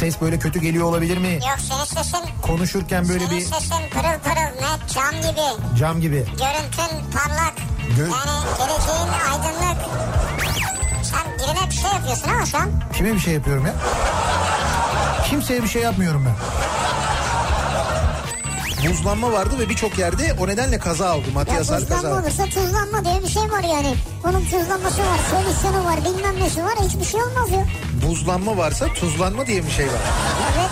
Ses böyle kötü geliyor olabilir mi? Yok senin sesin, Konuşurken böyle senin bir sesin pırıl pırıl net cam gibi. cam gibi. Görüntün parlak. Gö- yani geleceğin aydınlık. Sen birine bir şey yapıyorsun ama şu an. Kime bir şey yapıyorum ya? Kimseye bir şey yapmıyorum ben. Buzlanma vardı ve birçok yerde o nedenle kaza oldu. Ya Matyasar tuzlanma kaza. olursa tuzlanma diye bir şey var yani. Bunun tuzlanması var, solüsyonu var, bilmem nesi var. Hiçbir şey olmaz ya. Buzlanma varsa tuzlanma diye bir şey var. Evet.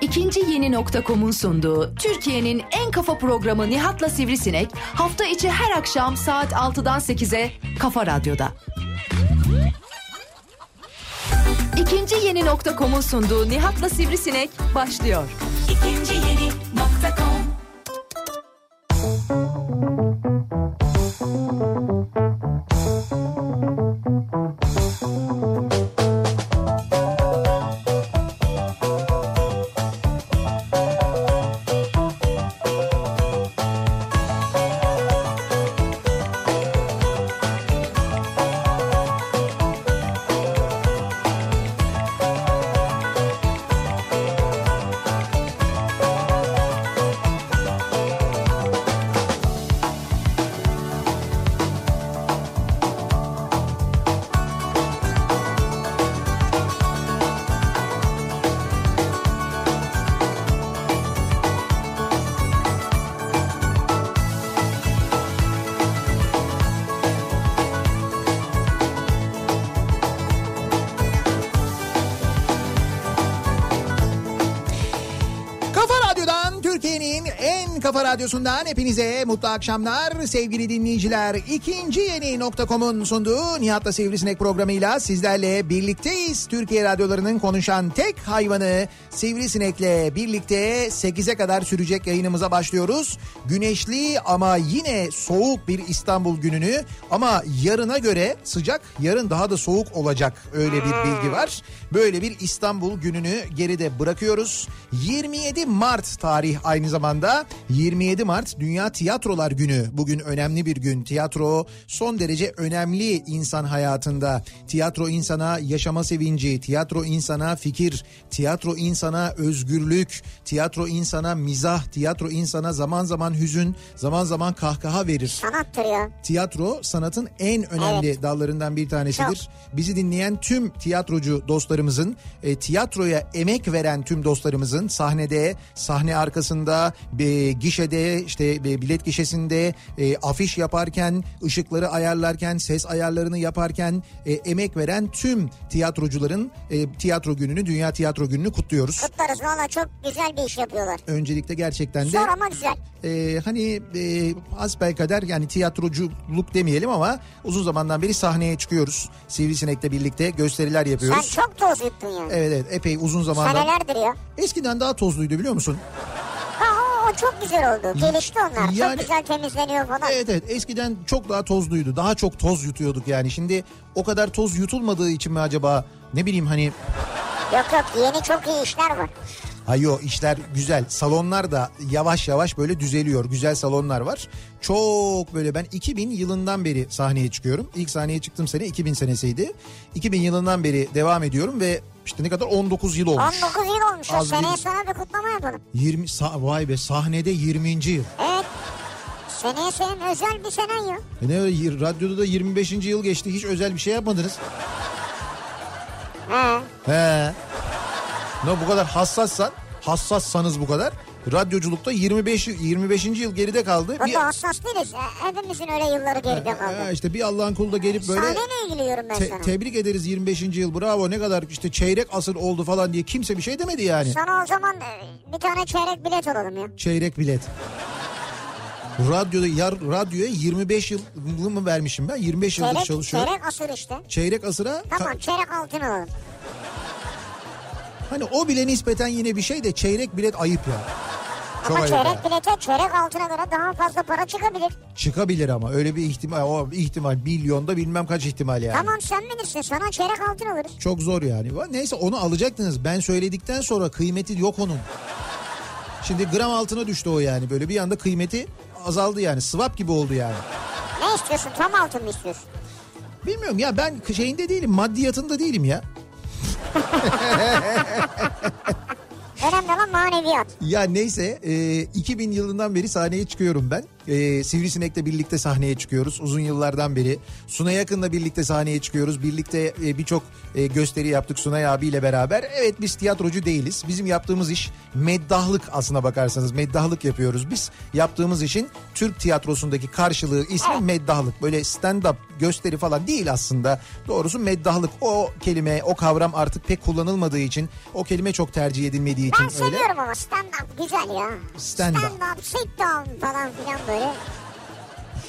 İkinci yeni nokta.com'un sunduğu Türkiye'nin en kafa programı Nihat'la Sivrisinek hafta içi her akşam saat 6'dan 8'e Kafa Radyo'da. İkinci yeni nokta.com'un sunduğu Nihat'la Sivrisinek başlıyor. İkinci yeni nokta kom. Kafa Radyo'dan Türkiye'nin en kafa radyosundan hepinize mutlu akşamlar sevgili dinleyiciler. İkinci yeni nokta.com'un sunduğu Nihat'la Sivrisinek programıyla sizlerle birlikteyiz. Türkiye radyolarının konuşan tek hayvanı Sivrisinek'le birlikte 8'e kadar sürecek yayınımıza başlıyoruz. Güneşli ama yine soğuk bir İstanbul gününü ama yarına göre sıcak yarın daha da soğuk olacak öyle bir bilgi var. Böyle bir İstanbul gününü geride bırakıyoruz. 27 Mart tarih aynı zamanda 27 Mart Dünya Tiyatrolar Günü. Bugün önemli bir gün. Tiyatro son derece önemli insan hayatında. Tiyatro insana yaşama sevinci, tiyatro insana fikir, tiyatro insana özgürlük, tiyatro insana mizah, tiyatro insana zaman zaman hüzün, zaman zaman kahkaha verir Sanattır ya. tiyatro sanatın en önemli dallarından bir tanesidir. Bizi dinleyen tüm tiyatrocu dostlarımızın, e, tiyatroya emek veren tüm dostlarımızın sahnede, sahne arkasında, e, gişede, işte e, bilet gişesinde, e, afiş yaparken, ışıkları ayarlarken, ses ayarlarını yaparken e, emek veren tüm tiyatrocuların e, tiyatro gününü, Dünya Tiyatro Günü'nü kutluyoruz. Kutlarız valla çok güzel bir iş yapıyorlar. Öncelikle gerçekten de Zor ama güzel. e, hani e, asbelkader yani tiyatroculuk demeyelim ama uzun zamandan beri sahneye çıkıyoruz. Sivrisinek'le birlikte gösteriler Sen yapıyoruz. çok toz yuttun ya. Evet evet epey uzun zamandan. Senelerdir ya. Eskiden daha tozluydu biliyor musun? Ha, o, o çok güzel oldu. Gelişti onlar. Yani- Çok güzel temizleniyor falan. Evet evet eskiden çok daha tozluydu. Daha çok toz yutuyorduk yani. Şimdi o kadar toz yutulmadığı için mi acaba ne bileyim hani Yok yok yeni çok iyi işler var. Hayo işler güzel. Salonlar da yavaş yavaş böyle düzeliyor. Güzel salonlar var. Çok böyle ben 2000 yılından beri sahneye çıkıyorum. İlk sahneye çıktığım sene 2000 senesiydi. 2000 yılından beri devam ediyorum ve işte ne kadar 19 yıl olmuş. 19 yıl olmuş. O Az seneye bir- sana bir kutlama yapalım. 20 sa- vay be sahnede 20. yıl. Evet. Seneye senin özel bir senen ya. E Ne öyle, yir- radyoda da 25. yıl geçti. Hiç özel bir şey yapmadınız. Ha. He. Ne bu kadar hassassan, hassassanız bu kadar. Radyoculukta 25 25. yıl geride kaldı. Bir- Bunda hassas değiliz. E, Hepimizin öyle yılları geride Ha, kaldı. işte bir Allah'ın kulu da gelip böyle Sahneyle ilgiliyorum ben te- sana. tebrik ederiz 25. yıl bravo ne kadar işte çeyrek asır oldu falan diye kimse bir şey demedi yani. Sana o zaman e, bir tane çeyrek bilet alalım ya. Çeyrek bilet. Radyoda yar, radyoya 25 yıl mı vermişim ben? 25 yıldır Çeyrek, çalışıyorum. Çeyrek, çeyrek asır işte. asıra ka- Tamam çeyrek altın alalım. hani o bile nispeten yine bir şey de çeyrek bilet ayıp ya. Çok Ama ayıp. çeyrek ya. bilete çeyrek altına göre daha fazla para çıkabilir. Çıkabilir ama öyle bir ihtimal o ihtimal milyonda bilmem kaç ihtimal yani. Tamam sen bilirsin sana çeyrek altın alırız. Çok zor yani. Neyse onu alacaktınız. Ben söyledikten sonra kıymeti yok onun. Şimdi gram altına düştü o yani. Böyle bir anda kıymeti azaldı yani. Swap gibi oldu yani. Ne istiyorsun tam altın mı istiyorsun? Bilmiyorum ya ben şeyinde değilim. Maddiyatında değilim ya. Önemli olan maneviyat. Ya neyse e, 2000 yılından beri sahneye çıkıyorum ben. E, Sivrisinek'le birlikte sahneye çıkıyoruz uzun yıllardan beri. Sunay Akın'la birlikte sahneye çıkıyoruz. Birlikte e, birçok e, gösteri yaptık Sunay abiyle beraber. Evet biz tiyatrocu değiliz. Bizim yaptığımız iş meddahlık aslına bakarsanız. Meddahlık yapıyoruz biz. Yaptığımız işin Türk tiyatrosundaki karşılığı Ah! ismi meddahlık. Böyle stand-up gösteri falan değil aslında. Doğrusu meddahlık o kelime o kavram artık pek kullanılmadığı için o kelime çok tercih edilmediği için Ben öyle. seviyorum ama stand-up güzel ya. Stand-up. Stand-up, sit-down şey falan filan böyle.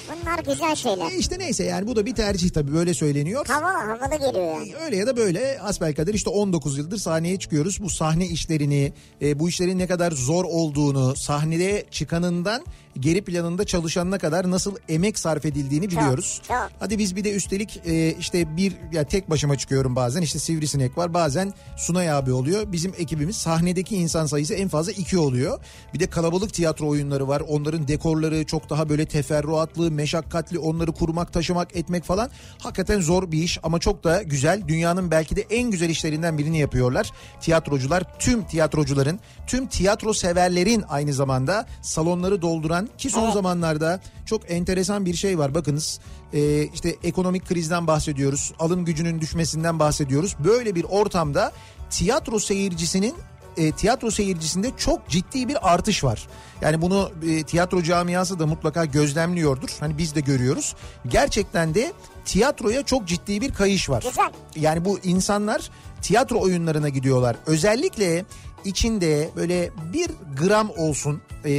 Bunlar güzel şeyler. E İşte neyse yani bu da bir tercih tabii böyle söyleniyor. Havalı havalı geliyor yani. Öyle ya da böyle asbelkader işte 19 yıldır sahneye çıkıyoruz. Bu sahne işlerini, e, bu işlerin ne kadar zor olduğunu, sahnede çıkanından geri planında çalışanına kadar nasıl emek sarf edildiğini biliyoruz. çok. Hadi biz bir de üstelik e, işte bir ya tek başıma çıkıyorum bazen işte sivrisinek var bazen Sunay abi oluyor. Bizim ekibimiz sahnedeki insan sayısı en fazla iki oluyor. Bir de kalabalık tiyatro oyunları var. Onların dekorları çok daha böyle teferruatlı, meşakkatli onları kurmak, taşımak, etmek falan. Hakikaten zor bir iş ama çok da güzel. Dünyanın belki de en güzel işlerinden birini yapıyorlar. Tiyatrocular tüm tiyatrocuların, tüm tiyatro severlerin aynı zamanda salonları dolduran ki son zamanlarda çok enteresan bir şey var. Bakınız e, işte ekonomik krizden bahsediyoruz, alım gücünün düşmesinden bahsediyoruz. Böyle bir ortamda tiyatro seyircisinin e, tiyatro seyircisinde çok ciddi bir artış var. Yani bunu e, tiyatro camiası da mutlaka gözlemliyordur. Hani biz de görüyoruz. Gerçekten de tiyatroya çok ciddi bir kayış var. Güzel. Yani bu insanlar tiyatro oyunlarına gidiyorlar. Özellikle içinde böyle bir gram olsun e,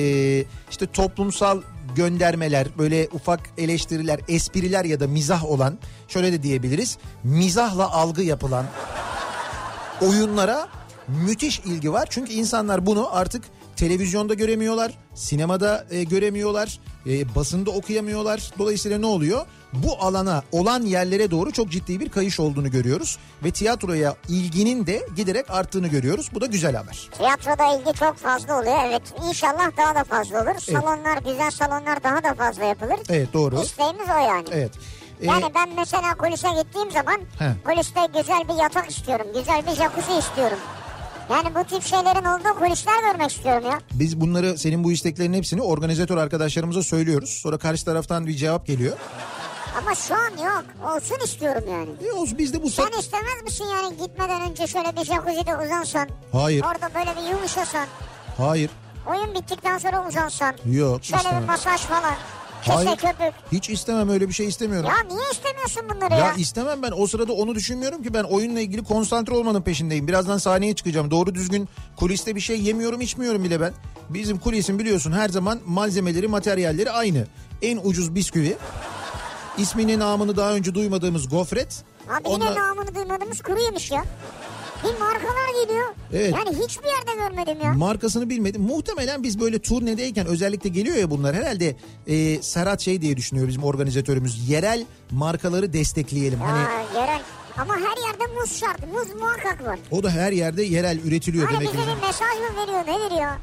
işte toplumsal göndermeler, böyle ufak eleştiriler, espriler ya da mizah olan, şöyle de diyebiliriz, mizahla algı yapılan oyunlara müthiş ilgi var. Çünkü insanlar bunu artık televizyonda göremiyorlar, sinemada e, göremiyorlar, e, basında okuyamıyorlar. Dolayısıyla ne oluyor? Bu alana, olan yerlere doğru çok ciddi bir kayış olduğunu görüyoruz ve tiyatroya ilginin de giderek arttığını görüyoruz. Bu da güzel haber. Tiyatroda ilgi çok fazla oluyor evet. İnşallah daha da fazla olur. Salonlar güzel salonlar daha da fazla yapılır. Evet, doğru. İsteğimiz o yani. Evet. E, Yani ben mesela kulise gittiğim zaman He. kuliste güzel bir yatak istiyorum. Güzel bir jacuzzi istiyorum. Yani bu tip şeylerin olduğu kulisler görmek istiyorum ya. Biz bunları senin bu isteklerin hepsini organizatör arkadaşlarımıza söylüyoruz. Sonra karşı taraftan bir cevap geliyor. Ama şu an yok. Olsun istiyorum yani. E olsun biz de bu Sen istemez misin yani gitmeden önce şöyle bir jacuzzi'de uzansan? Hayır. Orada böyle bir yumuşasan. Hayır. Oyun bittikten sonra uzansan. Yok, Şöyle istemem. bir masaj falan. Kese Hayır. köpük. Hiç istemem öyle bir şey istemiyorum. Ya niye istemiyorsun bunları Ya. ya? istemem ben o sırada onu düşünmüyorum ki ben oyunla ilgili konsantre olmanın peşindeyim. Birazdan sahneye çıkacağım. Doğru düzgün kuliste bir şey yemiyorum içmiyorum bile ben. Bizim kulisin biliyorsun her zaman malzemeleri materyalleri aynı. En ucuz bisküvi. ismini namını daha önce duymadığımız gofret. Abi Ondan- yine namını duymadığımız kuru yemiş ya. Bir markalar geliyor. Evet. Yani hiçbir yerde görmedim ya. Markasını bilmedim. Muhtemelen biz böyle turnedeyken özellikle geliyor ya bunlar. Herhalde e, Serhat şey diye düşünüyor bizim organizatörümüz. Yerel markaları destekleyelim. Hani Ya yerel. Ama her yerde muz şart. Muz muhakkak var. o da her yerde yerel üretiliyor Hani demek ki. bize bir mesaj mı veriyor nedir ya?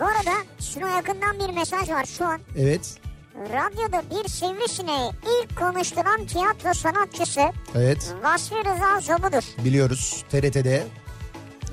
Bu arada şuna yakından bir mesaj var şu an. Evet. Radyoda bir sivrisineği ilk konuşturan tiyatro sanatçısı Evet. Vasfi Rıza Zobu'dur. Biliyoruz TRT'de.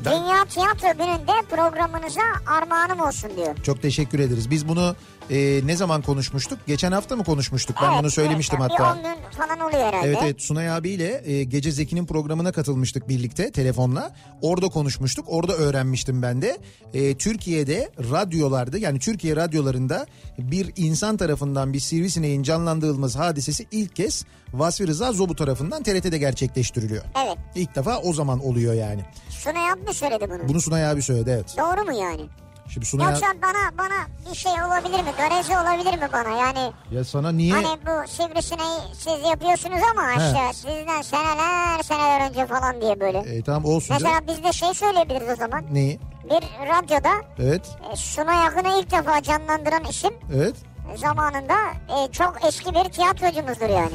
Ben- Dünya Tiyatro Günü'nde programınıza armağanım olsun diyor. Çok teşekkür ederiz. Biz bunu e, ne zaman konuşmuştuk? Geçen hafta mı konuşmuştuk? Ben Evet, bunu söylemiştim evet. hatta. Bir 10 gün falan oluyor herhalde. Evet evet Sunay abiyle e, Gece Zeki'nin programına katılmıştık birlikte telefonla. Orada konuşmuştuk. Orada öğrenmiştim ben de. E, Türkiye'de radyolarda yani Türkiye radyolarında bir insan tarafından bir sivrisineğin canlandırılması hadisesi ilk kez Vasfi Rıza Zobu tarafından TRT'de gerçekleştiriliyor. Evet. İlk defa o zaman oluyor yani. Sunay abla söyledi bunu. Bunu Sunay abi söyledi evet. Doğru mu yani? Şimdi Sunay abi... Yoksa bana bana bir şey olabilir mi? Garezi olabilir mi bana? Yani Ya sana niye... hani bu sivrisineği siz yapıyorsunuz ama He. işte sizden seneler seneler önce falan diye böyle. E, tamam olsun canım. Mesela biz de şey söyleyebiliriz o zaman. Neyi? Bir radyoda Evet. e, Sunay Akın'ı ilk defa canlandıran isim Evet. zamanında e, çok eski bir tiyatrocumuzdur yani.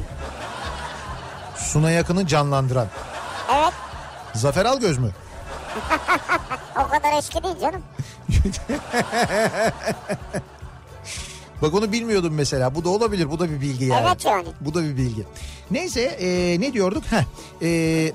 Sunay Akın'ı canlandıran. Evet Zafer Algöz mü? o kadar eski değil canım. Bak onu bilmiyordum mesela. Bu da olabilir. Bu da bir bilgi yani. Evet yani. Bu da bir bilgi. Neyse e, ne diyorduk? Heh, e,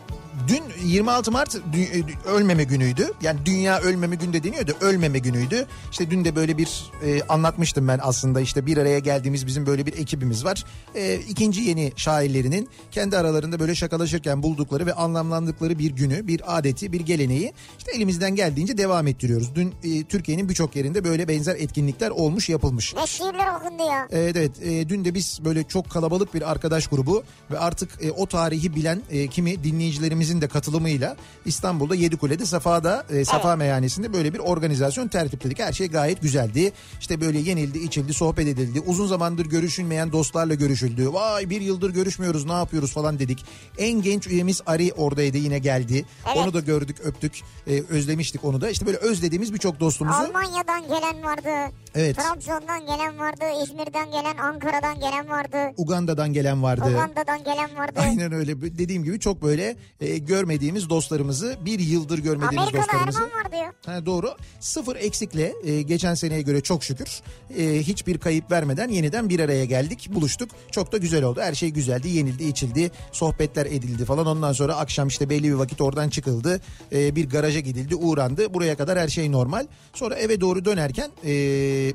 dün 26 Mart dü- e, dü- ölmeme günüydü. Yani dünya ölmeme günü de deniyordu. Ölmeme günüydü. İşte dün de böyle bir e, anlatmıştım ben aslında işte bir araya geldiğimiz bizim böyle bir ekibimiz var. E, ikinci yeni şairlerinin kendi aralarında böyle şakalaşırken buldukları ve anlamlandıkları bir günü, bir adeti, bir geleneği işte elimizden geldiğince devam ettiriyoruz. Dün e, Türkiye'nin birçok yerinde böyle benzer etkinlikler olmuş, yapılmış. Ne şiirler okundu ya. Evet evet E, dün de biz böyle çok kalabalık bir arkadaş grubu ve artık e, o tarihi bilen e, kimi dinleyicilerimizin de katılımıyla İstanbul'da Yedikule'de Safa'da e, Safa Meyhanesi'nde böyle bir organizasyon tertipledik. Her şey gayet güzeldi. İşte böyle yenildi, içildi, sohbet edildi. Uzun zamandır görüşülmeyen dostlarla görüşüldü. Vay bir yıldır görüşmüyoruz ne yapıyoruz falan dedik. En genç üyemiz Ari oradaydı yine geldi. Evet. Onu da gördük öptük E, özlemiştik onu da. İşte böyle özlediğimiz birçok dostumuzu. Almanya'dan gelen vardı. Evet. Trabzon'dan gelen vardı. İzmir'den gelen, Ankara'dan gelen vardı. Uganda'dan gelen vardı. Uganda'dan gelen vardı. Aynen öyle. B- Dediğim gibi çok böyle e, görmediğimiz dostlarımızı, bir yıldır görmediğimiz Amerika'da dostlarımızı. Erman vardı ya. Ha, doğru. Sıfır eksikle e, geçen seneye göre çok şükür e, hiçbir kayıp vermeden yeniden bir araya geldik, buluştuk. Çok da güzel oldu. Her şey güzeldi, yenildi, içildi, sohbetler edildi falan. Ondan sonra akşam işte belli bir vakit oradan çıkıldı. E, bir garaja gidildi, uğrandı. Buraya kadar her şey normal. Sonra eve doğru dönerken e,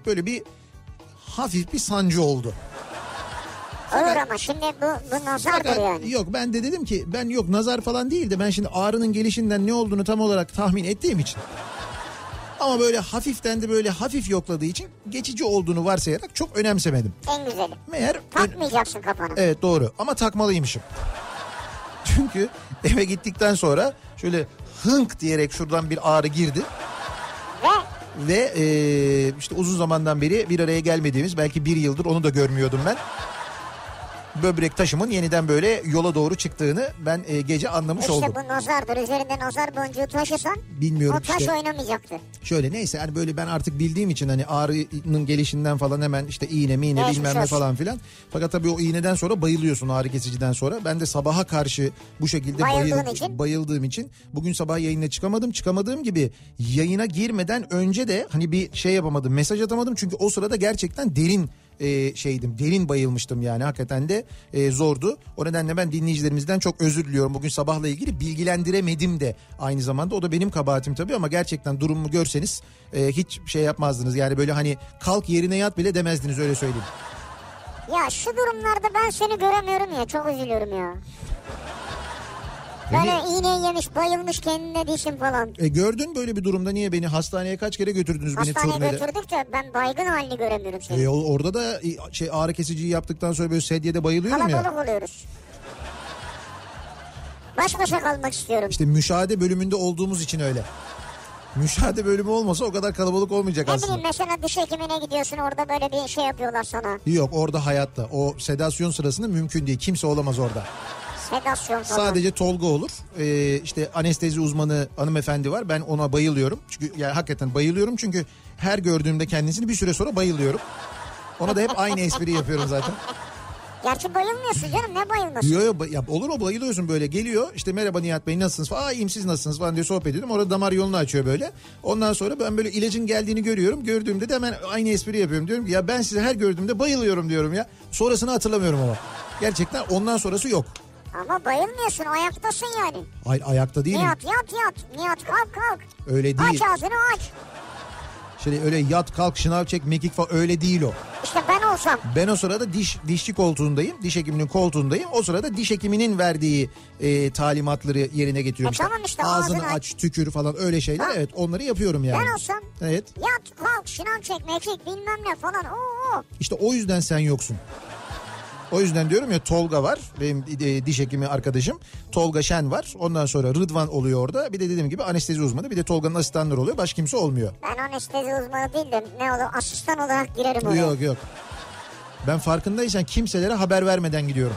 böyle bir hafif bir sancı oldu. Olur ama şimdi bu, bu nazardır Fakat yani. Yok ben de dedim ki ben yok nazar falan değil de ben şimdi ağrının gelişinden ne olduğunu tam olarak tahmin ettiğim için. Ama böyle hafiften de böyle hafif yokladığı için geçici olduğunu varsayarak çok önemsemedim. En güzeli. Meğer ön- Takmayacaksın kafana. Evet doğru ama takmalıymışım. Çünkü eve gittikten sonra şöyle hınk diyerek şuradan bir ağrı girdi. Ve Ve eee, işte uzun zamandan beri bir araya gelmediğimiz belki bir yıldır onu da görmüyordum ben. Böbrek taşımın yeniden böyle yola doğru çıktığını ben eee, gece anlamış işte oldum. bu nazardır. Üzerinde nazar boncuğu taşısan Bilmiyorum o taş işte. oynamayacaktı. Şöyle neyse hani böyle ben artık bildiğim için hani ağrının gelişinden falan hemen işte iğne miğne Geçmiş bilmem ne olsun. falan filan. Fakat tabii o iğneden sonra bayılıyorsun ağrı kesiciden sonra. Ben de sabaha karşı bu şekilde Bayıldığın bayıl- için? bayıldığım için bugün sabah yayına çıkamadım. Çıkamadığım gibi yayına girmeden önce de hani bir şey yapamadım mesaj atamadım. Çünkü o sırada gerçekten derin e, şeydim derin bayılmıştım yani hakikaten de e, zordu. O nedenle ben dinleyicilerimizden çok özür diliyorum. Bugün sabahla ilgili bilgilendiremedim de aynı zamanda o da benim kabahatim tabii ama gerçekten durumumu görseniz e, hiç şey yapmazdınız. Yani böyle hani kalk yerine yat bile demezdiniz öyle söyleyeyim. Ya şu durumlarda ben seni göremiyorum ya çok üzülüyorum ya. Böyle iğneyi yemiş bayılmış kendine dişim falan. E, gördün böyle bir durumda niye beni hastaneye kaç kere götürdünüz beni Hastaneye turnede? götürdük de ben baygın halini göremiyorum seni. E, o- orada da e, şey ağrı kesiciyi yaptıktan sonra böyle sedyede bayılıyorum ya. Kalabalık oluyoruz. Baş başa kalmak istiyorum. İşte müşahede bölümünde olduğumuz için öyle. Müşahede bölümü olmasa o kadar kalabalık olmayacak ne aslında. bileyim mesela diş hekimine gidiyorsun orada böyle bir şey yapıyorlar sana. Yok orada hayatta. O sedasyon sırasında mümkün değil. Kimse olamaz orada. Sedasyon falan. Sadece Tolga olur. Ee, işte anestezi uzmanı hanımefendi var. Ben ona bayılıyorum. Çünkü yani hakikaten bayılıyorum. Çünkü her gördüğümde kendisini bir süre sonra bayılıyorum. Ona da hep aynı espri yapıyorum zaten. Gerçi bayılmıyorsun canım ne bayılması. Yo, yo, ba- ya olur o bayılıyorsun böyle geliyor işte merhaba Nihat Bey nasılsınız falan aa iyiyim siz nasılsınız falan diye sohbet ediyorum orada damar yolunu açıyor böyle ondan sonra ben böyle ilacın geldiğini görüyorum gördüğümde de hemen aynı espri yapıyorum diyorum ki ya ben size her gördüğümde bayılıyorum diyorum ya sonrasını hatırlamıyorum ama gerçekten ondan sonrası yok Ama bayılmıyorsun ayaktasın yani. Ay, ayakta değilim Nihat yat yat. Nihat kalk kalk. öyle Aç değil ağzını aç. şey öyle yat kalk şınav çek mekik falan öyle değil o İşte ben olsam. Ben o sırada diş dişçi koltuğundayım. Diş hekiminin koltuğundayım. O sırada diş hekiminin verdiği e, talimatları yerine getiriyorum. E tamam işte, ağzını ağzını aç, tükür falan öyle şeyler. Ha. Evet onları yapıyorum yani. Ben olsam. Evet. Yat kalk şınav çek mekik bilmem ne falan. Oo. İşte o yüzden sen yoksun. O yüzden diyorum ya Tolga var. Benim e, diş hekimi arkadaşım. Tolga Şen var. Ondan sonra Rıdvan oluyor orada. Bir de dediğim gibi anestezi uzmanı. Bir de Tolga'nın asistanları oluyor. Başka kimse olmuyor. Ben anestezi uzmanı değil de ne olur asistan olarak girerim oraya. Yok yok. Ben farkındaysan kimselere haber vermeden gidiyorum.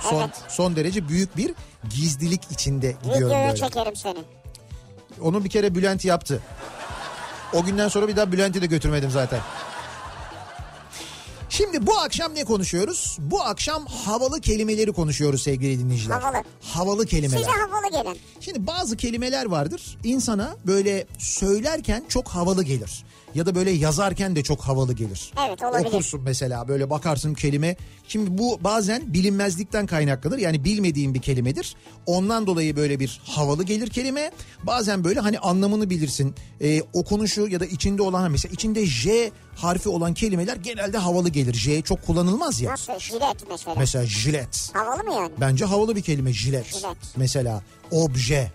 Son Evet. son derece büyük bir gizlilik içinde gidiyorum Videoya böyle. çekerim seni. Onu bir kere Bülent yaptı. O günden sonra bir daha Bülent'i de götürmedim zaten. Şimdi bu akşam ne konuşuyoruz? Bu akşam havalı kelimeleri konuşuyoruz sevgili dinleyiciler. Havalı. Havalı kelimeler. Size havalı gelin. Şimdi bazı kelimeler vardır. insana böyle söylerken çok havalı gelir. ya da böyle yazarken de çok havalı gelir. Evet, olabilir. Okursun mesela böyle bakarsın kelime. Şimdi bu bazen bilinmezlikten kaynaklanır. Yani bilmediğin bir kelimedir. Ondan dolayı böyle bir havalı gelir kelime. Bazen böyle hani anlamını bilirsin. Ee, okunuşu ya da içinde olan mesela içinde J harfi olan kelimeler genelde havalı gelir. J çok kullanılmaz ya. Nasıl jilet mesela? Mesela jilet. Havalı mı yani? Bence havalı bir kelime jilet. Jilet. Mesela obje.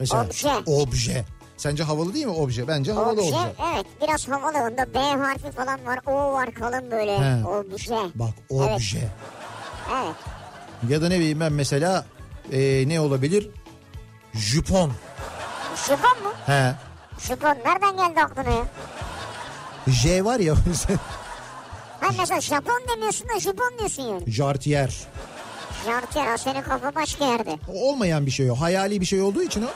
Mesela Obje. obje. Sence havalı değil mi obje? Bence havalı obje. Obje, evet biraz havalı onda B harfi falan var O var kalın böyle He. obje. Bak obje. Evet Ya da ne bileyim ben mesela e, ne olabilir? Jupon. şıpon mu? He. Şıpon nereden geldi aklına ya? J var ya. Ha mesela Japon demiyorsun da Japon diyorsun yani. Jartiyer. Jartier o senin kafa başka yerde. O Olmayan bir şey o. Hayali bir şey olduğu için o.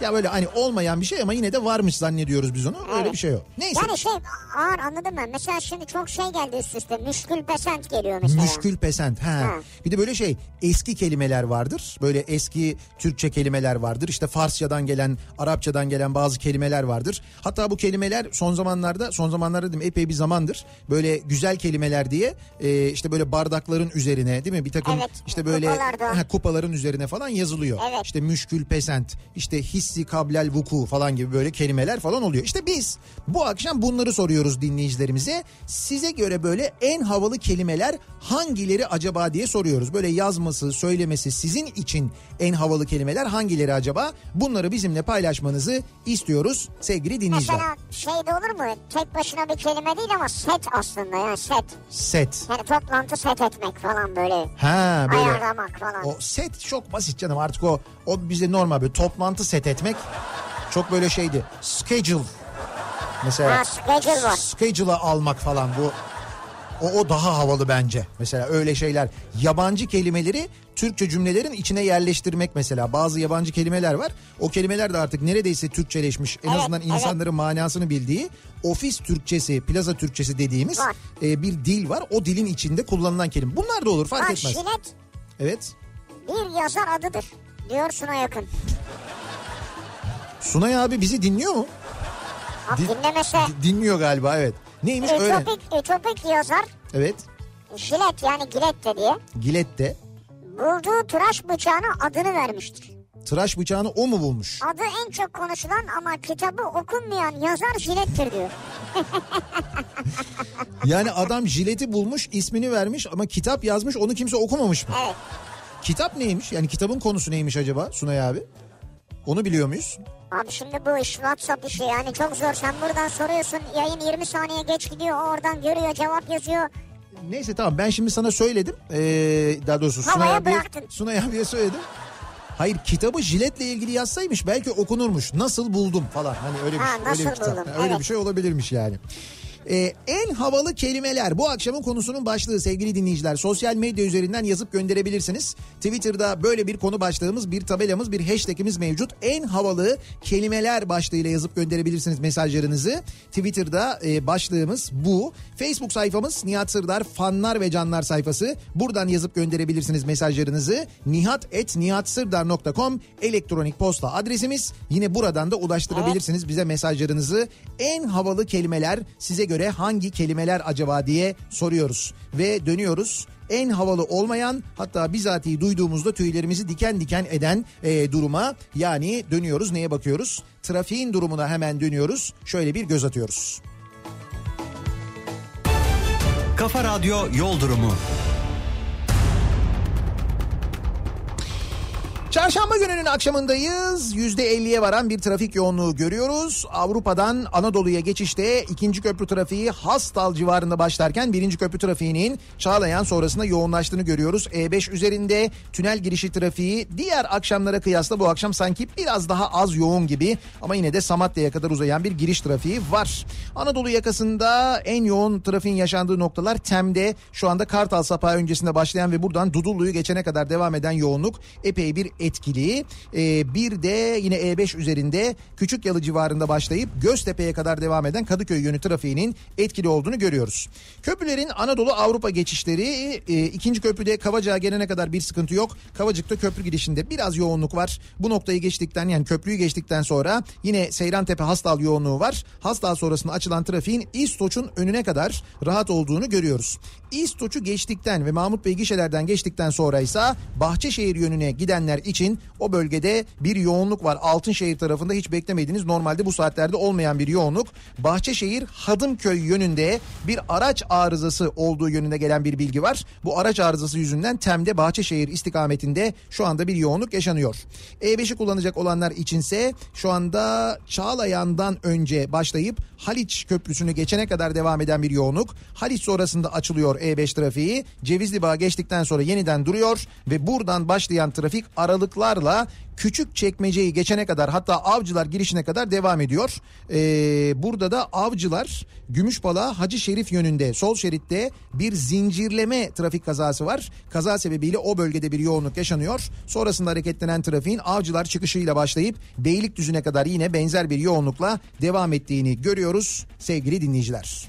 Ya böyle hani olmayan bir şey ama yine de varmış zannediyoruz biz onu. Öyle Evet. bir şey o. Neyse. Yani şey ağır anladım ben. Mesela şimdi çok şey geldi üst üste. Müşkül pesent geliyor mesela. Müşkül pesent. Ha. Ha. Bir de böyle şey eski kelimeler vardır. Böyle eski Türkçe kelimeler vardır. İşte Farsçadan gelen, Arapçadan gelen bazı kelimeler vardır. Hatta bu kelimeler son zamanlarda, son zamanlarda dedim epey bir zamandır böyle güzel kelimeler diye e, işte böyle bardakların üzerine değil mi? Bir takım Evet, işte böyle kupalarda. ha, kupaların üzerine falan yazılıyor. Evet. İşte müşkül pesent, işte hissi kablel vuku falan gibi böyle kelimeler falan oluyor. İşte biz bu akşam bunları soruyoruz dinleyicilerimize. Size göre böyle en havalı kelimeler hangileri acaba diye soruyoruz. Böyle yazması, söylemesi sizin için en havalı kelimeler hangileri acaba? Bunları bizimle paylaşmanızı istiyoruz sevgili dinleyiciler. Mesela şey de olur mu? Tek başına bir kelime değil ama set aslında yani set. Set. Yani toplantı set etmek falan böyle. Ha böyle. Ayarlamak falan. O set çok basit canım artık o o bize normal bir toplantı set etmek çok böyle şeydi. Schedule mesela. Ha, schedule var. Schedule'a almak falan bu o, o daha havalı bence. Mesela öyle şeyler yabancı kelimeleri Türkçe cümlelerin içine yerleştirmek mesela. Bazı yabancı kelimeler var. O kelimeler de artık neredeyse Türkçeleşmiş. En Evet, azından evet. insanların manasını bildiği ofis Türkçesi, plaza Türkçesi dediğimiz Var. e, bir dil var. O dilin içinde kullanılan kelime. Bunlar da olur fark Bak etmez. jilet Evet. bir yazar adıdır. Diyor Suna Yakın. Sunay abi bizi dinliyor mu? Bak Din- dinlemese Di- Dinliyor galiba evet. Neymiş E, öyle? ütopik, ütopik yazar Evet. jilet yani gilet de diye Gilette bulduğu tıraş bıçağına adını vermiştir. tıraş bıçağını o mu bulmuş? Adı en çok konuşulan ama kitabı okunmayan yazar jilettir diyor. Yani adam jileti bulmuş, ismini vermiş ama kitap yazmış, onu kimse okumamış mı? Evet. Kitap neymiş? Yani kitabın konusu neymiş acaba Sunay abi? Onu biliyor muyuz? Abi şimdi bu iş WhatsApp işi yani çok zor. Sen buradan soruyorsun yayın 20 saniye geç gidiyor o oradan görüyor cevap yazıyor. Neyse tamam ben şimdi sana söyledim. Ee, daha doğrusu Sunay Havaya abiye, bıraktın. Sunay abiye söyledim. Hayır kitabı jiletle ilgili yazsaymış belki okunurmuş. Nasıl buldum falan. Hani öyle bir, Ha, öyle nasıl bir kitap. buldum, Öyle evet. bir şey olabilirmiş yani. Ee, en havalı kelimeler bu akşamın konusunun başlığı sevgili dinleyiciler. Sosyal medya üzerinden yazıp gönderebilirsiniz. Twitter'da böyle bir konu başlığımız, bir tabelamız, bir hashtagimiz mevcut. En havalı kelimeler başlığıyla yazıp gönderebilirsiniz mesajlarınızı. Twitter'da e, başlığımız bu. Facebook sayfamız Nihat Sırdar fanlar ve canlar sayfası. Buradan yazıp gönderebilirsiniz mesajlarınız nihat.nihatsırdar.com elektronik posta adresimiz. Yine buradan da ulaştırabilirsiniz bize mesajlarınızı. En havalı kelimeler size göre hangi kelimeler acaba diye soruyoruz. Ve dönüyoruz en havalı olmayan hatta bizatihi duyduğumuzda tüylerimizi diken diken eden e, duruma yani dönüyoruz neye bakıyoruz? Trafiğin durumuna hemen dönüyoruz. Şöyle bir göz atıyoruz. Kafa Radyo Yol Durumu. Çarşamba gününün akşamındayız. %50'ye varan bir trafik yoğunluğu görüyoruz. Avrupa'dan Anadolu'ya geçişte ikinci köprü trafiği Hastal civarında başlarken birinci köprü trafiğinin Çağlayan sonrasında yoğunlaştığını görüyoruz. E5 üzerinde tünel girişi trafiği diğer akşamlara kıyasla bu akşam sanki biraz daha az yoğun gibi ama yine de Samatya'ya kadar uzayan bir giriş trafiği var. Anadolu yakasında en yoğun trafiğin yaşandığı noktalar Tem'de şu anda Kartal Sapağı öncesinde başlayan ve buradan Dudullu'yu geçene kadar devam eden yoğunluk epey bir etkili. E, bir de yine E5 üzerinde Küçük Yalı civarında başlayıp Göztepe'ye kadar devam eden Kadıköy yönü trafiğinin etkili olduğunu görüyoruz. Köprülerin Anadolu Avrupa geçişleri e, ikinci köprüde Kavacık'a gelene kadar bir sıkıntı yok. Kavacık'ta köprü girişinde biraz yoğunluk var. Bu noktayı geçtikten yani köprüyü geçtikten sonra yine Seyrantepe Hastal yoğunluğu var. Hastal sonrasında açılan trafiğin İstoç'un önüne kadar rahat olduğunu görüyoruz. İstoç'u geçtikten ve Mahmut Bey gişelerden geçtikten sonra ise Bahçeşehir yönüne gidenler için o bölgede bir yoğunluk var. Altınşehir tarafında hiç beklemediğiniz normalde bu saatlerde olmayan bir yoğunluk. Bahçeşehir Hadımköy yönünde bir araç arızası olduğu yönünde gelen bir bilgi var. Bu araç arızası yüzünden Tem'de Bahçeşehir istikametinde şu anda bir yoğunluk yaşanıyor. E5'i kullanacak olanlar içinse şu anda Çağlayan'dan önce başlayıp Haliç Köprüsü'nü geçene kadar devam eden bir yoğunluk. Haliç sonrasında açılıyor E5 trafiği. Cevizli Bağ geçtikten sonra yeniden duruyor ve buradan başlayan trafik aralıklarla küçük çekmeceyi geçene kadar hatta avcılar girişine kadar devam ediyor. Ee, burada da avcılar Gümüşbala Hacı Şerif yönünde sol şeritte bir zincirleme trafik kazası var. Kaza sebebiyle o bölgede bir yoğunluk yaşanıyor. Sonrasında hareketlenen trafiğin avcılar çıkışıyla başlayıp Beylikdüzü'ne kadar yine benzer bir yoğunlukla devam ettiğini görüyoruz sevgili dinleyiciler.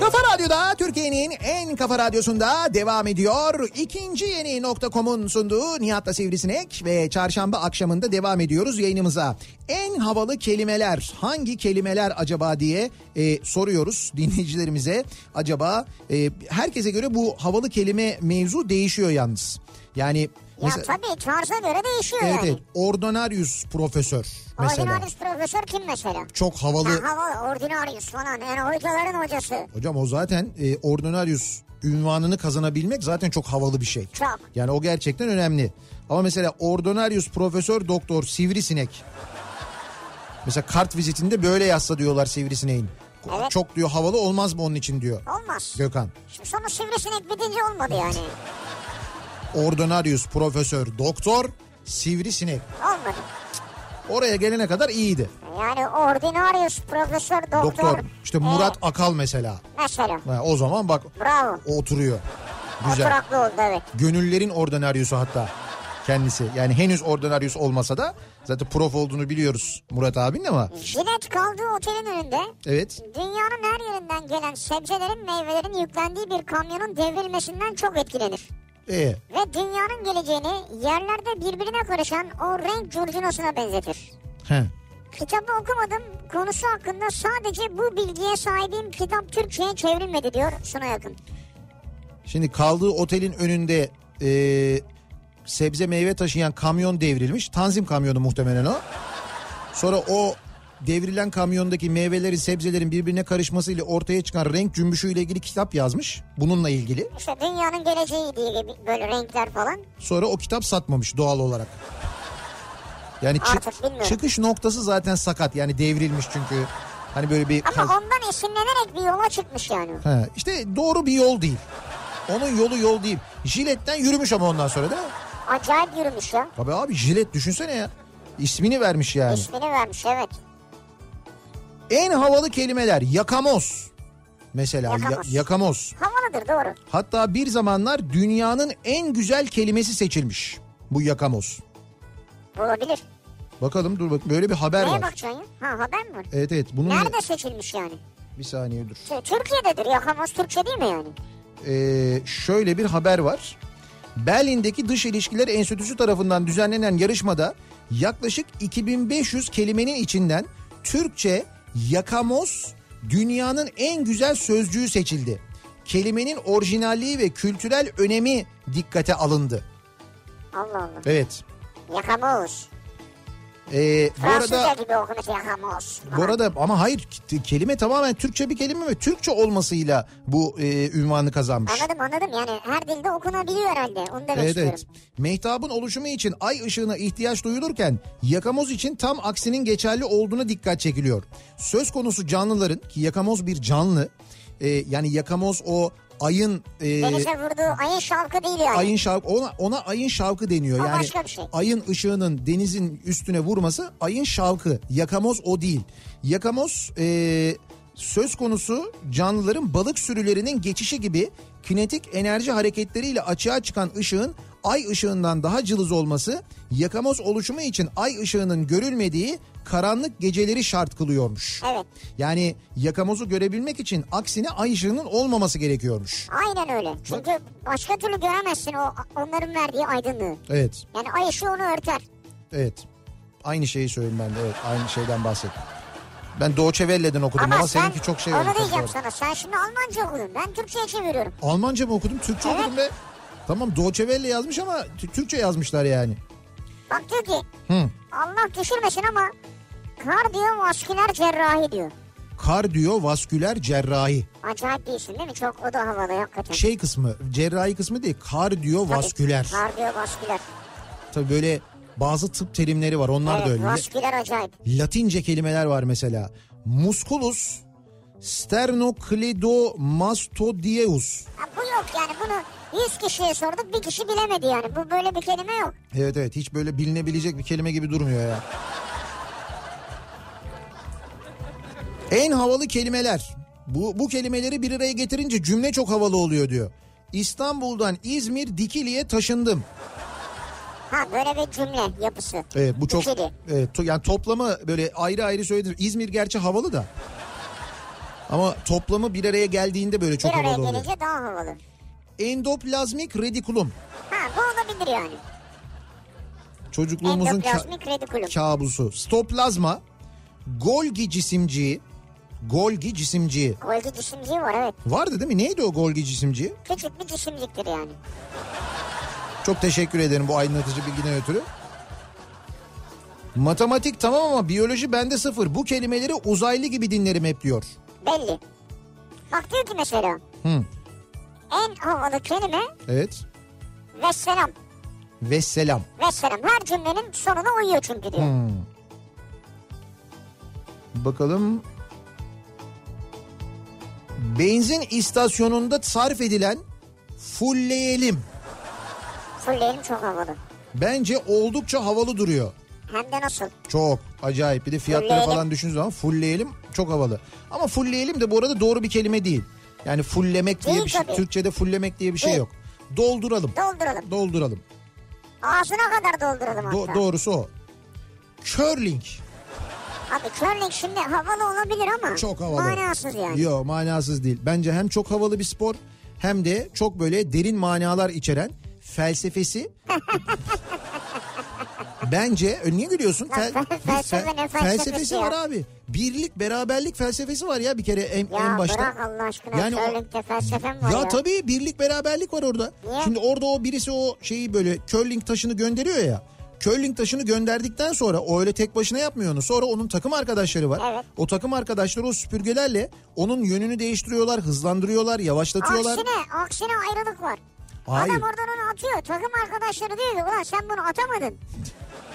Kafa Radyo'da Türkiye'nin en kafa radyosunda devam ediyor. İkinci yeni nokta.com'un sunduğu Nihat'la Sivrisinek ve çarşamba akşamında devam ediyoruz yayınımıza. En havalı kelimeler hangi kelimeler acaba diye e, soruyoruz dinleyicilerimize. Acaba e, herkese göre bu havalı kelime mevzu değişiyor yalnız. Yani Ya tabii tarza göre değişiyor evet, yani. evet, ordinarius profesör mesela. Ordinarius profesör kim mesela? Çok havalı. Ya hava ordinarius falan yani hocaların hocası. Hocam o zaten e, ordinarius ünvanını kazanabilmek zaten çok havalı bir şey. Çok. Yani o gerçekten önemli. Ama mesela ordinarius profesör doktor sivrisinek. mesela kart vizitinde böyle yazsa diyorlar sivrisineğin. Evet. Çok diyor havalı olmaz mı onun için diyor Olmaz. Gökhan. Şimdi sonra sivrisinek bitince olmadı yani. Ordinarius profesör doktor sivrisinek. Olmadı. Oraya gelene kadar iyiydi. Yani ordinarius profesör doktor. Doktor. İşte Murat Evet, Akal mesela. mesela. Ha, O zaman bak Bravo. o oturuyor. Güzel. Oturaklı oldu evet. gönüllerin ordinaryosu hatta kendisi. Yani henüz ordinaryos olmasa da zaten prof olduğunu biliyoruz Murat abinin ama. Jilet kaldığı otelin önünde Evet. dünyanın her yerinden gelen sebzelerin meyvelerin yüklendiği bir kamyonun devrilmesinden çok etkilenir. Ee, Ve dünyanın geleceğini yerlerde birbirine karışan o renk curcunasına benzetir. he. Kitabı okumadım konusu hakkında sadece bu bilgiye sahibim kitap Türkçe'ye çevrilmedi diyor Suna Yakın. Şimdi kaldığı otelin önünde ee, sebze meyve taşıyan kamyon devrilmiş. Tanzim kamyonu muhtemelen o. Sonra o devrilen kamyondaki meyvelerin sebzelerin birbirine karışmasıyla ortaya çıkan renk cümbüşüyle ilgili kitap yazmış. Bununla ilgili. İşte dünyanın geleceği diye gibi böyle renkler falan. Sonra o kitap satmamış doğal olarak. Yani çı- Artık bilmiyorum. çıkış noktası zaten sakat yani devrilmiş çünkü. Hani böyle bir... Ama ondan esinlenerek bir yola çıkmış yani. He, işte doğru bir yol değil. Onun yolu yol değil. Jiletten yürümüş ama ondan sonra değil mi? Acayip yürümüş ya. Tabii abi jilet düşünsene ya. İsmini vermiş yani. İsmini vermiş evet. En havalı kelimeler yakamoz. Mesela ya- Yakamoz. yakamoz. Havalıdır doğru. Hatta bir zamanlar dünyanın en güzel kelimesi seçilmiş. Bu yakamoz. Olabilir. Bakalım dur bak böyle bir haber Neye var. Hmm. bakacaksın ya? Ha haber mi var? Evet evet bunun Nerede seçilmiş yani? bir saniye dur. Tü- Türkiye'dedir yakamoz Türkçe değil mi yani? Ee, şöyle bir haber var. Berlin'deki Dış İlişkiler Enstitüsü tarafından düzenlenen yarışmada yaklaşık 2500 kelimenin içinden Türkçe yakamoz dünyanın en güzel sözcüğü seçildi. Kelimenin orijinalliği ve kültürel önemi dikkate alındı. Allah Allah. Evet. Yakamoz. Ee, bu Fransızca arada gibi okunuş ya Hamos. bu arada ama hayır k- kelime tamamen Türkçe bir kelime ve Türkçe olmasıyla bu e, ünvanı kazanmış. Anladım anladım yani her dilde okunabiliyor herhalde. Onu demek Evet, istiyorum. evet. Mehtabın oluşumu için ay ışığına ihtiyaç duyulurken yakamoz için tam aksinin geçerli olduğuna dikkat çekiliyor. Söz konusu canlıların ki yakamoz bir canlı e, yani yakamoz o ayın e, Denize vurduğu ayın şarkı değil yani. ayın şavk ona, ona ayın şavkı deniyor. O yani başka bir şey. ayın ışığının denizin üstüne vurması ayın şavkı. Yakamoz o değil. Yakamoz e, söz konusu canlıların balık sürülerinin geçişi gibi kinetik enerji hareketleriyle açığa çıkan ışığın ay ışığından daha cılız olması yakamoz oluşumu için ay ışığının görülmediği karanlık geceleri şart kılıyormuş. Evet. Yani yakamozu görebilmek için aksine ay ışığının olmaması gerekiyormuş. Aynen öyle. Çünkü başka türlü göremezsin o onların verdiği aydınlığı. Evet. Yani ay ışığı onu örter. Evet. Aynı şeyi söyleyeyim ben de. Evet, aynı şeyden bahsettim. Ben Doğçe Velle'den okudum ama, Ama, sen seninki çok şey oldu. onu tabii. diyeceğim sana. Sen şimdi Almanca okudun. Ben Türkçe'ye çeviriyorum. Almanca mı okudum? Türkçe Evet. okudum be. Tamam Doğçe Welle yazmış ama T- Türkçe yazmışlar yani. Bak diyor ki Hı. Allah düşürmesin ama kardiyovasküler cerrahi diyor. Kardiyovasküler cerrahi. Acayip bir isim değil mi? Çok o da havalı hakikaten. Şey kısmı, cerrahi kısmı değil, kardiyovasküler. Tabii, Kardiyovasküler. böyle bazı tıp terimleri var. Onlar da Evet, öyle. vasküler acayip. Latince kelimeler var mesela. Musculus sternocleidomastoideus. Ha, bu yok yani bunu 100 kişiye sorduk bir kişi bilemedi yani. Bu böyle bir kelime yok. Evet evet hiç böyle bilinebilecek bir kelime gibi durmuyor ya. En havalı kelimeler. Bu, bu kelimeleri bir araya getirince cümle çok havalı oluyor diyor. İstanbul'dan İzmir Dikili'ye taşındım. Ha böyle bir cümle yapısı. Evet bu çok Dikili. evet, to- yani toplamı böyle ayrı ayrı söyledim. İzmir gerçi havalı da. Ama toplamı bir araya geldiğinde böyle Bir çok araya havalı oluyor. gelince daha havalı. Endoplazmik redikulum. Ha bu olabilir yani. Çocukluğumuzun ka- Endoplazmik redikulum. kabusu. Stoplazma, Golgi cisimciği, Golgi cisimciği. Golgi cisimciği var evet. Vardı değil mi? Neydi o Golgi cisimciği? Küçük bir cisimciktir yani. Çok teşekkür ederim bu aydınlatıcı bilgiden ötürü. Matematik tamam ama biyoloji bende sıfır. Bu kelimeleri uzaylı gibi dinlerim hep diyor. Belli. Bak diyor ki mesela. Hı. En havalı kelime Evet. vesselam. Vesselam. Vesselam. Her cümlenin sonuna uyuyor çünkü diyor. Bakalım. Benzin istasyonunda sarf edilen fulleyelim. Fulleyelim çok havalı. Bence oldukça havalı duruyor. Hem de nasıl? Çok acayip. Bir de fiyatları Fullleyelim. falan düşündüğün zaman fullleyelim çok havalı. Ama fullleyelim de bu arada doğru bir kelime değil. Yani fulllemek diye Değil bir şey. tabii. Türkçe'de fulllemek diye bir şey Değil. yok. Dolduralım. Dolduralım. Dolduralım. Ağzına kadar dolduralım Do- hatta. doğrusu o. Curling. Abi curling şimdi havalı olabilir ama. Çok havalı. Manasız yani. Yok manasız değil. Bence hem çok havalı bir spor hem de çok böyle derin manalar içeren felsefesi. Bence e, niye gülüyorsun? Lan fel- felsefe ne felsefesi felsefesi ya? var abi. Birlik, beraberlik felsefesi var ya bir kere en, Ya en başta. bırak Allah aşkına Yani o- curlingde felsefe mi var Ya, ya? tabii birlik beraberlik var orada. Niye? Şimdi orada o birisi o şeyi böyle curling taşını gönderiyor ya. Curling taşını gönderdikten sonra o öyle tek başına yapmıyor onu. Sonra onun takım arkadaşları var. Evet. O takım arkadaşları o süpürgelerle onun yönünü değiştiriyorlar, hızlandırıyorlar, yavaşlatıyorlar. Aksine, aksine ayrılık var. Hayır. Adam oradan onu atıyor. Takım arkadaşları diyor ki ulan sen bunu atamadın.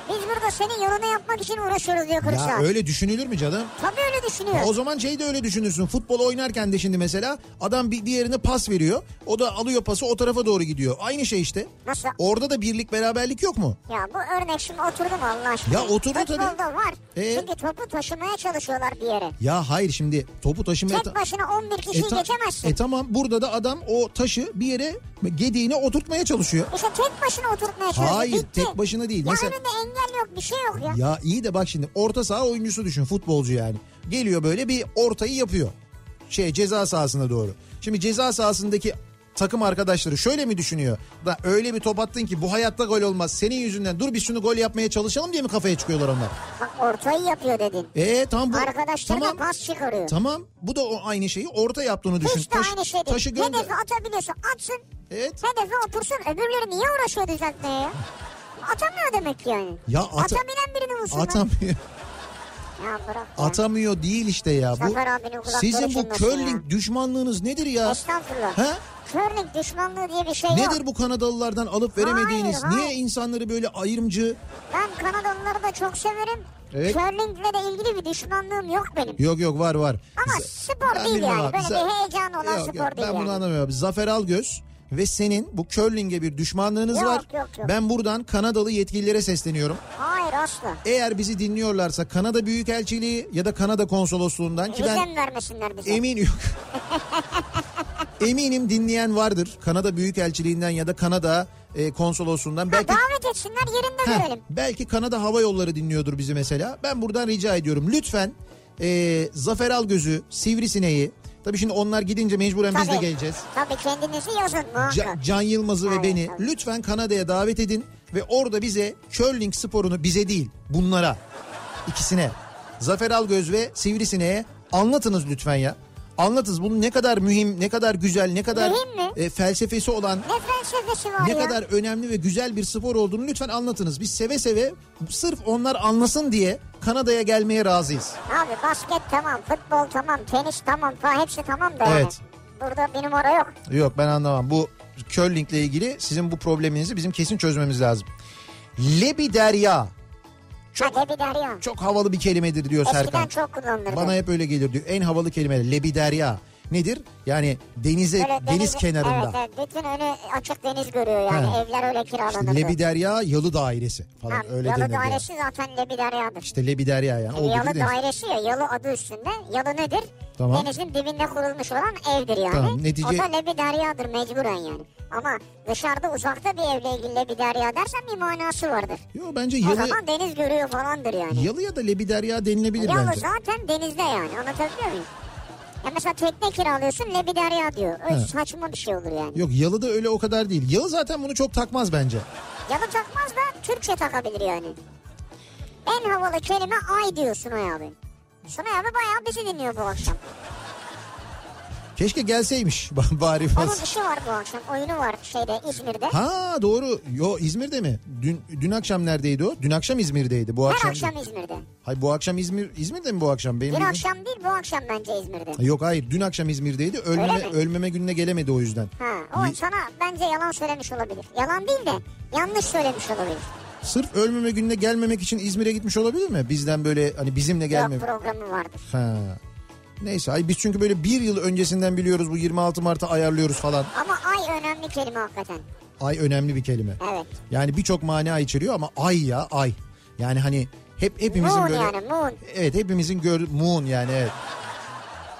Biz burada senin yolunu yapmak için uğraşıyoruz diyor 40 Ya saat. öyle düşünülür mü canım? Tabii öyle düşünüyor. O zaman şey de öyle düşünürsün. Futbol oynarken de şimdi mesela adam bir diğerine pas veriyor. O da alıyor pası o tarafa doğru gidiyor. Aynı şey işte. Nasıl? Orada da birlik beraberlik yok mu? Ya bu örnek şimdi oturdu mu Allah aşkına? Ya oturdu tabii. Futbolda var. Ee? Çünkü topu taşımaya çalışıyorlar bir yere. Ya hayır şimdi topu taşımaya... Tek başına 11 kişiyi ta- geçemezsin. e tamam burada da adam o taşı bir yere gediğine oturtmaya çalışıyor. işte tek başına oturtmaya çalışıyor. Hayır Bitti. tek başına değil. Ya Mesela önünde engel yok bir şey yok ya. ya iyi de bak şimdi orta saha oyuncusu düşün futbolcu yani. Geliyor böyle bir ortayı yapıyor. Şey ceza sahasına doğru. Şimdi ceza sahasındaki takım arkadaşları şöyle mi düşünüyor? Da öyle bir top attın ki bu hayatta gol olmaz. Senin yüzünden dur biz şunu gol yapmaya çalışalım diye mi kafaya çıkıyorlar onlar? Bak ortayı yapıyor dedin. E tamam bu Arkadaşları tamam. da pas çıkarıyor. Tamam. Bu da o aynı şeyi orta yaptığını düşün. Hiç de aynı şey değil. taşı gönder. Hedefi atabiliyorsun atsın. Evet. Hedefe otursun öbürleri niye uğraşıyor düzeltmeye ya? atamıyor demek ki yani. Ya ata- Atabilen birini bulsunlar. Atamıyor. Ya bırak ya. Atamıyor değil işte ya. Bu, Zafer abinin kulakları sizin bu çınlasın curling düşmanlığınız nedir ya? Estağfurullah. He? Körlük düşmanlığı diye bir şey yok. Nedir bu Kanadalılardan alıp veremediğiniz? Hayır, hayır. Niye insanları böyle ayrımcı? Ben Kanadalıları da çok severim. Evet. Curling'le de ilgili bir düşmanlığım yok benim. Yok yok var var. Ama Z- spor Ben değil bilmem yani. abi. Böyle Za- bir heyecan olan Yok, spor yok, değil Ben bunu yani. anlamıyorum. Zafer Algöz ve senin bu curling'e bir düşmanlığınız Yok, var. yok, yok. Ben buradan Kanadalı yetkililere sesleniyorum. Hayır asla. Eğer bizi dinliyorlarsa Kanada Büyükelçiliği ya da Kanada Konsolosluğundan ki Vize ben mi vermesinler bize? Emin yok. Eminim dinleyen vardır. Kanada Büyükelçiliğinden ya da Kanada e, konsolosluğundan. Ha, Belki davet etsinler yerinde Heh, görelim. belki Kanada Hava Yolları dinliyordur bizi mesela. Ben buradan rica ediyorum. Lütfen e, Zafer Algöz'ü, Sivrisineği. Tabii şimdi onlar gidince mecburen biz de geleceğiz. Tabii kendinizi yazın Ca- muhakkak. Can Yılmaz'ı ve Evet, beni evet. lütfen Kanada'ya davet edin ve orada bize curling sporunu bize değil bunlara ikisine Zafer Algöz ve Sivrisine'ye anlatınız lütfen ya. Anlatınız bunun ne kadar mühim, ne kadar güzel, ne kadar Mühim mi? e, felsefesi olan, ne felsefesi var ne ya. kadar önemli ve güzel bir spor olduğunu lütfen anlatınız. Biz seve seve sırf onlar anlasın diye Kanada'ya gelmeye razıyız. Abi basket tamam, futbol tamam, tenis tamam falan hepsi tamam da Evet. yani. Burada bir numara yok. Yok ben anlamam. Bu curlingle ilgili sizin bu probleminizi bizim kesin çözmemiz lazım. Lebi Derya. Çok Hadi bir derya. Çok havalı bir kelimedir diyor Eskiden Serkan. çok kullanılırdı. Bana hep öyle gelir diyor. En havalı kelime lebiderya. Nedir? Yani denize Böyle deniz denizi- kenarında. Evet, evet, bütün önü açık deniz görüyor yani. He. Evler öyle kiralanırdı. Lebiderya yalı dairesi falan Ha, öyle yalı denir. diyor. dairesi zaten lebideryadır. İşte lebiderya yani. Oldu yalı değil mi? dairesi ya yalı adı üstünde. Yalı nedir? Tamam. Denizin dibinde kurulmuş olan evdir yani. Tamam, netice- O da lebideryadır mecburen yani. Ama dışarıda uzakta bir evle ilgili lebiderya dersen bir manası vardır. Yo, bence O yalı, zaman deniz görüyor falandır yani. yalı ya da lebiderya denilebilir Yalı bence. zaten denizde yani anlatabiliyor muyum? Ya mesela tekne kiralıyorsun lebiderya diyor. Öyle saçma bir şey olur yani. Yok yalı da öyle o kadar değil. Yalı zaten bunu çok takmaz bence. Yalı takmaz da Türkçe takabilir yani. En havalı kelime ay diyor Sunay abi. Sunay abi bayağı bizi dinliyor bu akşam. Keşke gelseymiş bari. Onun işi var bu akşam. Oyunu var şeyde İzmir'de. Ha doğru. Yo İzmir'de mi? Dün dün akşam neredeydi o? Dün akşam İzmir'deydi. Bu Her akşam. akşam İzmir'de. Hayır bu akşam İzmir İzmir'de mi bu akşam? Benim Bir bildiğim- akşam değil bu akşam bence İzmir'de. Yok hayır dün akşam İzmir'deydi. Ölmeme, Öyle mi? ölmeme gününe gelemedi o yüzden. Ha, o sana bence yalan söylemiş olabilir. Yalan değil de yanlış söylemiş olabilir. Sırf ölmeme gününe gelmemek için İzmir'e gitmiş olabilir mi? Bizden böyle hani bizimle gelme. Yok programı vardır. Ha. Neyse ay biz çünkü böyle bir yıl öncesinden biliyoruz bu 26 Mart'a ayarlıyoruz falan. Ama ay önemli kelime hakikaten. Ay önemli bir kelime. Evet. Yani birçok mana içeriyor ama ay ya ay. Yani hani hep hepimizin Moon böyle yani moon. Evet hepimizin gör moon yani evet.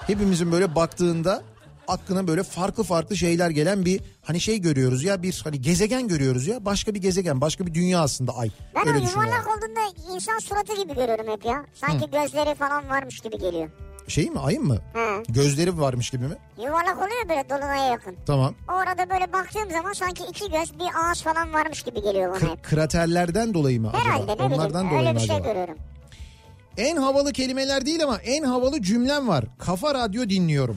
Hepimizin böyle baktığında aklına böyle farklı farklı şeyler gelen bir hani şey görüyoruz ya bir hani gezegen görüyoruz ya başka bir gezegen başka bir dünya aslında ay. Ben Öyle şey o düşünüyorum. yuvarlak olduğunda insan suratı gibi görüyorum hep ya. Sanki gözleri falan varmış gibi geliyor. Şey mi ayın mı? He. Gözleri varmış gibi mi? Yuvarlak oluyor böyle dolunaya yakın. Tamam. Orada böyle baktığım zaman sanki iki göz bir ağız falan varmış gibi geliyor bana Kr- hep. kraterlerden dolayı mı Herhalde acaba? ne bileyim Onlardan dolayı öyle mı bir şey acaba? görüyorum. En havalı kelimeler değil ama en havalı cümlem var. Kafa radyo dinliyorum.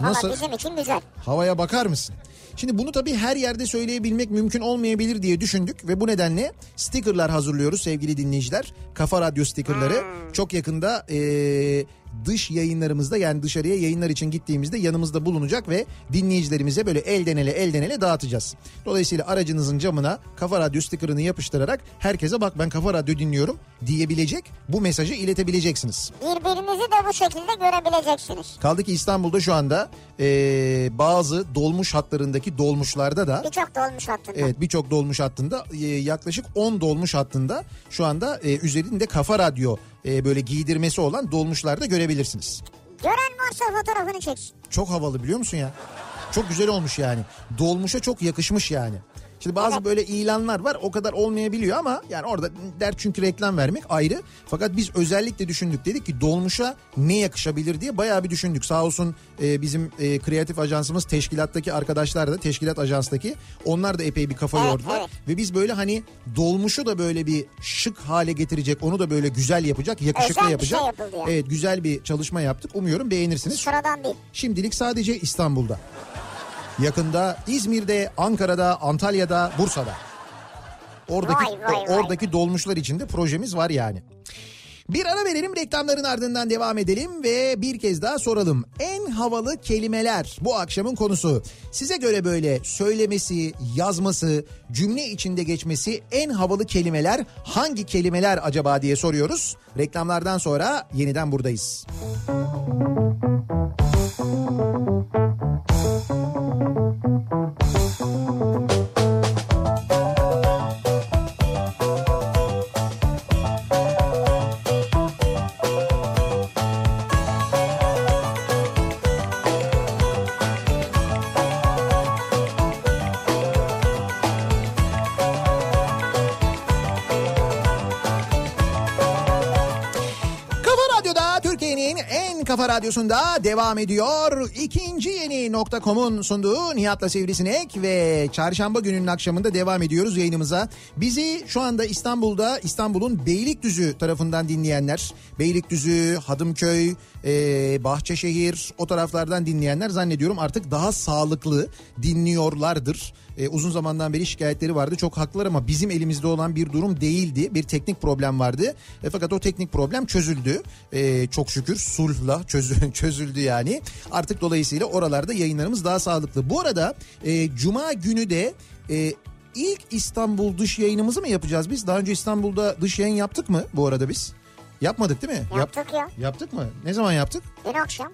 Valla bizim için güzel. Havaya bakar mısın? Şimdi bunu tabii her yerde söyleyebilmek mümkün olmayabilir diye düşündük ve bu nedenle stickerlar hazırlıyoruz sevgili dinleyiciler. Kafa Radyo stickerları çok yakında eee, dış yayınlarımızda yani dışarıya yayınlar için gittiğimizde yanımızda bulunacak ve dinleyicilerimize böyle elden ele elden ele dağıtacağız. Dolayısıyla aracınızın camına Kafa Radyo stickerını yapıştırarak herkese bak ben Kafa Radyo dinliyorum diyebilecek bu mesajı iletebileceksiniz. Birbirinizi de bu şekilde görebileceksiniz. Kaldı ki İstanbul'da şu anda eee, bazı dolmuş hatlarındaki dolmuşlarda da Birçok dolmuş hattında. evet birçok dolmuş hattında eee, yaklaşık 10 dolmuş hattında şu anda eee, üzerinde kafa radyo eee, böyle giydirmesi olan dolmuşlarda görebilirsiniz. Gören varsa fotoğrafını çeksin. Çok havalı biliyor musun ya? Çok güzel olmuş yani. Dolmuşa çok yakışmış yani. Şimdi bazı böyle ilanlar var o kadar olmayabiliyor ama yani orada der çünkü reklam vermek ayrı. Fakat biz özellikle düşündük dedik ki dolmuşa ne yakışabilir diye bayağı bir düşündük. Sağ olsun e, bizim e, kreatif ajansımız teşkilattaki arkadaşlar da teşkilat ajanstaki onlar da epey bir kafa Evet, yordular. evet. Ve biz böyle hani dolmuşu da böyle bir şık hale getirecek onu da böyle güzel yapacak yakışıklı Özel bir yapacak. şey yapıldı yani. Evet güzel bir çalışma yaptık umuyorum beğenirsiniz. Sıradan değil. Şimdilik sadece İstanbul'da. Yakında İzmir'de, Ankara'da, Antalya'da, Bursa'da. Oradaki Vay, vay, vay. oradaki dolmuşlar içinde projemiz var yani. Bir ara verelim reklamların ardından devam edelim ve bir kez daha soralım. En havalı kelimeler bu akşamın konusu. Size göre böyle söylemesi, yazması, cümle içinde geçmesi en havalı kelimeler hangi kelimeler acaba diye soruyoruz. Reklamlardan sonra yeniden buradayız. Kafa Radyo'da Türkiye'nin en kafa radyosunda devam ediyor. İkinci yeni nokta.com'un sunduğu Nihat'la Sivrisinek ve çarşamba gününün akşamında devam ediyoruz yayınımıza. Bizi şu anda İstanbul'da İstanbul'un Beylikdüzü tarafından dinleyenler, Beylikdüzü, Hadımköy, e, Bahçeşehir o taraflardan dinleyenler zannediyorum artık daha sağlıklı dinliyorlardır. E, uzun zamandan beri şikayetleri vardı. Çok haklılar ama bizim elimizde olan bir durum değildi. Bir teknik problem vardı. E, fakat o teknik problem çözüldü. E, çok şükür sulhla çözü- çözüldü yani. Artık dolayısıyla oralarda yayınlarımız daha sağlıklı. Bu arada e, cuma günü de e, ilk İstanbul dış yayınımızı mı yapacağız biz? Daha önce İstanbul'da dış yayın yaptık mı bu arada biz? Yapmadık değil mi? Yap- Yaptık ya. yaptık mı? Ne zaman yaptık? Dün akşam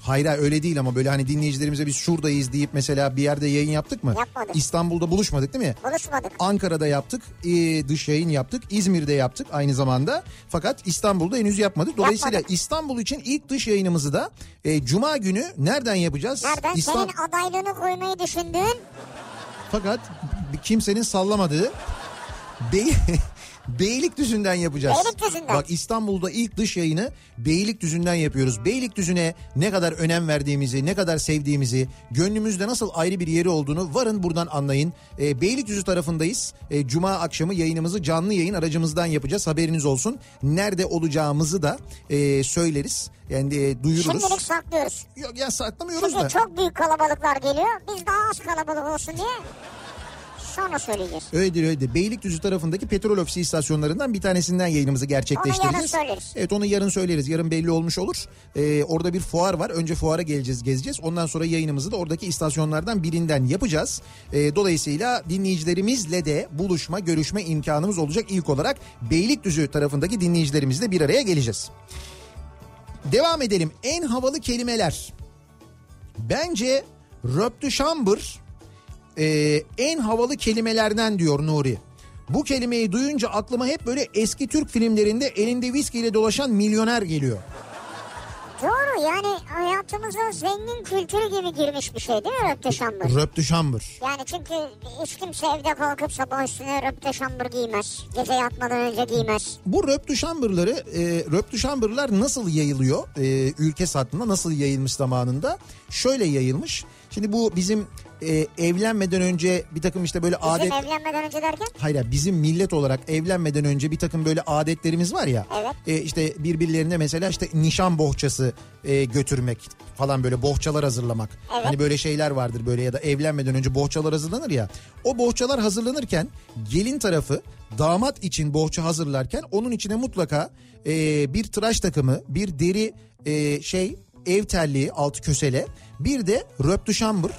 Hayır hayır, öyle değil ama böyle hani dinleyicilerimize biz şuradayız deyip mesela bir yerde yayın yaptık mı? Yapmadık. İstanbul'da buluşmadık değil mi? buluşmadık. Ankara'da yaptık, e, dış yayın yaptık, İzmir'de yaptık aynı zamanda. Fakat İstanbul'da henüz yapmadık. Dolayısıyla Yapmadık. İstanbul için ilk dış yayınımızı da e, Cuma günü nereden yapacağız? Nereden? İstan- Senin adaylığını koymayı düşündüğün Fakat kimsenin sallamadığı Bey... Beylikdüzü'nden yapacağız. Beylikdüzü'nden. Bak İstanbul'da ilk dış yayını Beylikdüzü'nden yapıyoruz. Beylikdüzü'ne ne kadar önem verdiğimizi, ne kadar sevdiğimizi, gönlümüzde nasıl ayrı bir yeri olduğunu varın buradan anlayın. E, Beylikdüzü tarafındayız. E, Cuma akşamı yayınımızı canlı yayın aracımızdan yapacağız. Haberiniz olsun. Nerede olacağımızı da e, söyleriz. Yani e, duyururuz. şimdilik saklıyoruz. Yok ya saklamıyoruz Çünkü da. çok büyük kalabalıklar geliyor. Biz daha az kalabalık olsun diye sonra söyleyeceğiz. Öyledir öyledir. Beylikdüzü tarafındaki petrol ofisi istasyonlarından bir tanesinden yayınımızı gerçekleştireceğiz. Onu yarın söyleriz. Evet onu yarın söyleriz. Yarın belli olmuş olur. Ee, orada bir fuar var. Önce fuara geleceğiz gezeceğiz. Ondan sonra yayınımızı da oradaki istasyonlardan birinden yapacağız. Ee, dolayısıyla dinleyicilerimizle de buluşma görüşme imkanımız olacak. İlk olarak Beylikdüzü tarafındaki dinleyicilerimizle bir araya geleceğiz. Devam edelim. En havalı kelimeler. Bence röptüşambır e, en havalı kelimelerden diyor Nuri. Bu kelimeyi duyunca aklıma hep böyle eski Türk filmlerinde elinde viskiyle dolaşan milyoner geliyor. Doğru yani hayatımıza zengin kültürü gibi girmiş bir şey değil mi röpte şambur? Röptü şambır. Yani çünkü hiç kimse evde kalkıp sabah üstüne röpte şambur giymez. Gece yatmadan önce giymez. Bu röptü şambırları, e, röptü şambırlar nasıl yayılıyor e, ülke satında nasıl yayılmış zamanında? Şöyle yayılmış. Şimdi bu bizim e, evlenmeden önce bir takım işte böyle Bizim adet... evlenmeden önce derken Hayır ya, bizim millet olarak evlenmeden önce bir takım böyle adetlerimiz var ya. Evet. E, işte birbirlerine mesela işte nişan bohçası e, götürmek falan böyle bohçalar hazırlamak. Evet. Hani böyle şeyler vardır böyle ya da evlenmeden önce bohçalar hazırlanır ya. O bohçalar hazırlanırken gelin tarafı damat için bohça hazırlarken onun içine mutlaka e, bir tıraş takımı, bir deri e, şey ev terliği altı kösele bir de röptuşambır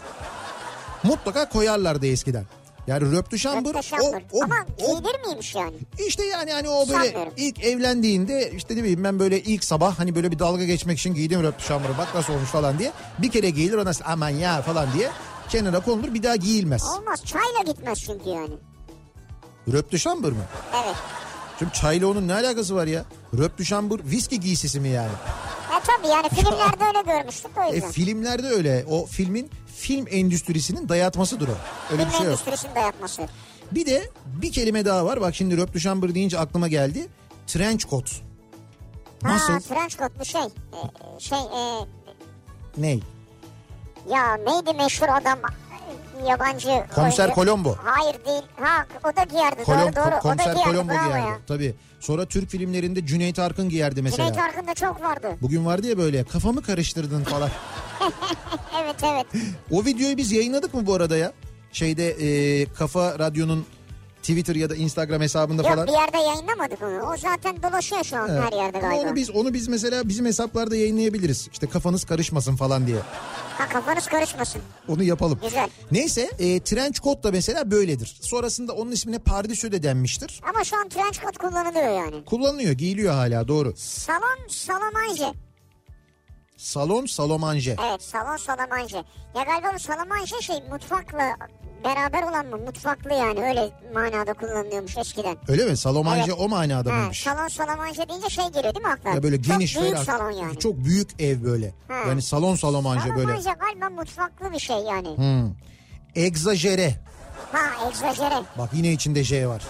mutlaka koyarlardı eskiden. Yani röptuşambır röpte o, şambur. o, Ama o giyilir miymiş yani? işte yani hani o böyle Sanmıyorum. ilk evlendiğinde işte ne bileyim ben böyle ilk sabah hani böyle bir dalga geçmek için giydim röptü şamuru bak nasıl olmuş falan diye. Bir kere giyilir ona aman ya falan diye kenara konulur bir daha giyilmez. Olmaz çayla gitmez çünkü yani. Röptü şambur mu? Evet. Şimdi çayla onun ne alakası var ya? Röptü şambur viski giysisi mi yani? E tabii yani filmlerde öyle görmüştük o E yüzden. filmlerde öyle o filmin film endüstrisinin dayatmasıdır o. Öyle Film bir şey yok. endüstrisini de yapması. Bir de bir kelime daha var bak şimdi röptü şambur deyince aklıma geldi. Trench coat. Nasıl? Ha trench coat bu şey. e, şey e, Ney? ya neydi meşhur adam yabancı. Komiser oyuncu. Colombo. Hayır değil. Ha o da giyerdi Kolom, doğru doğru. o da komiser giyerdi Colombo bravo giyerdi. Şey ya. Tabii. Sonra Türk filmlerinde Cüneyt Arkın giyerdi mesela. Cüneyt Arkın'da çok vardı. Bugün vardı ya böyle kafamı karıştırdın falan. Evet evet. o videoyu biz yayınladık mı bu arada ya? Şeyde e, Kafa Radyo'nun Twitter ya da Instagram hesabında Yok falan. bir yerde yayınlamadık onu. O zaten dolaşıyor şu an her yerde Ama galiba. onu biz onu biz mesela bizim hesaplarda yayınlayabiliriz. İşte kafanız karışmasın falan diye. Ha kafanız karışmasın. Onu yapalım. Güzel. Neyse e, trench coat da mesela böyledir. Sonrasında onun ismine pardesü de denmiştir. Ama şu an trench coat kullanılıyor yani. Kullanılıyor, giyiliyor hala doğru. Salon salamanje. Salon salomanje. Evet salon salamanje. Ya galiba bu salamanje şey mutfakla beraber olan mı? Mutfaklı yani öyle manada kullanılıyormuş eskiden. Öyle mi? Salomanje Evet. o manada Ha, mıymış? salon salamanje deyince şey geliyor değil mi aklına? Ya böyle geniş Çok büyük böyle salon yani. çok büyük ev böyle. Ha. Yani salon salomanje böyle. Salamanje galiba mutfaklı bir şey yani. Hmm. Egzajere. Ha egzajere. Bak yine içinde J var.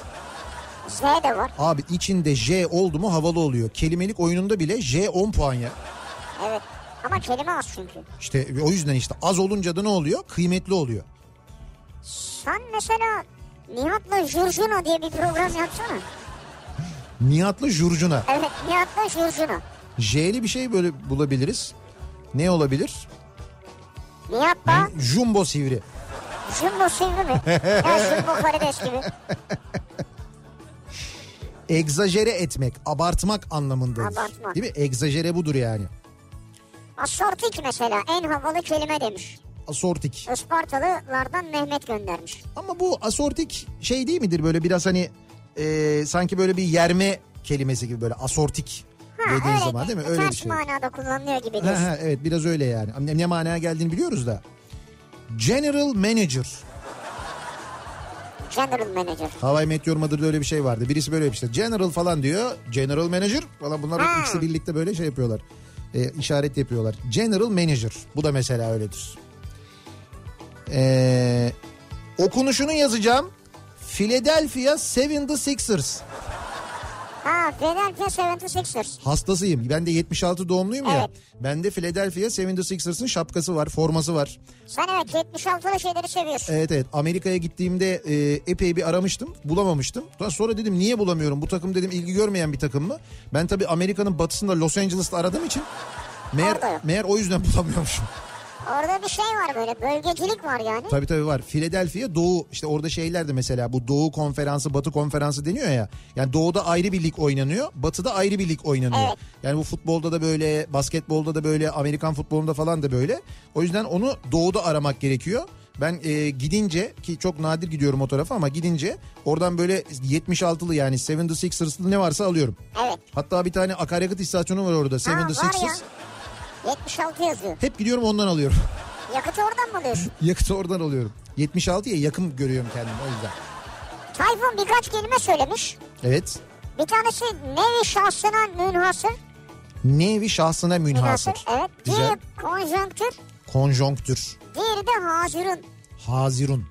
Z de var. Abi içinde J oldu mu havalı oluyor. Kelimelik oyununda bile J 10 puan ya. Evet. Ama kelime az çünkü. İşte o yüzden işte az olunca da ne oluyor? Kıymetli oluyor. Sen mesela Nihat'la Jurjuno diye bir program yapsana. Nihat'la Jurcuna. Evet Nihat'la Jurjuno. J'li bir şey böyle bulabiliriz. Ne olabilir? Nihat'la Jumbo sivri. Jumbo Sivri mi? ya Jumbo Karides gibi. Egzajere etmek, abartmak anlamında. Abartmak. Değil mi? Egzajere budur yani. Asortik mesela en havalı kelime demiş. Asortik. Ispartalılardan Mehmet göndermiş. Ama bu asortik şey değil midir böyle biraz hani e, sanki böyle bir yerme kelimesi gibi böyle asortik dediğin zaman değil mi? Öyle bir ters şey. manada kullanılıyor gibi Ha, diyorsun. ha, evet biraz öyle yani. Ne, ne manaya geldiğini biliyoruz da. General Manager. General Manager. Havai Meteor Mother'da öyle bir şey vardı. Birisi böyle işte General falan diyor. General Manager falan bunlar Ha. ikisi birlikte böyle şey yapıyorlar. E, işaret yapıyorlar. General Manager. Bu da mesela öyledir. E, okunuşunu yazacağım. Philadelphia 76ers. Ha Philadelphia 76ers. Hastasıyım. Ben de 76 doğumluyum ya. Evet. Bende Philadelphia 76ers'ın şapkası var, forması var. Sen evet 76'lı şeyleri seviyorsun. Evet evet Amerika'ya gittiğimde e, epey bir aramıştım bulamamıştım. Daha Sonra dedim niye bulamıyorum bu takım dedim ilgi görmeyen bir takım mı? Ben tabii Amerika'nın batısında Los Angeles'ta aradığım için meğer, Orada yok. meğer o yüzden bulamıyormuşum. Orada bir şey var böyle bölgecilik var yani. tabii tabii var Philadelphia Doğu işte orada şeyler de mesela bu Doğu konferansı Batı konferansı deniyor ya. Yani Doğu'da ayrı bir lig oynanıyor Batı'da ayrı bir lig oynanıyor. Evet. Yani bu futbolda da böyle basketbolda da böyle Amerikan futbolunda falan da böyle. O yüzden onu Doğu'da aramak gerekiyor. Ben e, gidince ki çok nadir gidiyorum o tarafa ama gidince oradan böyle 76'lı yani 76ers'lı ne varsa alıyorum. Evet. Hatta bir tane akaryakıt istasyonu var orada Ha, var 76ers. ya. 76 yazıyor. Hep gidiyorum ondan alıyorum. Yakıtı oradan mı alıyorsun? Yakıtı oradan alıyorum. 76'ya yakın görüyorum kendimi o yüzden. Tayfun birkaç kelime söylemiş. Evet. Bir tanesi nevi şahsına münhasır. Nevi şahsına münhasır. Münhasır evet. Güzel. Diğeri konjonktür. Konjonktür. Diğeri de hazırın. Hazirun.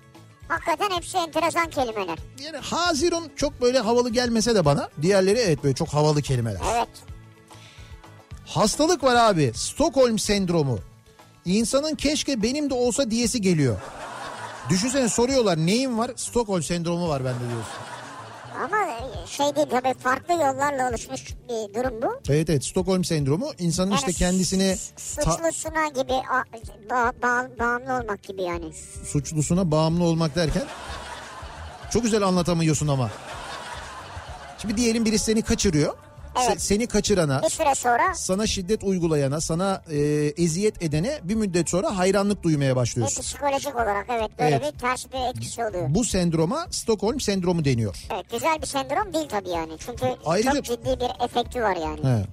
Hakikaten hepsi enteresan kelimeler. Yani hazirun çok böyle havalı gelmese de bana. Diğerleri evet böyle çok havalı kelimeler. Evet. Hastalık var abi. Stockholm sendromu. İnsanın keşke benim de olsa diyesi geliyor. Düşünsene soruyorlar neyin var? Stockholm sendromu var bende diyorsun. Ama şey değil tabii farklı yollarla oluşmuş bir durum bu. Evet evet Stockholm sendromu insanın işte Yani kendisini su- ta- suçlusuna gibi a- ba- ba- bağımlı olmak gibi yani. suçlusuna bağımlı olmak derken çok güzel anlatamıyorsun ama. Şimdi diyelim birisi seni kaçırıyor. Se- Evet. seni kaçırana, Bir süre sonra sana şiddet uygulayana, sana e, eziyet edene bir müddet sonra hayranlık duymaya e, başlıyorsun. psikolojik olarak evet böyle Evet. bir ters bir etkisi oluyor. Bu sendroma Stockholm sendromu deniyor. Evet güzel bir sendrom değil tabii yani. Çünkü Ayrıca- çok ciddi bir efekti var yani. He.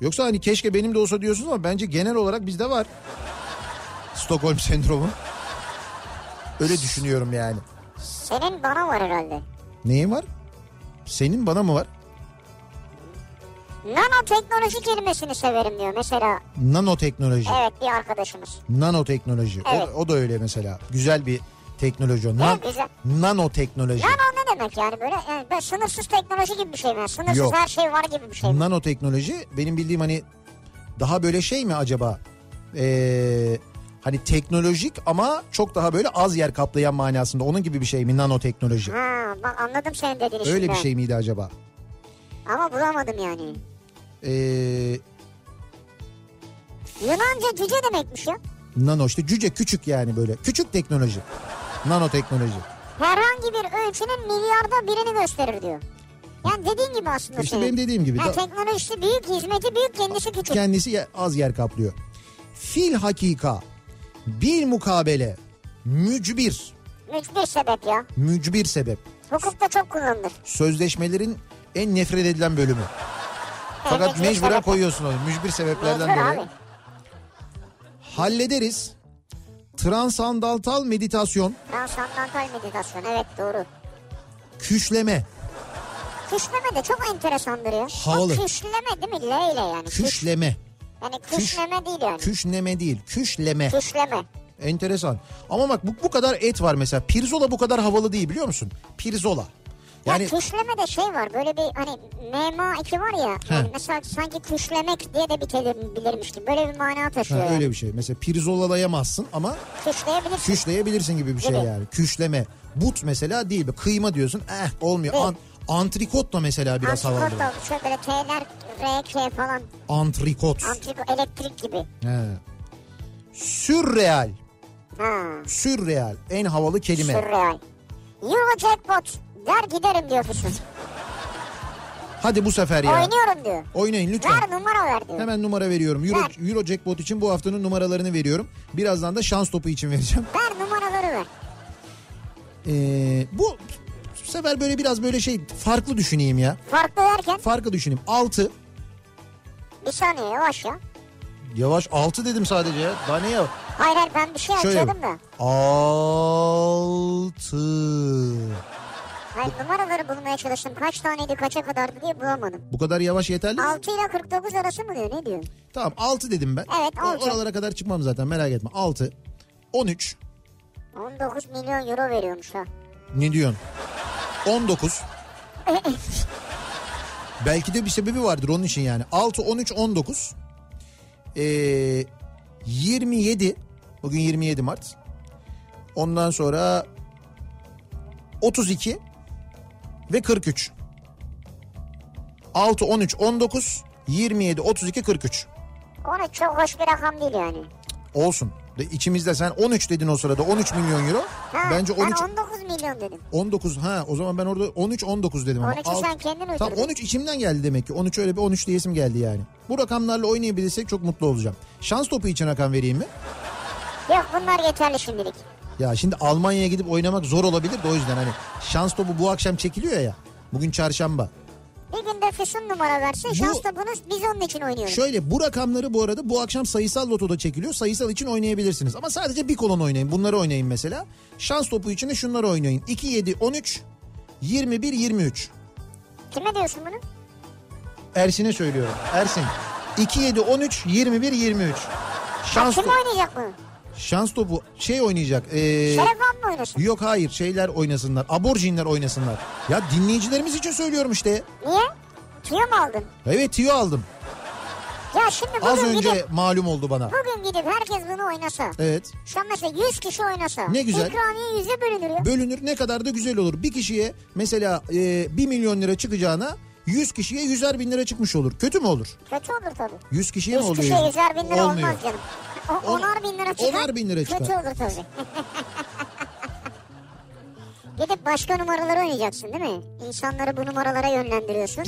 Yoksa hani keşke benim de olsa diyorsunuz ama bence genel olarak bizde var. Stockholm sendromu. Öyle düşünüyorum yani. Senin bana var herhalde. Neyin var? Senin bana mı var? Nanoteknoloji kelimesini severim diyor mesela. Nanoteknoloji. Evet bir arkadaşımız. Nanoteknoloji. Evet. O, o da öyle mesela. Güzel bir teknoloji. o. Nan, Evet, güzel. Nanoteknoloji. Nano ne demek yani böyle, yani böyle sınırsız teknoloji gibi bir şey mi? Sınırsız Yok. her şey var gibi bir şey mi? Nanoteknoloji benim bildiğim hani daha böyle şey mi acaba? Ee, hani teknolojik ama çok daha böyle az yer kaplayan manasında. Onun gibi bir şey mi nanoteknoloji? Ha bak anladım senin dediğini şimdi. Öyle bir şey miydi acaba? Ama bulamadım yani. Ee, Yunanca cüce demekmiş ya. nano işte cüce küçük yani böyle. Küçük teknoloji. Nanoteknoloji. herhangi bir ölçünün milyarda birini gösterir diyor. Yani dediğin gibi aslında İşte şey. benim dediğim gibi. Ha, Da- teknolojisi büyük, hizmeti büyük, kendisi küçük. kendisi ye- az yer kaplıyor. Fil hakika bir mukabele mücbir Mücbir sebep ya. mücbir sebep Hukukta çok kullanılır. sözleşmelerin en nefret edilen bölümü. Fakat mücbir mecburen sebep. koyuyorsun onu mücbir sebeplerden Mecbur dolayı. abi. Hallederiz. Transandantal meditasyon, Transandantal meditasyon evet doğru. küşleme, Küşleme de çok enteresandır ya. Havalı. O küşleme değil mi? L ile yani. Küş, küşleme, yani küşleme değil yani. küşneme değil, küşleme. Küşleme. Enteresan. Ama bak bu, bu kadar et var mesela. Pirzola bu kadar havalı değil biliyor musun? Pirzola. Yani... Yani küşleme de şey var böyle bir hani MMA2 var ya. Yani mesela sanki küşlemek diye de bitebilirmiş gibi. Böyle bir mana taşıyor. ha, yani. öyle bir şey. Mesela pirzolayamazsın ama Küşleyebilirsin. küşleyebilirsin gibi bir şey Gibi. yani. Küşleme. But mesela değil. be. Kıyma diyorsun. Eh olmuyor. Değil. An, antrikot da mesela biraz havalı. Antrikot da şöyle böyle T'ler, R, K falan. Antrikot. Antrikot elektrik gibi. He. Sürreal. Ha. Sürreal. En havalı kelime. Sürreal. Euro jackpot der giderim diyor kuşun. Hadi bu sefer ya. Oynuyorum diyor. Oynayın lütfen. Ver numara ver diyor. Hemen numara veriyorum. Euro, Ver. Euro Jackpot için bu haftanın numaralarını veriyorum. Birazdan da şans topu için vereceğim. Ver numaraları ver. Ee, bu bu sefer böyle biraz böyle şey farklı düşüneyim ya. Farklı derken Farklı düşüneyim. 6. bir saniye yavaş ya. Yavaş 6 dedim sadece ya. Daha ne ya? Hayır hayır ben bir şey Şöyle. açıyordum da. 6. Hayır numaraları bulmaya çalıştım. Kaç taneydi kaça kadardı diye bulamadım. Bu kadar yavaş yeterli mi? 6 ile 49 arası mı diyor ne diyor? Tamam 6 dedim ben. Evet, O- altı. Oralara kadar çıkmam zaten merak etme. 6. 13. 19 milyon euro veriyormuş ha. Ne diyorsun? 19. Belki de bir sebebi vardır onun için yani. 6, 13, 19. Ee, 27. Bugün 27 Mart. Ondan sonra 32 ve 43. 6, 13, 19, 27, 32, 43. Ona çok hoş bir rakam değil yani. Olsun. De içimizde sen 13 dedin o sırada 13 milyon euro. Ha, Bence 13 Ben 19 milyon dedim. 19 ha o zaman ben orada 13 19 dedim ama. 13'ü Alt- sen kendin Tam uydurdun. 13 içimden geldi demek ki. 13 öyle bir 13 diyesim geldi yani. Bu rakamlarla oynayabilirsek çok mutlu olacağım. Şans topu için rakam vereyim mi? Yok bunlar yeterli şimdilik. Ya şimdi Almanya'ya gidip oynamak zor olabilir de o yüzden hani şans topu bu akşam çekiliyor ya. Bugün çarşamba. Bir günde füsun numara versin. Bu- Şans da bunu biz onun için oynuyoruz. Şöyle bu rakamları bu arada bu akşam sayısal lotoda çekiliyor. Sayısal için oynayabilirsiniz. Ama sadece bir kolon oynayın. Bunları oynayın mesela. Şans topu için de şunları oynayın. 2, 7, 13, 21, 23. Kime diyorsun bunu? Ersin'e söylüyorum. Ersin. 2 7 13 21 23. Şans Kim topu. oynayacak bunu? Şans topu şey oynayacak. ee, Şeref Han mı oynasın? yok hayır şeyler oynasınlar. Aborjinler oynasınlar. Ya dinleyicilerimiz için söylüyorum işte. Niye? Tüyo mu aldın? Evet tüyo aldım. Ya şimdi bugün Az önce gidip, malum oldu bana. bugün gidip herkes bunu oynasa. Evet. Şu an mesela 100 kişi oynasa. Ne güzel. İkramiye yüze bölünür ya. Bölünür ne kadar da güzel olur. Bir kişiye mesela ee, 1 milyon lira çıkacağına 100 kişiye 100'er bin lira çıkmış olur. Kötü mü olur? Kötü olur tabii. 100 kişiye mi 100 oluyor? kişiye yüz? yüzer bin lira Olmuyor. olmaz canım. O, On- onar bin lira çıkar. onar bin lira çıkar. Kötü olur tabii. Gidip başka numaraları oynayacaksın değil mi? İnsanları bu numaralara yönlendiriyorsun.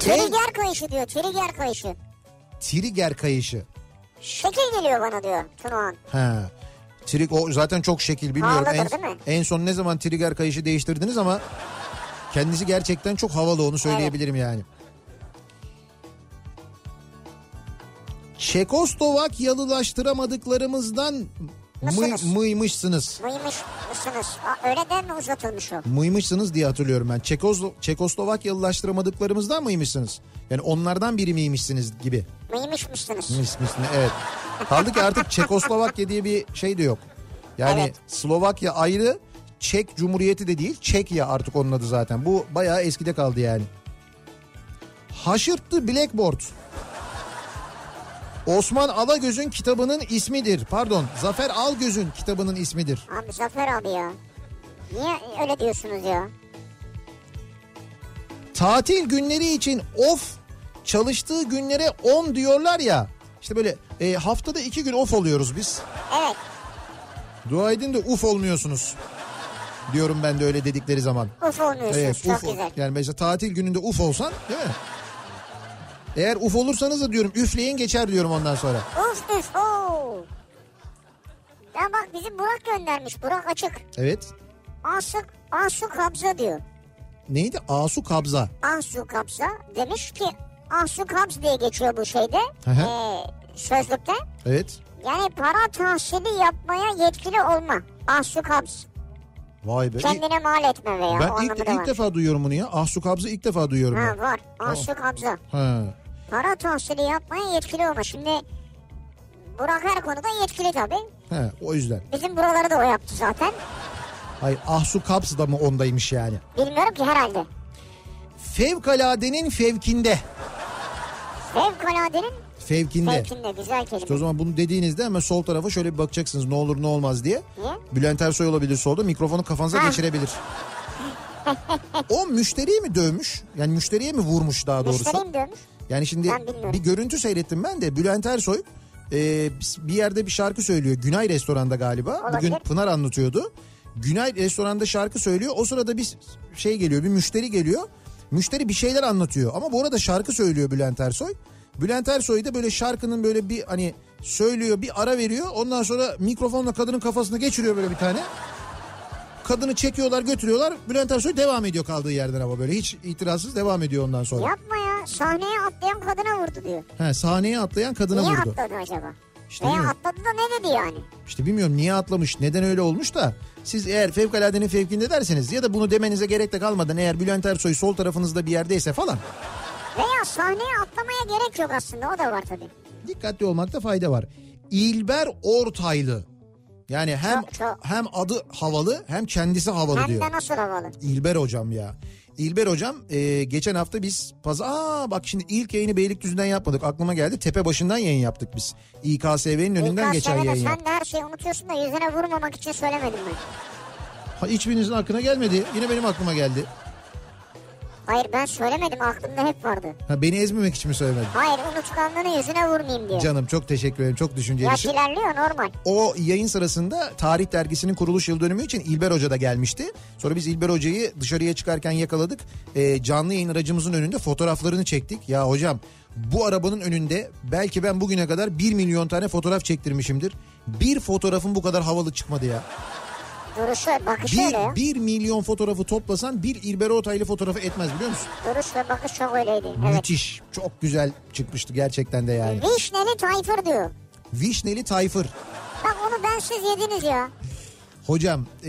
Trigger kayışı diyor. Trigger kayışı. Trigger kayışı. Şekil geliyor bana diyor Tunahan. Ha. Trik o zaten çok şekil bilmiyorum. Havalıdır, en, değil mi? en son ne zaman trigger kayışı değiştirdiniz ama kendisi gerçekten çok havalı onu söyleyebilirim yani. Çekoslovakyalılaştıramadıklarımızdan mıy, Mısınız? mıymışsınız. Mıymış mısınız? Aa, öyle deme uzatılmış o. Mıymışsınız diye hatırlıyorum ben. Çekoslo, Çekoslovakyalılaştıramadıklarımızdan mıymışsınız? Yani onlardan biri miymişsiniz gibi. Mıymış mısınız? Mis mis mi? evet. Kaldı ki artık Çekoslovakya diye bir şey de yok. Yani Evet. Slovakya ayrı, Çek Cumhuriyeti de değil, Çekya artık onun adı zaten. Bu bayağı eskide kaldı yani. Haşırtlı Blackboard. Osman Alagöz'ün kitabının ismidir. Pardon, Zafer Algöz'ün kitabının ismidir. Abi Zafer abi ya. Niye öyle diyorsunuz ya? Tatil günleri için off, çalıştığı günlere on diyorlar ya. İşte böyle e, haftada iki gün off oluyoruz biz. Evet. Dua edin de uf olmuyorsunuz. Diyorum ben de öyle dedikleri zaman. Uf olmuyorsunuz çok uf ol- güzel. Yani mesela tatil gününde uf olsan değil mi? Eğer uf olursanız da diyorum üfleyin geçer diyorum ondan sonra. Uf uf oo. Ya bak bizim Burak göndermiş. Burak açık. Evet. Asu, Asu Kabza diyor. Neydi? Asu kabza. Asu Kabza demiş ki Asu Kabz diye geçiyor bu şeyde. Hı hı. eee, sözlükte. Evet. Yani para tahsili yapmaya yetkili olma. Asu Kabz. Vay be. İ- Kendine mal etme veya o Ben ilk, anlamı da ilk var. defa duyuyorum bunu ya. Ahsu kabzı ilk defa duyuyorum Ha ben. var. Asu Kabza. Ha. Para tahsili yapmaya yetkili olma. Şimdi Burak her konuda yetkili tabii. He, o yüzden. Bizim buraları da o yaptı zaten. Ay Ahsu kabzı da mı ondaymış yani? Bilmiyorum ki herhalde. Fevkaladenin fevkinde. Fevkaladenin Fevkinde. fevkinde güzel kelime. İşte o zaman bunu dediğinizde hemen sol tarafa şöyle bir bakacaksınız ne olur ne olmaz diye. Niye? Bülent Ersoy olabilir solda mikrofonu kafanıza Ha. geçirebilir. o müşteriyi mi dövmüş? Yani müşteriye mi vurmuş daha doğrusu? Müşteriyim diyormuş. Yani şimdi Ben bilmiyorum. bir görüntü seyrettim ben de Bülent Ersoy e, bir yerde bir şarkı söylüyor. Günay restoranda galiba. Olabilir. Bugün Pınar anlatıyordu. Günay restoranda şarkı söylüyor. O sırada bir şey geliyor bir müşteri geliyor. Müşteri bir şeyler anlatıyor ama bu arada şarkı söylüyor Bülent Ersoy. Bülent Ersoy da böyle şarkının böyle bir hani söylüyor bir ara veriyor. Ondan sonra mikrofonla kadının kafasına geçiriyor böyle bir tane. Kadını çekiyorlar götürüyorlar. Bülent Ersoy devam ediyor kaldığı yerden ama böyle hiç itirazsız devam ediyor ondan sonra. Yapma ya sahneye atlayan kadına vurdu diyor. He, sahneye atlayan kadına Niye vurdu. atladı acaba? İşte Veya değil mi? atladı da ne dedi yani? İşte bilmiyorum niye atlamış, neden öyle olmuş da siz eğer fevkaladenin fevkinde derseniz ya da bunu demenize gerek de kalmadan eğer Bülent Ersoy sol tarafınızda bir yerdeyse falan Veya sahneye atlamaya gerek yok aslında o da var tabii. dikkatli olmakta fayda var. İlber Ortaylı. Yani hem Çok, çok. hem adı havalı hem kendisi havalı Hem diyor. de nasıl havalı. İlber hocam ya. İlber hocam e, geçen hafta biz pazar... Aa bak şimdi ilk yayını Beylikdüzü'nden yapmadık. Aklıma geldi. Tepe başından yayın yaptık biz. İKSV'nin önünden İlkan geçen Seven'e yayın yaptık. Sen de her şeyi unutuyorsun da yüzüne vurmamak için söylemedim ben. Ha, hiçbirinizin aklına gelmedi. Yine benim aklıma geldi. Hayır ben söylemedim aklımda hep vardı. Ha, beni ezmemek için mi söylemedin? Hayır unutkanlığını yüzüne vurmayayım diyor. Canım çok teşekkür ederim. Çok düşünceli. Yaş şey. ilerliyor normal. O yayın sırasında Tarih Dergisi'nin kuruluş yıl dönümü için İlber Hoca da gelmişti. Sonra biz İlber Hoca'yı dışarıya çıkarken yakaladık. Ee, canlı yayın aracımızın önünde fotoğraflarını çektik. Ya hocam bu arabanın önünde belki ben bugüne kadar 1 milyon tane fotoğraf çektirmişimdir. Bir fotoğrafın bu kadar havalı çıkmadı ya. Duruşu bakışı öyle ya. Bir, bir milyon fotoğrafı toplasan bir İlber Ortaylı fotoğrafı etmez biliyor musun? Duruş ve bakış çok öyleydi. Evet. Müthiş. Çok güzel çıkmıştı gerçekten de yani. Vişneli Tayfur diyor. Vişneli Tayfır. Bak onu ben siz yediniz ya. Hocam ee,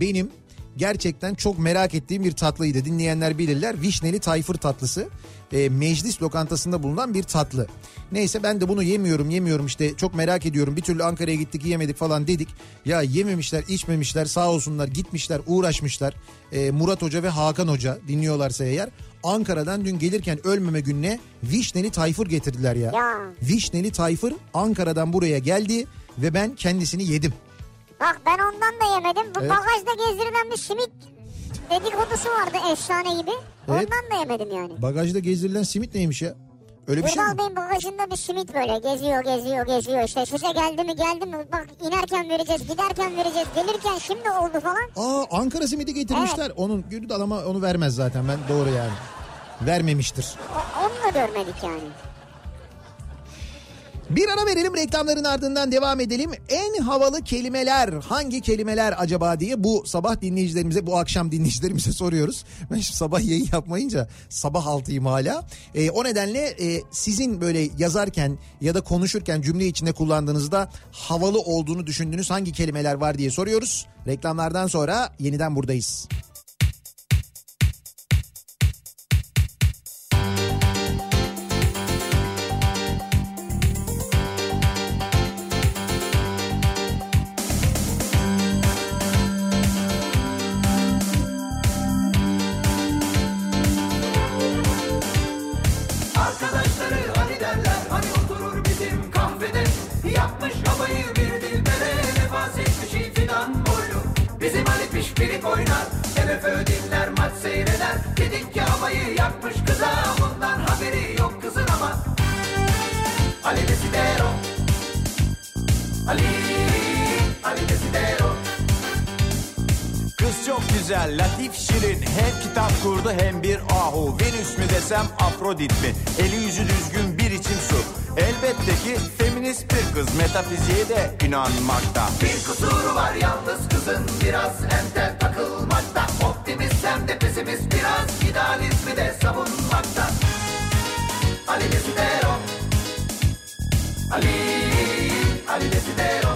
benim gerçekten çok merak ettiğim bir tatlıydı. Dinleyenler bilirler. Vişneli Tayfır tatlısı. E, meclis lokantasında bulunan bir tatlı. Neyse ben de bunu yemiyorum yemiyorum işte çok merak ediyorum. Bir türlü Ankara'ya gittik yemedik falan dedik. Ya yememişler içmemişler sağ olsunlar gitmişler uğraşmışlar. E, Murat Hoca ve Hakan Hoca dinliyorlarsa eğer. Ankara'dan dün gelirken ölmeme gününe Vişneli Tayfır getirdiler ya. Ya. Vişneli Tayfır Ankara'dan buraya geldi ve ben kendisini yedim. Bak ben ondan da yemedim. Bu Evet. bagajda gezdirilen bir simit dedikodusu vardı efsane gibi. Evet. Ondan da yemedim yani. Bagajda gezdirilen simit neymiş ya? Öyle bir şey mi? Ünal Bey'in bagajında bir simit böyle geziyor geziyor geziyor işte size geldi mi geldi mi bak inerken vereceğiz giderken vereceğiz gelirken şimdi oldu falan. Aa Ankara simidi getirmişler. Onun gül dal ama onu vermez zaten ben doğru yani. Vermemiştir. O- onu da görmedik yani. Bir ara verelim reklamların ardından devam edelim. En havalı kelimeler hangi kelimeler acaba diye bu sabah dinleyicilerimize bu akşam dinleyicilerimize soruyoruz. Ben şimdi sabah yayın yapmayınca sabah altıyım hala. Ee, o nedenle e, sizin böyle yazarken ya da konuşurken cümle içinde kullandığınızda havalı olduğunu düşündüğünüz hangi kelimeler var diye soruyoruz. Reklamlardan sonra yeniden buradayız. Arkadaşları hani derler hani oturur bizim kahvede Yapmış havayı bir dilbere nefas etmiş fidan boylu Bizim Ali pişpirik oynar MFÖ dinler maç seyreder Dedik ki havayı yakmış kıza bundan haberi yok kızın ama Ali Desidero Ali Ali Desidero güzel, latif şirin Hem kitap kurdu hem bir ahu Venüs mü desem Afrodit mi? Eli yüzü düzgün bir içim su Elbette ki feminist bir kız Metafiziğe de inanmakta Bir kusuru var yalnız kızın biraz entel takılmakta Optimist hem de pesimist biraz idealizmi de savunmakta Ali Desidero Ali, Ali Desidero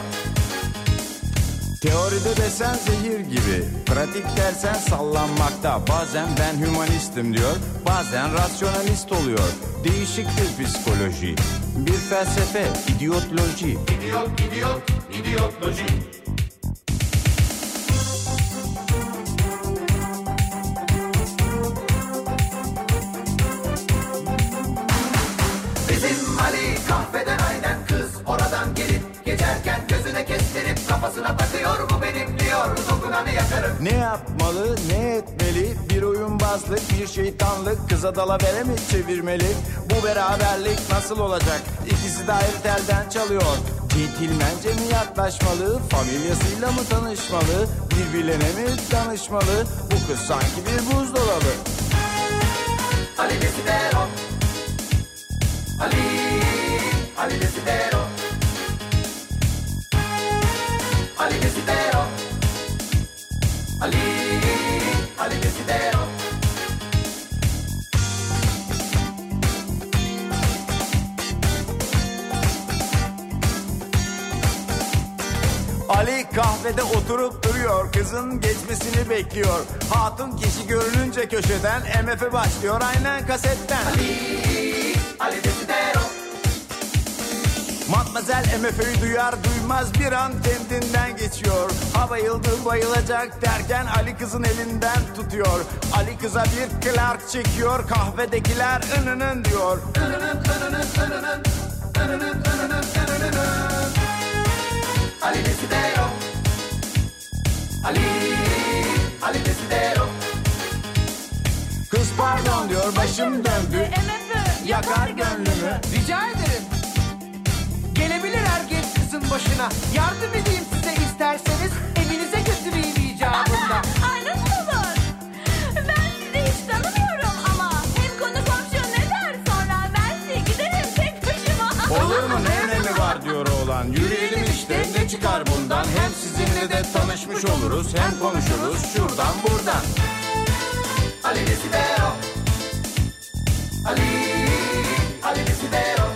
Teoride desen zehir gibi, pratik dersen sallanmakta. Bazen ben hümanistim diyor, bazen rasyonalist oluyor. Değişik bir psikoloji, bir felsefe, idiotloji. İdiot, idiot, idiotloji Bizim Ali kahveden aynen kız oradan gelip geçerken gözüne kestirip kafasına takıyor bu benim diyor dokunanı yakarım Ne yapmalı, ne etmeli? Bir oyunbazlık, bir şeytanlık, kıza dalavere mi çevirmeli? Bu beraberlik nasıl olacak? İkisi de ayrı telden çalıyor. Tiltilmence mi yaklaşmalı, familyasıyla mı tanışmalı? Birbirlerine mi danışmalı? Bu kız sanki bir buzdolabı. Ali Desidero Ali, Ali Desidero Ali Desidero Ali, Ali Desidero Ali kahvede oturup duruyor. Kızın geçmesini bekliyor. Hatun kişi görününce köşeden MF'e başlıyor aynen kasetten. Ali Desidero Matmazel MF'yi duyar duymaz bir an kendinden geçiyor. Ha bayıldı bayılacak derken Ali kızın elinden tutuyor. Ali kıza bir Clark çekiyor. Kahvedekiler ınının diyor. Ali Desidero Ali, Ali Desidero Kız pardon diyor başım döndü. MF yakar gönlümü. Rica ederim. Gelebilir herkes kızın başına. Yardım edeyim size isterseniz. Evinize götüreyim icabında. Ay nasıl olur? Ben sizi hiç tanımıyorum ama hem konu komşu ne der sonra ben size giderim tek başıma. Olur mu ne önemi var diyor oğlan. Yürüyelim işte ne çıkar bundan. Hem sizinle de tanışmış oluruz hem konuşuruz şuradan buradan. Ali Desidero Ali, Ali Desidero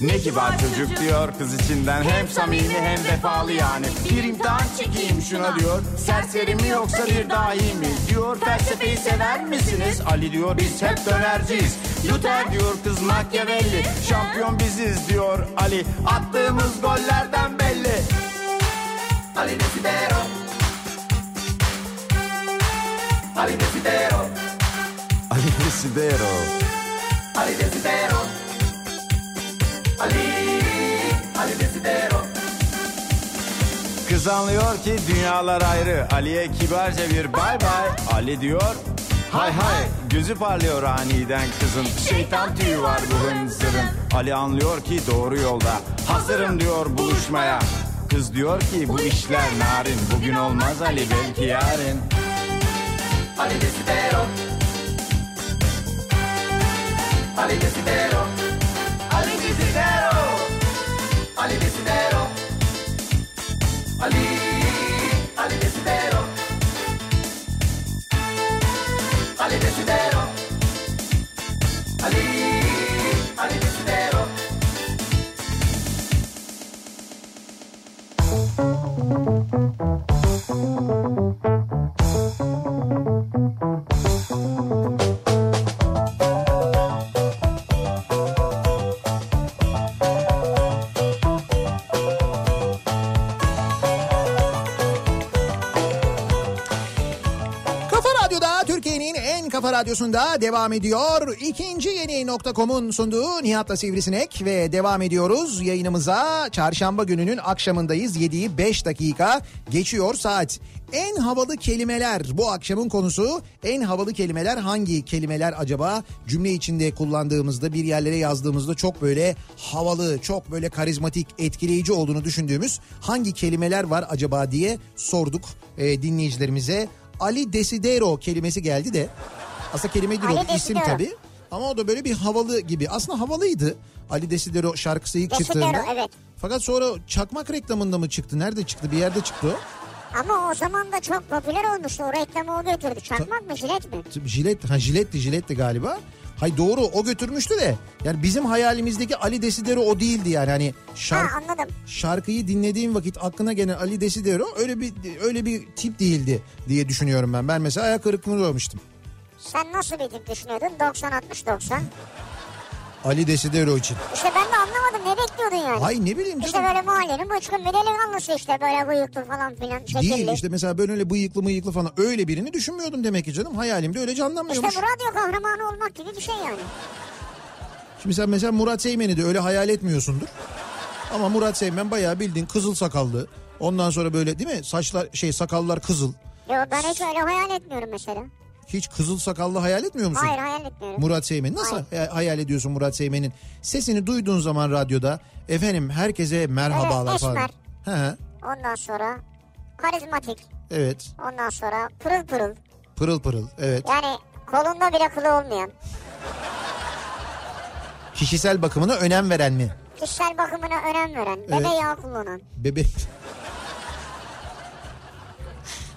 Ne kibar çocuk diyor kız içinden Hem samimi hem vefalı yani Bir imtihan çekeyim şuna diyor Serseri mi yoksa bir dahi mi diyor Felsefeyi sever misiniz Ali diyor biz hep dönerciyiz Luther diyor kız Machiavelli Şampiyon biziz diyor Ali Attığımız gollerden belli Ali Desidero Ali Desidero Ali Desidero Ali Desidero Ali, Ali Desidero Kız anlıyor ki dünyalar ayrı Ali'ye kibarca bir bay bay Ali diyor Hay hay gözü parlıyor aniden kızın Şeytan tüyü var bu hınzırın Ali anlıyor ki doğru yolda Hazırım diyor buluşmaya Kız diyor ki bu işler narin Bugün olmaz Ali belki yarın Ali Desidero Ali Desidero Ali Desidero Ali Desidero Ali Ali Desidero Ali Desidero Ali Ali Desidero Kafa Radyo'da Türkiye'nin en kafa radyosunda devam ediyor. İkinci yeni nokta.com'un sunduğu Nihat'la Sivrisinek ve devam ediyoruz yayınımıza. Çarşamba gününün akşamındayız. 7'yi 5 dakika geçiyor saat. En havalı kelimeler bu akşamın konusu. En havalı kelimeler hangi kelimeler acaba? Cümle içinde kullandığımızda bir yerlere yazdığımızda çok böyle havalı, çok böyle karizmatik, etkileyici olduğunu düşündüğümüz hangi kelimeler var acaba diye sorduk e, dinleyicilerimize. Ali Desidero kelimesi geldi de. Aslında kelime değil Ali o isim Desidero. tabii. Ama o da böyle bir havalı gibi. Aslında havalıydı. Ali Desidero şarkısı ilk Desidero, çıktığında. evet. Fakat sonra çakmak reklamında mı çıktı? Nerede çıktı? Bir yerde çıktı o. Ama o zaman da çok popüler olmuştu. O reklamı o götürdü. Çakmak mı jilet mi? Jilet, ha jiletti jiletti galiba. Hay doğru o götürmüştü de. Yani bizim hayalimizdeki Ali Desidero o değildi yani. Hani şark, Ha anladım. şarkıyı dinlediğim vakit aklına gelen Ali Desidero öyle bir öyle bir tip değildi diye düşünüyorum ben. Ben mesela ayak kırıklığına uğramıştım. Sen nasıl bir tip düşünüyordun? 90-60-90. Ali Desidero için. İşte ben de anlamadım. Ne bekliyordun yani? Hay ne bileyim İşte canım. böyle mahallenin bıçkın bir delikanlısı işte böyle bıyıklı falan filan Değil şekilli. işte mesela ben öyle bıyıklı mıyıklı falan öyle birini düşünmüyordum demek ki canım. Hayalimde öyle İşte canlanmıyormuş. bu radyo kahramanı olmak gibi bir şey yani. Şimdi sen mesela Murat Seymen'i de öyle hayal etmiyorsundur. Ama Murat Seymen bayağı bildiğin kızıl sakallı. Ondan sonra böyle değil mi? Saçlar şey sakallar kızıl. Yo ben hiç öyle hayal etmiyorum mesela. Hiç kızıl sakallı hayal etmiyor musun? Hayır hayal etmiyorum. Murat Seymen nasıl hay- hayal ediyorsun Murat Seymen'in sesini duyduğun zaman radyoda efendim herkese merhabalar Evet, falan. esmer. He, he, Ondan sonra karizmatik. evet. Ondan sonra pırıl pırıl. Pırıl pırıl. Evet. Yani kolunda bile kılı olmayan. Kişisel bakımına önem veren mi? Kişisel bakımına önem veren. Bebe Evet. yağı kullanan. Bebek.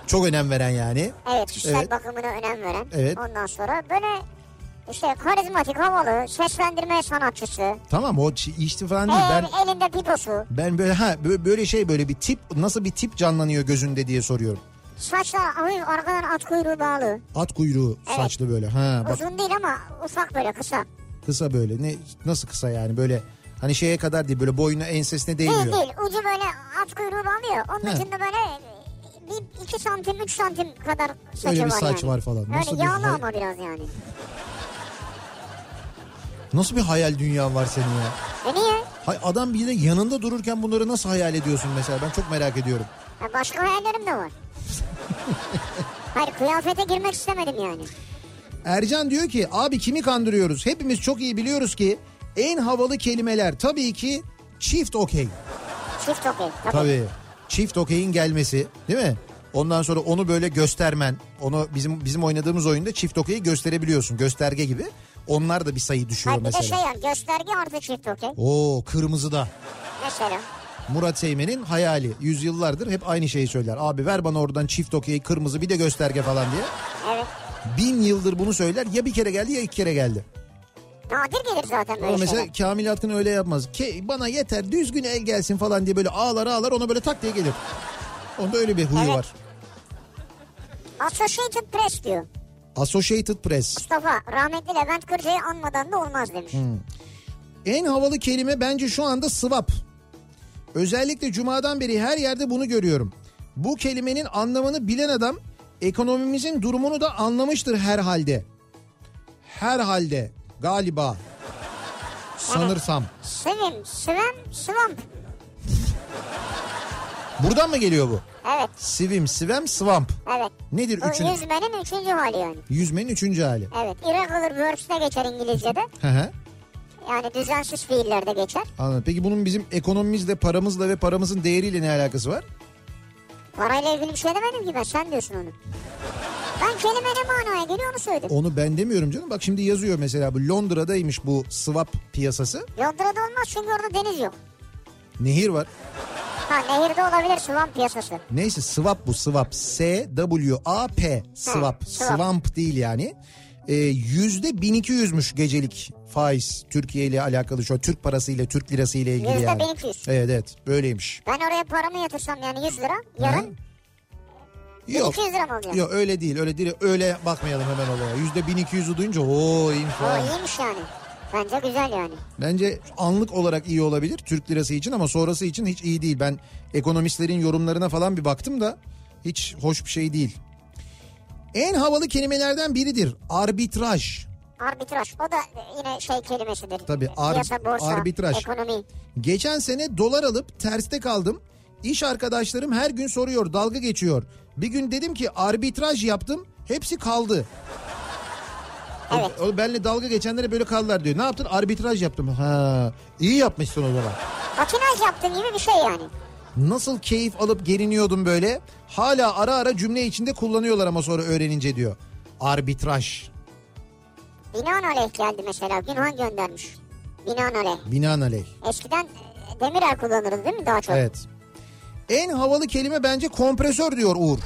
Çok önem veren yani. Evet kişisel Evet. bakımına önem veren. Evet. Ondan sonra böyle işte karizmatik havalı seslendirme sanatçısı. Tamam o çi- işte falan değil. Eğer Ben elinde piposu. ben böyle ha bö- böyle şey böyle bir tip nasıl bir tip canlanıyor gözünde diye soruyorum. Saçlar hafif arkadan at kuyruğu bağlı. At kuyruğu Evet. saçlı böyle. Ha bak Uzun değil ama ufak böyle kısa. kısa böyle. Ne nasıl kısa yani böyle hani şeye kadar değil böyle boynu ensesine Değil değmiyor. değil ucu böyle at kuyruğu bağlıyor. Onun He. ucunda böyle bir iki santim üç santim kadar saçı Öyle bir var saç yani. var falan. Nasıl bir Öyle yağlı hay- ama biraz yani. Nasıl bir hayal dünyan var senin ya? E niye? Hay adam bir de yanında dururken bunları nasıl hayal ediyorsun mesela? Ben çok merak ediyorum. Ha, E başka hayallerim de var. Hayır kıyafete girmek istemedim yani. Ercan diyor ki abi kimi kandırıyoruz? Hepimiz çok iyi biliyoruz ki en havalı kelimeler tabii ki çift okey. Çift okey. Tabii. Tabii. Çift okeyin gelmesi değil mi? Ondan sonra onu böyle göstermen. Onu bizim bizim oynadığımız oyunda çift okeyi gösterebiliyorsun. Gösterge gibi. Onlar da bir sayı düşüyor Hayır, bir de mesela. şey yani gösterge artı çift okey. Oo kırmızıda. Mesela. Murat Seymen'in hayali. Yüzyıllardır hep aynı şeyi söyler. Abi ver bana oradan çift okeyi kırmızı bir de gösterge falan diye. Evet. Bin yıldır bunu söyler. Ya bir kere geldi ya iki kere geldi. Nadir gelir zaten böyle Ama mesela şeyler. Kamil Atkın öyle yapmaz. Ke, bana yeter düzgün el gelsin falan diye böyle ağlar ağlar ona böyle tak diye gelir. Onda öyle bir huyu Evet. var. Associated Press diyor. Associated Press. Mustafa rahmetli Levent Kırca'yı anmadan da olmaz demiş. Hmm. En havalı kelime bence şu anda swap. Özellikle cumadan beri her yerde bunu görüyorum. Bu kelimenin anlamını bilen adam ekonomimizin durumunu da anlamıştır herhalde. Herhalde galiba sanırsam. Sevim, Sivem, Swamp. Buradan mı geliyor bu? Evet, Sivim, sivem, swamp. evet. Nedir Bu üçüncü? yüzmenin üçüncü hali yani. Yüzmenin üçüncü hali. Evet, irregular verbs'te geçer İngilizce'de. Hı hı. Yani düzensiz fiillerde geçer. Anladım. Peki bunun bizim ekonomimizle, paramızla ve paramızın değeriyle ne alakası var? Parayla ilgili bir şey demedim ki ben, sen diyorsun onu. Ben kelime ne manaya geliyor onu söyledim. Onu ben demiyorum canım. Bak şimdi yazıyor mesela bu Londra'daymış bu swap piyasası. Londra'da olmaz çünkü orada deniz yok. Nehir var. Ha nehirde olabilir swamp piyasası. Neyse swap bu swap. S-W-A-P swap. swap. Swamp değil yani. Ee, Yüzde 1200'müş gecelik faiz Türkiye ile alakalı şu an Türk parası ile Türk lirası ile ilgili Yüzde yani. 1200. Evet evet böyleymiş. Ben oraya paramı yatırsam yani 100 lira yarın Yok. 200 lira mı oluyor? Yok öyle değil öyle değil öyle bakmayalım hemen olaya. Yüzde 1200'ü duyunca o iyiymiş O falan. iyiymiş yani. Bence güzel yani. Bence anlık olarak iyi olabilir Türk lirası için ama sonrası için hiç iyi değil. Ben ekonomistlerin yorumlarına falan bir baktım da hiç hoş bir şey değil. En havalı kelimelerden biridir. Arbitraj. Arbitraj o da yine şey kelimesidir. Tabii ar- Piyasa, borsa, arbitraj. ekonomi. Geçen sene dolar alıp terste kaldım. İş arkadaşlarım her gün soruyor, dalga geçiyor. Bir gün dedim ki arbitraj yaptım, hepsi kaldı. Evet. O, o benle dalga geçenlere böyle kaldılar diyor. Ne yaptın? Arbitraj yaptım. Ha, iyi yapmışsın o zaman. Patinaj yaptığın gibi bir şey yani. Nasıl keyif alıp geriniyordum böyle. Hala ara ara cümle içinde kullanıyorlar ama sonra öğrenince diyor. Arbitraj. Binaenaleyh geldi mesela. Günhan göndermiş. Binaenaleyh. Binaenaleyh. Eskiden e, demirel kullanırız değil mi daha çok? Evet. En havalı kelime bence kompresör diyor Uğur.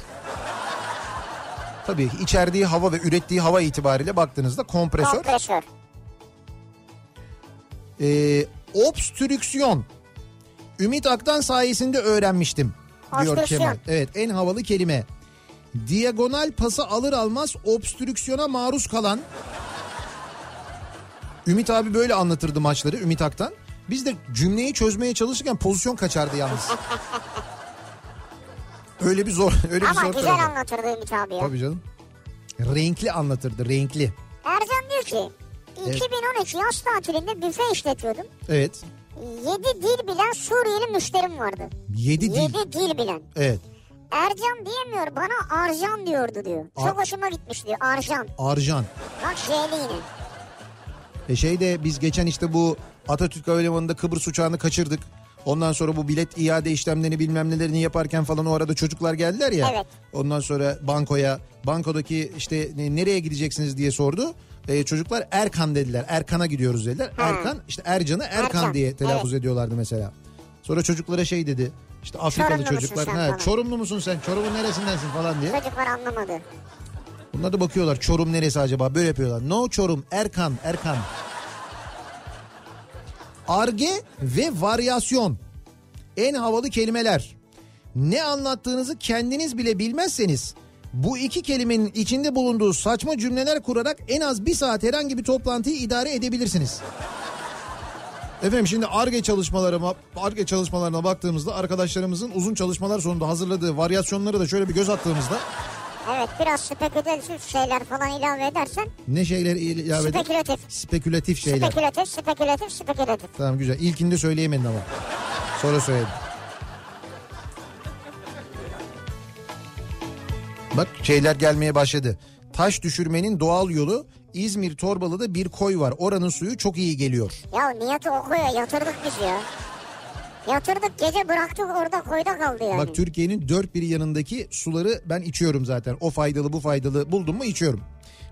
Tabii içerdiği hava ve ürettiği hava itibariyle baktığınızda kompresör. Kompresör. Ee, obstrüksiyon. Ümit Aktan sayesinde öğrenmiştim diyor Obstrüksiyon. Kemal. Evet en havalı kelime. Diagonal pası alır almaz obstrüksiyona maruz kalan. Ümit abi böyle anlatırdı maçları Ümit Aktan. Biz de cümleyi çözmeye çalışırken pozisyon kaçardı yalnız. öyle bir zor öyle bir Ama zor güzel tarafı. anlatırdı Ümit abi ya. Tabii canım. Renkli anlatırdı renkli. Ercan diyor ki 2013 yaz tatilinde büfe işletiyordum. Evet. 7 dil bilen Suriyeli müşterim vardı. Yedi dil. 7 dil bilen. Evet. Ercan diyemiyor bana Arjan diyordu diyor. Ar- Çok hoşuma gitmiş diyor Arjan. Arjan. Bak J'li yine. E şey de biz geçen işte bu Atatürk Havalimanı'nda Kıbrıs uçağını kaçırdık. Ondan sonra bu bilet iade işlemlerini bilmem nelerini yaparken falan o arada çocuklar geldiler ya. Evet. Ondan sonra bankoya bankodaki işte ne- nereye gideceksiniz diye sordu. E, çocuklar Erkan dediler. Erkan'a gidiyoruz dediler. Hmm. Erkan işte Ercan'ı Erkan, Erkan, diye telaffuz ediyorlardı mesela. Sonra çocuklara şey dedi. İşte Afrikalı Çorumlu musun çocuklar. sen Ha, falan?" Çorumlu musun sen? Çorum'un neresindensin falan diye. Çocuklar anlamadı. Bunlar da bakıyorlar Çorum neresi acaba böyle yapıyorlar. No Çorum Erkan Erkan. Arge ve varyasyon. En havalı kelimeler. Ne anlattığınızı kendiniz bile bilmezseniz bu iki kelimenin içinde bulunduğu saçma cümleler kurarak en az bir saat herhangi bir toplantıyı idare edebilirsiniz. Efendim şimdi ARGE çalışmalarına, ARGE çalışmalarına baktığımızda arkadaşlarımızın uzun çalışmalar sonunda hazırladığı varyasyonları da şöyle bir göz attığımızda Evet biraz spekülatif şeyler falan ilave edersen Ne şeyler ilave edip- Spekülatif. Spekülatif şeyler. spekülatif spekülatif spekülatif. Tamam güzel. İlkinde söyleyemedin ama. Sonra söyledim. Bak şeyler gelmeye başladı. Taş düşürmenin doğal yolu İzmir Torbalı'da bir koy var. Oranın suyu çok iyi geliyor. Ya Nihat'ı okuyor yatırdık biz ya. Yatırdık gece bıraktık orada koyda kaldı yani. Bak Türkiye'nin dört bir yanındaki suları ben içiyorum zaten. O faydalı bu faydalı buldum mu içiyorum.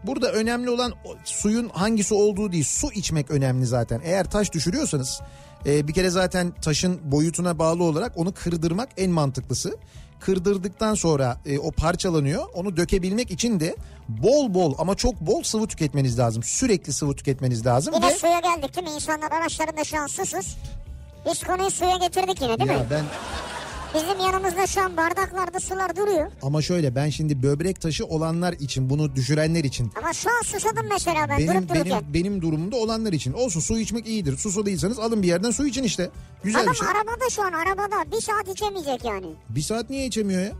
Burada önemli olan o- suyun hangisi olduğu değil su içmek önemli zaten. Eğer taş düşürüyorsanız e, bir kere zaten taşın boyutuna bağlı olarak onu kırdırmak en mantıklısı. Kırdırdıktan sonra e, o parçalanıyor. Onu dökebilmek için de bol bol ama çok bol sıvı tüketmeniz lazım. Sürekli sıvı tüketmeniz lazım. Yine ve- suya geldik değil mi? İnsanlar araçlarında şu an susuz. Biz konuyu suya getirdik yine değil Ya mi? ben Bizim yanımızda şu an bardaklarda sular duruyor. ama şöyle ben şimdi böbrek taşı olanlar için bunu düşürenler için Ama şu an susadım mesela ben benim, durup dururken. benim, benim durumumda olanlar için. Olsun su içmek iyidir. Susu değilseniz alın bir yerden su için işte. Güzel Adam bir şey. arabada şu an arabada bir saat içemeyecek yani. Bir saat niye içemiyor ya?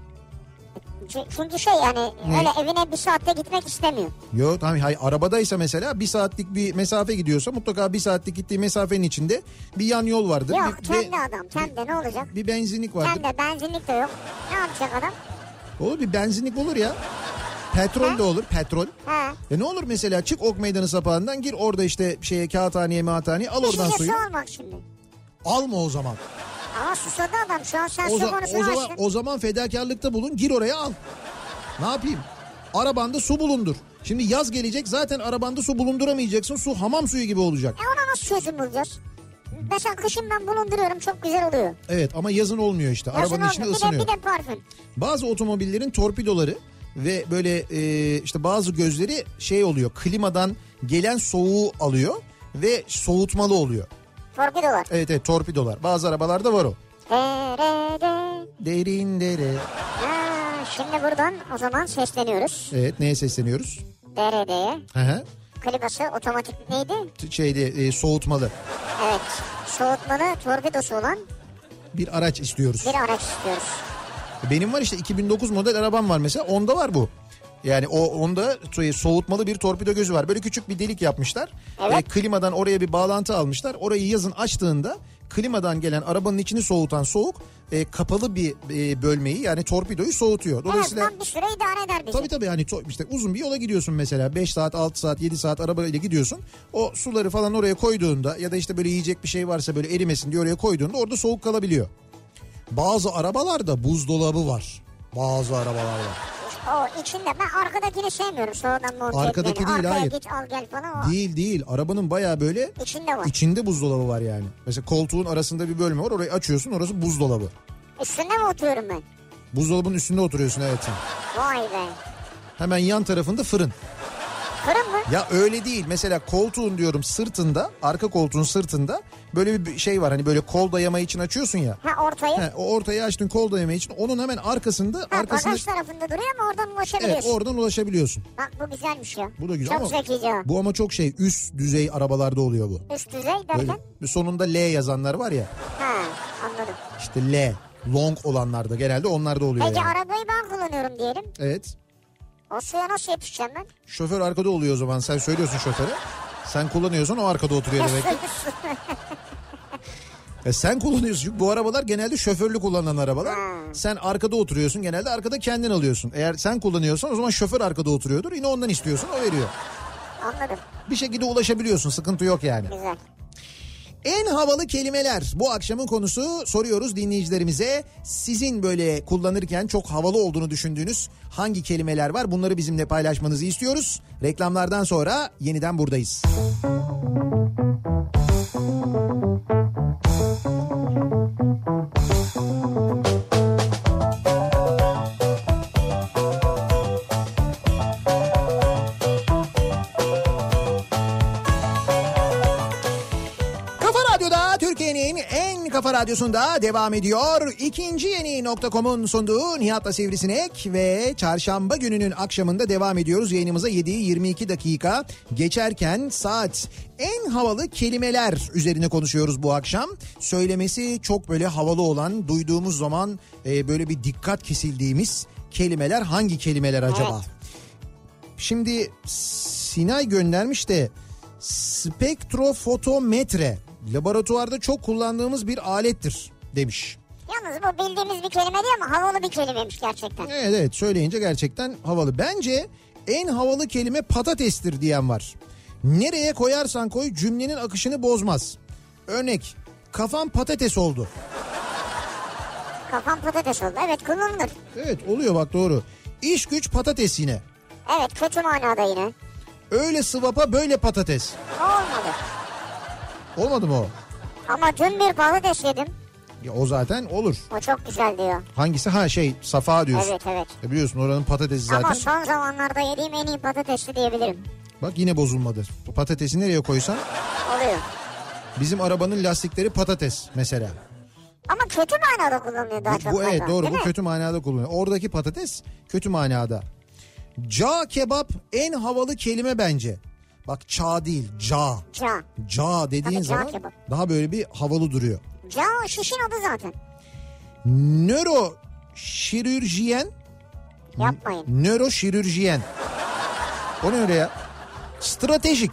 Ç- Çünkü şey yani Ne? öyle evine bir saatte gitmek istemiyor. Yo tamam hay arabadaysa mesela bir saatlik bir mesafe gidiyorsa mutlaka bir saatlik gittiği mesafenin içinde bir yan yol vardır. Yok bir, bir, kendi adam kendi ne olacak? bir benzinlik vardır. Kendi benzinlik de yok. Ne yapacak adam? Olur bir benzinlik olur ya. Petrol de olur petrol. He. Ya ne olur mesela çık Ok Meydanı sapağından gir orada işte şeye kağıthaneye mağathaneye al Bir oradan şişe suyu. su almak şimdi. Alma o zaman. Ama susadı adam şu an sen O, su za- konusunu o zaman, açtın. o zaman fedakarlıkta bulun gir oraya al. Ne yapayım? Arabanda su bulundur. Şimdi yaz gelecek zaten arabanda su bulunduramayacaksın. Su hamam suyu gibi olacak. E ona nasıl çözüm bulacağız? Mesela kışın ben bulunduruyorum çok güzel oluyor. Evet ama yazın olmuyor işte. Yazın Arabanın içinde olmuyor. bir, de, ısınıyor. bir de parfüm. Bazı otomobillerin torpidoları ve böyle e, işte bazı gözleri şey oluyor. Klimadan gelen soğuğu alıyor ve soğutmalı oluyor. Torpidolar. Evet evet torpidolar. Bazı arabalarda var o. Derede. Derin dere. Ha, şimdi buradan o zaman sesleniyoruz. Evet neye sesleniyoruz? Derede'ye. Hı hı. Klibası otomatik neydi? Şeyde e, soğutmalı Evet. Soğutmalı torpidosu olan bir araç istiyoruz. bir araç istiyoruz. Benim var işte 2009 model arabam var mesela. Onda var bu. Yani o onda so- soğutmalı bir torpido gözü var. Böyle küçük bir delik yapmışlar. Evet. Ee, klimadan oraya bir bağlantı almışlar. Orayı yazın açtığında klimadan gelen arabanın içini soğutan soğuk e, kapalı bir e, bölmeyi yani torpidoyu soğutuyor. En Dolayısıyla azından bir süre idare eder bizi. Tabii tabii hani to- işte uzun bir yola gidiyorsun mesela 5 saat 6 saat 7 saat arabayla gidiyorsun. O suları falan oraya koyduğunda ya da işte böyle yiyecek bir şey varsa böyle erimesin diye oraya koyduğunda orada soğuk kalabiliyor. Bazı arabalarda buzdolabı var. Bazı arabalarda. O içinde ben arkadakini sevmiyorum sonradan mor Arkadaki kedileri. değil, Arkaya hayır. git al gel falan o. Değil değil arabanın baya böyle İçinde var. içinde buzdolabı var yani. Mesela koltuğun arasında bir bölme var orayı açıyorsun orası buzdolabı. Üstünde mi oturuyorum ben? Buzdolabının üstünde oturuyorsun evet. sen. Vay be. Hemen yan tarafında fırın. Fırın mı? Ya öyle değil. Mesela koltuğun diyorum sırtında, arka koltuğun sırtında böyle bir şey var. Hani böyle kol dayama için açıyorsun ya. Ha ortayı. He, o ortaya açtın kol dayama için. Onun hemen arkasında, ha, arkasında bagaj tarafında duruyor ama oradan evet, ulaşabiliyorsun. oradan ulaşabiliyorsun. Bak bu güzelmiş ya. Bu da güzel Çok ama zekice o. bu ama çok şey üst düzey arabalarda oluyor bu. Üst düzey Böyle derken? sonunda L yazanlar var ya. Ha anladım. İşte L, long olanlarda genelde onlarda oluyor. Peki yani. arabayı ben kullanıyorum diyelim. Evet. O suya nasıl yetişeceğim ben? Şoför arkada oluyor o zaman. Sen söylüyorsun şoföre. Sen kullanıyorsun o arkada oturuyor demek ki. E sen kullanıyorsun çünkü bu arabalar genelde şoförlü kullanılan arabalar. Sen arkada oturuyorsun genelde arkada kendin alıyorsun. Eğer sen kullanıyorsan o zaman şoför arkada oturuyordur. Yine ondan istiyorsun o veriyor. anladım. Bir şekilde ulaşabiliyorsun sıkıntı yok yani. Güzel. En havalı kelimeler bu akşamın konusu soruyoruz dinleyicilerimize. Sizin böyle kullanırken çok havalı olduğunu düşündüğünüz hangi kelimeler var bunları bizimle paylaşmanızı istiyoruz. Reklamlardan sonra yeniden buradayız. Kafa Radyo'da Türkiye'nin en kafa radyosunda devam ediyor. İkinci yeni nokta.com'un sunduğu Nihat'la Sivrisinek ve çarşamba gününün akşamında devam ediyoruz. Yayınımıza 7-22 dakika geçerken saat en havalı kelimeler üzerine konuşuyoruz bu akşam. Söylemesi çok böyle havalı olan duyduğumuz zaman e, böyle bir dikkat kesildiğimiz kelimeler hangi kelimeler acaba? Şimdi Sinay göndermiş de spektrofotometre laboratuvarda çok kullandığımız bir alettir demiş. Yalnız bu bildiğimiz bir kelime değil ama havalı bir kelimeymiş gerçekten. Evet evet söyleyince gerçekten havalı. Bence en havalı kelime patatestir diyen var. Nereye koyarsan koy cümlenin akışını bozmaz. Örnek kafam patates oldu. Kafam patates oldu. Evet kullanılır. Evet oluyor bak doğru. İş güç patates yine. Evet kötü manada yine. Öyle sıvapa böyle patates. Olmadı. Olmadı mı o? Ama dün bir patates yedim. Ya o zaten olur. O çok güzel diyor. Hangisi? Ha şey Safa diyorsun. Evet evet. E biliyorsun oranın patatesi zaten. Ama son zamanlarda yediğim en iyi patatesli diyebilirim. Bak yine bozulmadı. Bu Patatesi nereye koysan Oluyor. bizim arabanın lastikleri patates mesela. Ama kötü manada kullanılıyor daha Bu, çok. bu evet galiba, doğru değil bu mi? kötü manada kullanılıyor. Oradaki patates kötü manada. Ca kebap en havalı kelime bence. Bak ça değil ca. Ca. Ca dediğin Tabii ca zaman kebap. daha böyle bir havalı duruyor. Ca o şişin adı zaten. Nöro şirürjiyen Hmm. Yapmayın. nöroşirürjiyen. O ne öyle ya? Stratejik.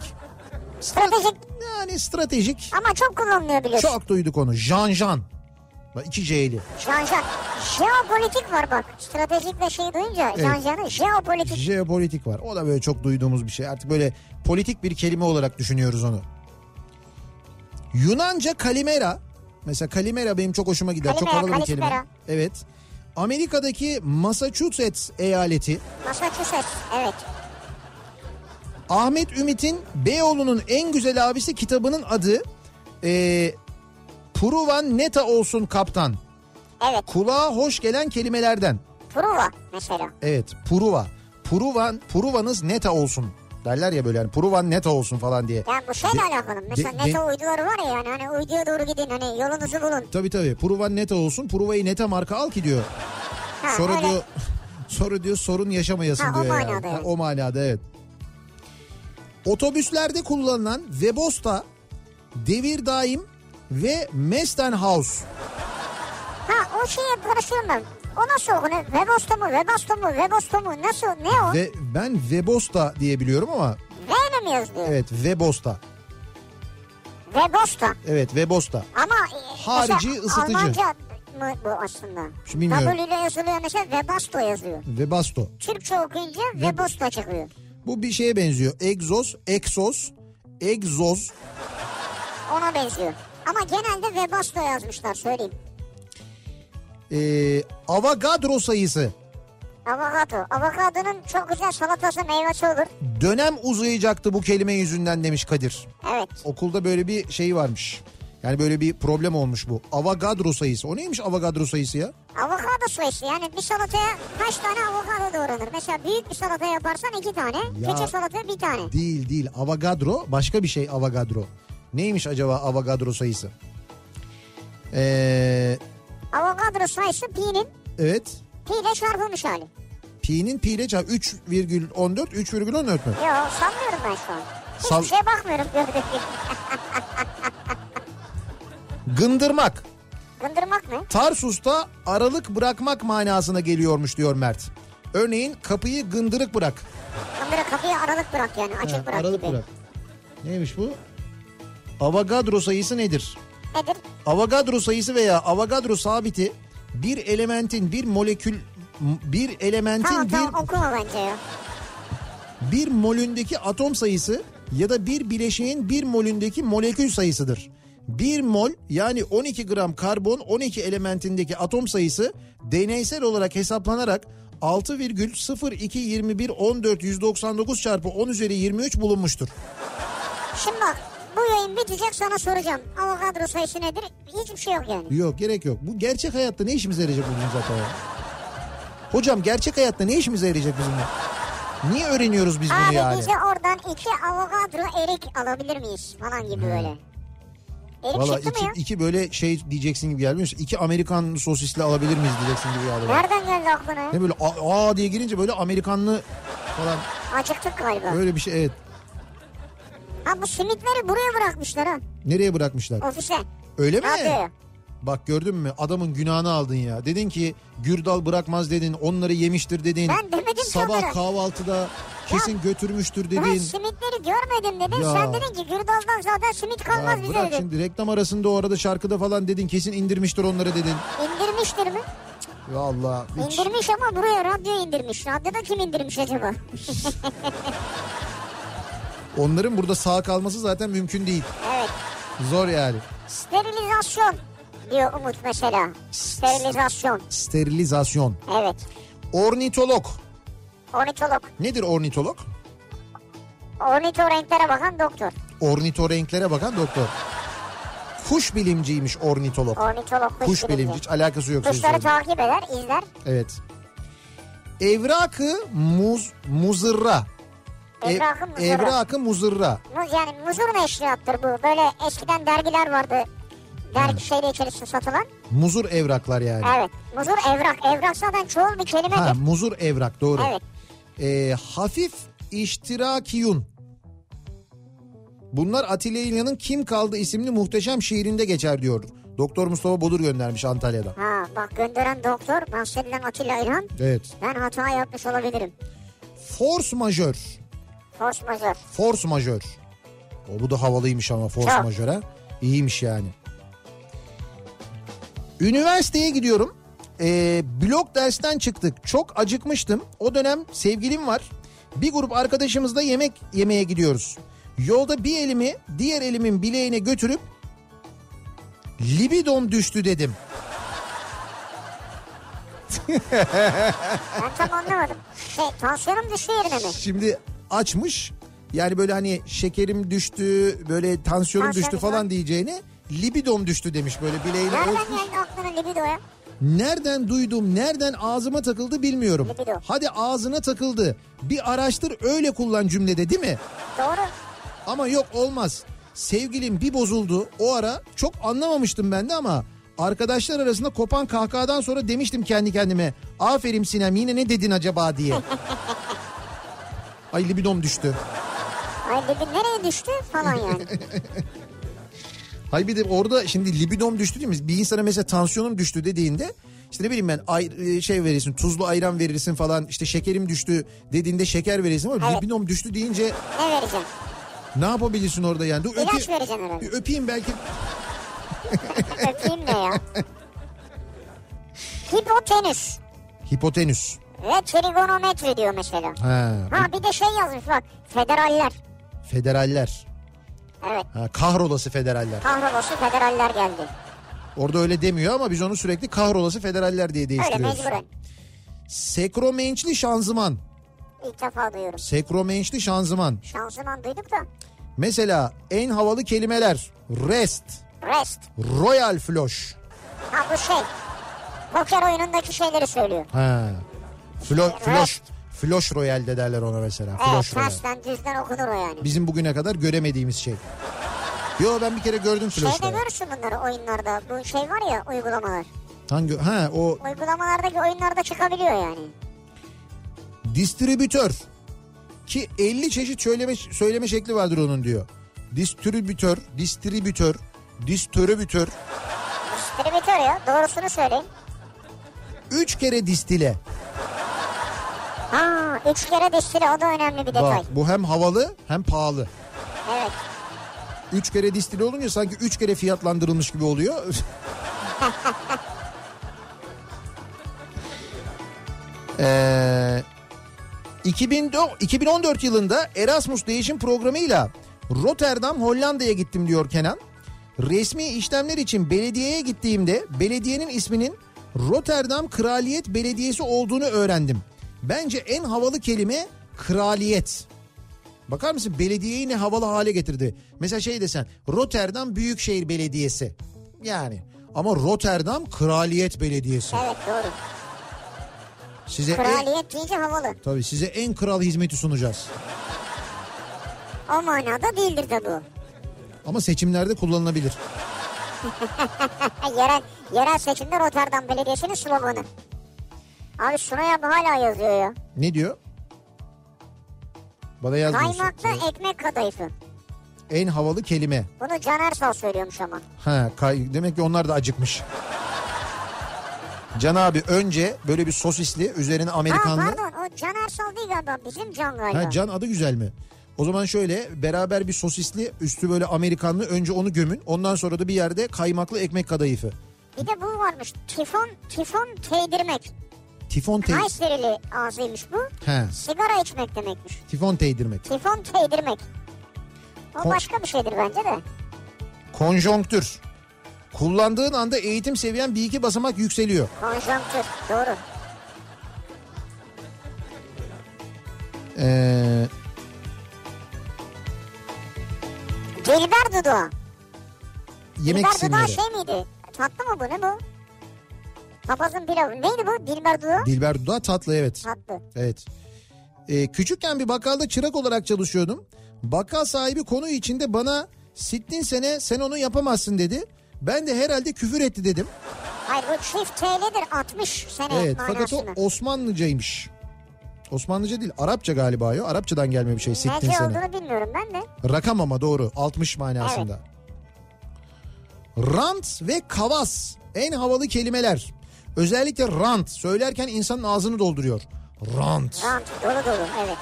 Stratejik Yani stratejik. ama çok kullanılıyor biliyorsun. Çok duyduk onu. Jan Jan. Bak iki C'li. Jan Jan. Jeopolitik var bak. Stratejikle şeyi duyunca Jan Jan'ı jeopolitik. Jeopolitik var. O da böyle çok duyduğumuz bir şey. Artık böyle politik bir kelime olarak düşünüyoruz onu. Yunanca kalimera. Mesela kalimera benim çok hoşuma gider. çok Kalimera, havalı bir kelime. kalimera. Evet. Amerika'daki Massachusetts eyaleti Massachusetts. Evet. Ahmet Ümit'in Beyoğlu'nun en güzel abisi kitabının adı e, Pruvan Neta olsun kaptan. Evet. Kulağa hoş gelen kelimelerden. Truva mesela. Evet Puruva. Puruvan, Puruvanız neta olsun derler ya böyle yani Puruvan neta olsun falan diye. Yani bu şeyle alakalı. Mesela de- NATO uyduları var ya yani hani uyduya doğru gidin hani yolunuzu bulun. Tabii tabii Puruvan neta olsun Puruva'yı neta marka al ki diyor. Ha, Sonra öyle. diyor sonra diyor sorun yaşamayasın Ha, o diyor yani. manada evet. o manada evet. Otobüslerde kullanılan Vebosta, Devir Daim ve Mesten House. Ha o şeye karışıyorum ben. şey O nasıl okunur? Webasto mu? Webasto mu? Webasto mu? Nasıl? Ne o? Ve ben Webosta diye biliyorum ama V ile mi yazılıyor? evet Webosta. Webasto. Evet Webosta. Ama e, Harici mesela ısıtıcı. Almanca mı bu aslında? Şimdi bilmiyorum. W ile yazılıyor mesela Webasto yazıyor. Webasto. Türkçe okuyunca Webasto çıkıyor. Bu bir şeye benziyor. Egzoz, Exos, Egzoz. Ona benziyor. Ama genelde Webasto yazmışlar söyleyeyim. Ee, Avogadro sayısı. Avokado. Avokadonun çok güzel salatası meyvesi olur. Dönem uzayacaktı bu kelime yüzünden demiş Kadir. Evet. Okulda böyle bir şey varmış. Yani böyle bir problem olmuş bu. Avogadro sayısı. O neymiş Avogadro sayısı ya? Avokado sayısı yani bir salataya kaç tane avokado doğranır? Mesela büyük bir salata yaparsan iki tane, Ya. küçük salata bir tane. Değil değil. Avogadro başka bir şey Avogadro. Neymiş acaba Avogadro sayısı? Ee, Avokado sayısı pi'nin evet. pi ile çarpılmış hali. Pi'nin pi'yle ça- 3,14 3,14 mü? Yo sanmıyorum ben şu an. Hiçbir Sal- şeye bakmıyorum gördüğüm gibi. Gındırmak. Gındırmak ne? Tarsus'ta aralık bırakmak manasına geliyormuş diyor Mert. Örneğin kapıyı gındırık bırak. Gındırı kapıyı aralık bırak yani açık Ha, bırak aralık gibi. bırak. Neymiş bu? Avogadro sayısı nedir? Nedir? Avogadro sayısı veya Avogadro sabiti bir elementin bir molekül bir elementin Tamam bir tamam okuma bence ya. bir molündeki atom sayısı ya da bir bileşiğin bir molündeki molekül sayısıdır. 1 mol yani 12 gram karbon 12 elementindeki atom sayısı deneysel olarak hesaplanarak 6,02211499 çarpı 10 üzeri 23 bulunmuştur. Şimdi bak bu yayın bitecek sana soracağım. Avokado sayısı nedir? Hiçbir şey yok yani. Yok gerek yok. Bu gerçek hayatta ne işimize yarayacak bu bizim zaten ya? Hocam gerçek hayatta ne işimize yarayacak bizim bu? Niye öğreniyoruz biz bunu Abi yani? bize oradan iki avokado erik alabilir miyiz falan gibi böyle. Erik Valla Hmm. çıktı iki, mı ya? iki böyle şey diyeceksin gibi gelmiyor. musun? İki Amerikan sosisli alabilir miyiz diyeceksin gibi geldi. bana. Nereden geldi aklına? ya? Ne böyle aa, aa diye girince böyle Amerikanlı falan Acıktık galiba. öyle bir şey evet. Ha bu simitleri buraya bırakmışlar ha Nereye bırakmışlar? ofise. Öyle mi? Radyoya. Bak gördün mü adamın günahını aldın ya. Dedin ki gürdal bırakmaz dedin onları yemiştir dedin. Ben demedim ki Sabah onları. kahvaltıda kesin götürmüştür Ben dedin. simitleri görmedim dedim. Ya. Sen dedin ki gürdaldan zaten simit Ya kalmaz bize bırak dedin. şimdi reklam arasında o arada şarkıda falan dedin kesin indirmiştir onları dedin. İndirmiştir mi? Ya Allah. Hiç. İndirmiş ama buraya radyo indirmiş. Radyoda kim indirmiş acaba? Onların burada sağ kalması zaten mümkün değil. Evet. Zor yani. Sterilizasyon diyor Umut mesela. Sterilizasyon. Sterilizasyon. Evet. Ornitolog. Ornitolog. Nedir ornitolog? Ornitorenklere bakan doktor. Ornitorenklere bakan doktor. Kuş bilimciymiş ornitolog. Ornitolog kuş, Kuş bilimci. bilimci hiç alakası yok. senin Kuşları söylediğin. takip eder, izler. Evet. Evrakı muz muzırra. E- Evrakı muzırra. Evrakı muzırra. Muz, yani muzur ne eşliyattır bu? Böyle eskiden dergiler vardı. Dergi şeyle içerisinde satılan. Muzur evraklar yani. Evet. Muzur evrak. Evrak zaten çoğul bir kelimedir. Ha, muzur evrak doğru. Evet. Ee, hafif iştirakiyun. Bunlar Atilla İlhan'ın Kim Kaldı isimli muhteşem şiirinde geçer diyor. Doktor Mustafa Bodur göndermiş Antalya'dan. Ha bak gönderen doktor bahsedilen Atilla İlhan. Evet. Ben hata yapmış olabilirim. Force majör. Force majeure. Force majör. O bu da havalıymış ama force Çok. majöre. İyiymiş yani. Üniversiteye gidiyorum. Ee, blok dersten çıktık. Çok acıkmıştım. O dönem sevgilim var. Bir grup arkadaşımızla yemek yemeye gidiyoruz. Yolda bir elimi diğer elimin bileğine götürüp libidom düştü dedim. Ben tam anlamadım. Şey, tansiyonum düştü yerine mi? Şimdi açmış yani böyle hani şekerim düştü böyle tansiyonum Tansiyon düştü düştü. falan diyeceğine libidom düştü demiş böyle bileğine. Nereden ölçmüş. geldi aklına libidoya? Nereden duydum nereden ağzıma takıldı bilmiyorum. Libido. Hadi ağzına takıldı bir araştır öyle kullan cümlede değil mi? Doğru. Ama yok olmaz. Sevgilim bir bozuldu o ara çok anlamamıştım ben de ama arkadaşlar arasında kopan kahkahadan sonra demiştim kendi kendime aferin Sinem yine ne dedin acaba diye. Ay libidom düştü. Ay libid nereye düştü falan yani. Hayır bir de orada şimdi libidom düştü değil mi? Bir insana mesela tansiyonum düştü dediğinde işte ne bileyim ben ay- şey verirsin tuzlu ayran verirsin falan işte şekerim düştü dediğinde şeker verirsin ama Evet. libinom düştü deyince Ne vereceğim? ne yapabilirsin orada yani? Dur, İlaç öpeyim- vereceksin herhalde. Bir öpeyim belki. Öpeyim ne ya? Hipotenüs Hipotenüs. ve trigonometri diyor mesela. Ha, Ha bir de şey yazmış bak. Federaller. federaller. Evet. Ha, kahrolası federaller. Kahrolası federaller geldi. Orada öyle demiyor ama biz onu sürekli kahrolası federaller diye Öyle değiştiriyoruz. mecburen. Sekromençli şanzıman. İlk defa duyuyorum. Sekromençli şanzıman. Şanzıman duyduk da. Mesela en havalı kelimeler. Rest, Rest. Royal Flush. Ha bu şey. Poker oyunundaki şeyleri söylüyor. Ha. Flo- Floş, Floş Royal de derler ona mesela. Evet Floş Royal. tersten düzden okunur o yani. Bizim bugüne kadar göremediğimiz şey. Yo ben bir kere gördüm Floş Şeyde Royal. görürsün Şey bunları oyunlarda. Bu şey var ya uygulamalar. Hangi? Ha o Uygulamalardaki oyunlarda çıkabiliyor yani. distribütör. Ki 50 çeşit söyleme, söyleme şekli vardır onun diyor. Distribütör, distribütör, distribütör. Distribütör ya doğrusunu söyleyeyim. Üç kere distile. Ha üç kere distili o da önemli bir detay. Bak bu hem havalı hem pahalı. Evet. Üç kere distile olunca sanki üç kere fiyatlandırılmış gibi oluyor. Ee, 2004 2014 yılında Erasmus değişim programıyla Rotterdam Hollanda'ya gittim diyor Kenan. Resmi işlemler için belediyeye gittiğimde belediyenin isminin Rotterdam Kraliyet Belediyesi olduğunu öğrendim. Bence en havalı kelime kraliyet. Bakar mısın belediyeyi ne havalı hale getirdi. Mesela şey desen Rotterdam Büyükşehir Belediyesi. Yani ama Rotterdam Kraliyet Belediyesi. Evet doğru. Size en, Kraliyet deyince havalı. tabii size en kral hizmeti sunacağız. O manada değildir de bu. Ama seçimlerde kullanılabilir. Ha, E, yerel, yerel seçimde Rotterdam Belediyesi'nin sloganı. Abi şuraya bu hala yazıyor ya. Ne diyor? Bana yazmıyorsun. Kaymaklı ekmek kadayıfı. En havalı kelime. Bunu Can Ersal söylüyormuş ama. Ha, kay- demek ki onlar da acıkmış. Can abi önce böyle bir sosisli üzerine Amerikanlı. Ha pardon o Can Ersal değil galiba bizim Can galiba. Ha, can adı güzel mi? O zaman şöyle beraber bir sosisli üstü böyle Amerikanlı önce onu gömün. Ondan sonra da bir yerde kaymaklı ekmek kadayıfı. Bir de bu varmış tifon, tifon teydirmek. Tifon tey... Kayseri'li ağzıymış bu. He, Sigara içmek demekmiş. tifon teydirmek. Tifon teydirmek. O Kon- başka bir şeydir bence de. Konjonktür. Kullandığın anda eğitim seviyen bir iki basamak yükseliyor. Konjonktür doğru. Ee, Dilber dudağı. yemek Dilber dudağı isimleri. şey miydi? Tatlı mı bu ne bu? Papazın pilavı. Neydi bu? Dilber dudağı? Dilber Duda tatlı evet. Tatlı. Evet. Ee, küçükken bir bakkalda çırak olarak çalışıyordum. Bakkal sahibi konu içinde bana sittin sene sen onu yapamazsın dedi. Ben de herhalde küfür etti dedim. Hayır bu çift T'lidir 60 sene Evet fakat o manasını. Osmanlıcaymış. Osmanlıca değil Arapça galiba ya. Arapçadan gelme bir şey sittin Nece sene. olduğunu bilmiyorum ben de. Rakam ama doğru 60 manasında. Rant ve kavas en havalı kelimeler. Özellikle rant söylerken insanın ağzını dolduruyor. Rant, Tamam dolu dolu evet.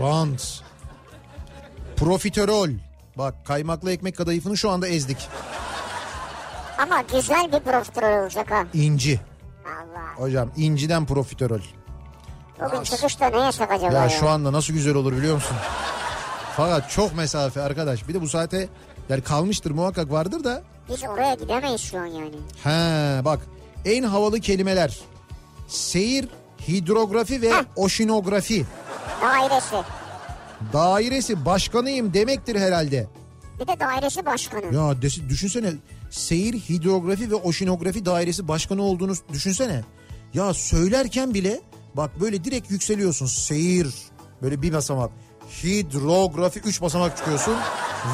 rant. Profiterol. Bak kaymaklı ekmek kadayıfını şu anda ezdik. Ama güzel bir profiterol olacak ha. İnci. Allah. Hocam inciden profiterol. Bugün çıkışta ne yasak acaba ya? Ya şu anda nasıl güzel olur biliyor musun? Fakat çok mesafe arkadaş. Bir de bu saate yani kalmıştır muhakkak vardır da. Biz oraya gidemeyiz şu an yani. He bak en havalı kelimeler. Seyir, hidrografi ve oşinografi. Dairesi. Dairesi başkanıyım demektir herhalde. Bir de dairesi başkanı. Ya desi- düşünsene seyir, hidrografi ve oşinografi dairesi başkanı olduğunu düşünsene. Ya söylerken bile bak böyle direkt yükseliyorsun. Seyir böyle bir basamak. Hidrografi üç basamak çıkıyorsun.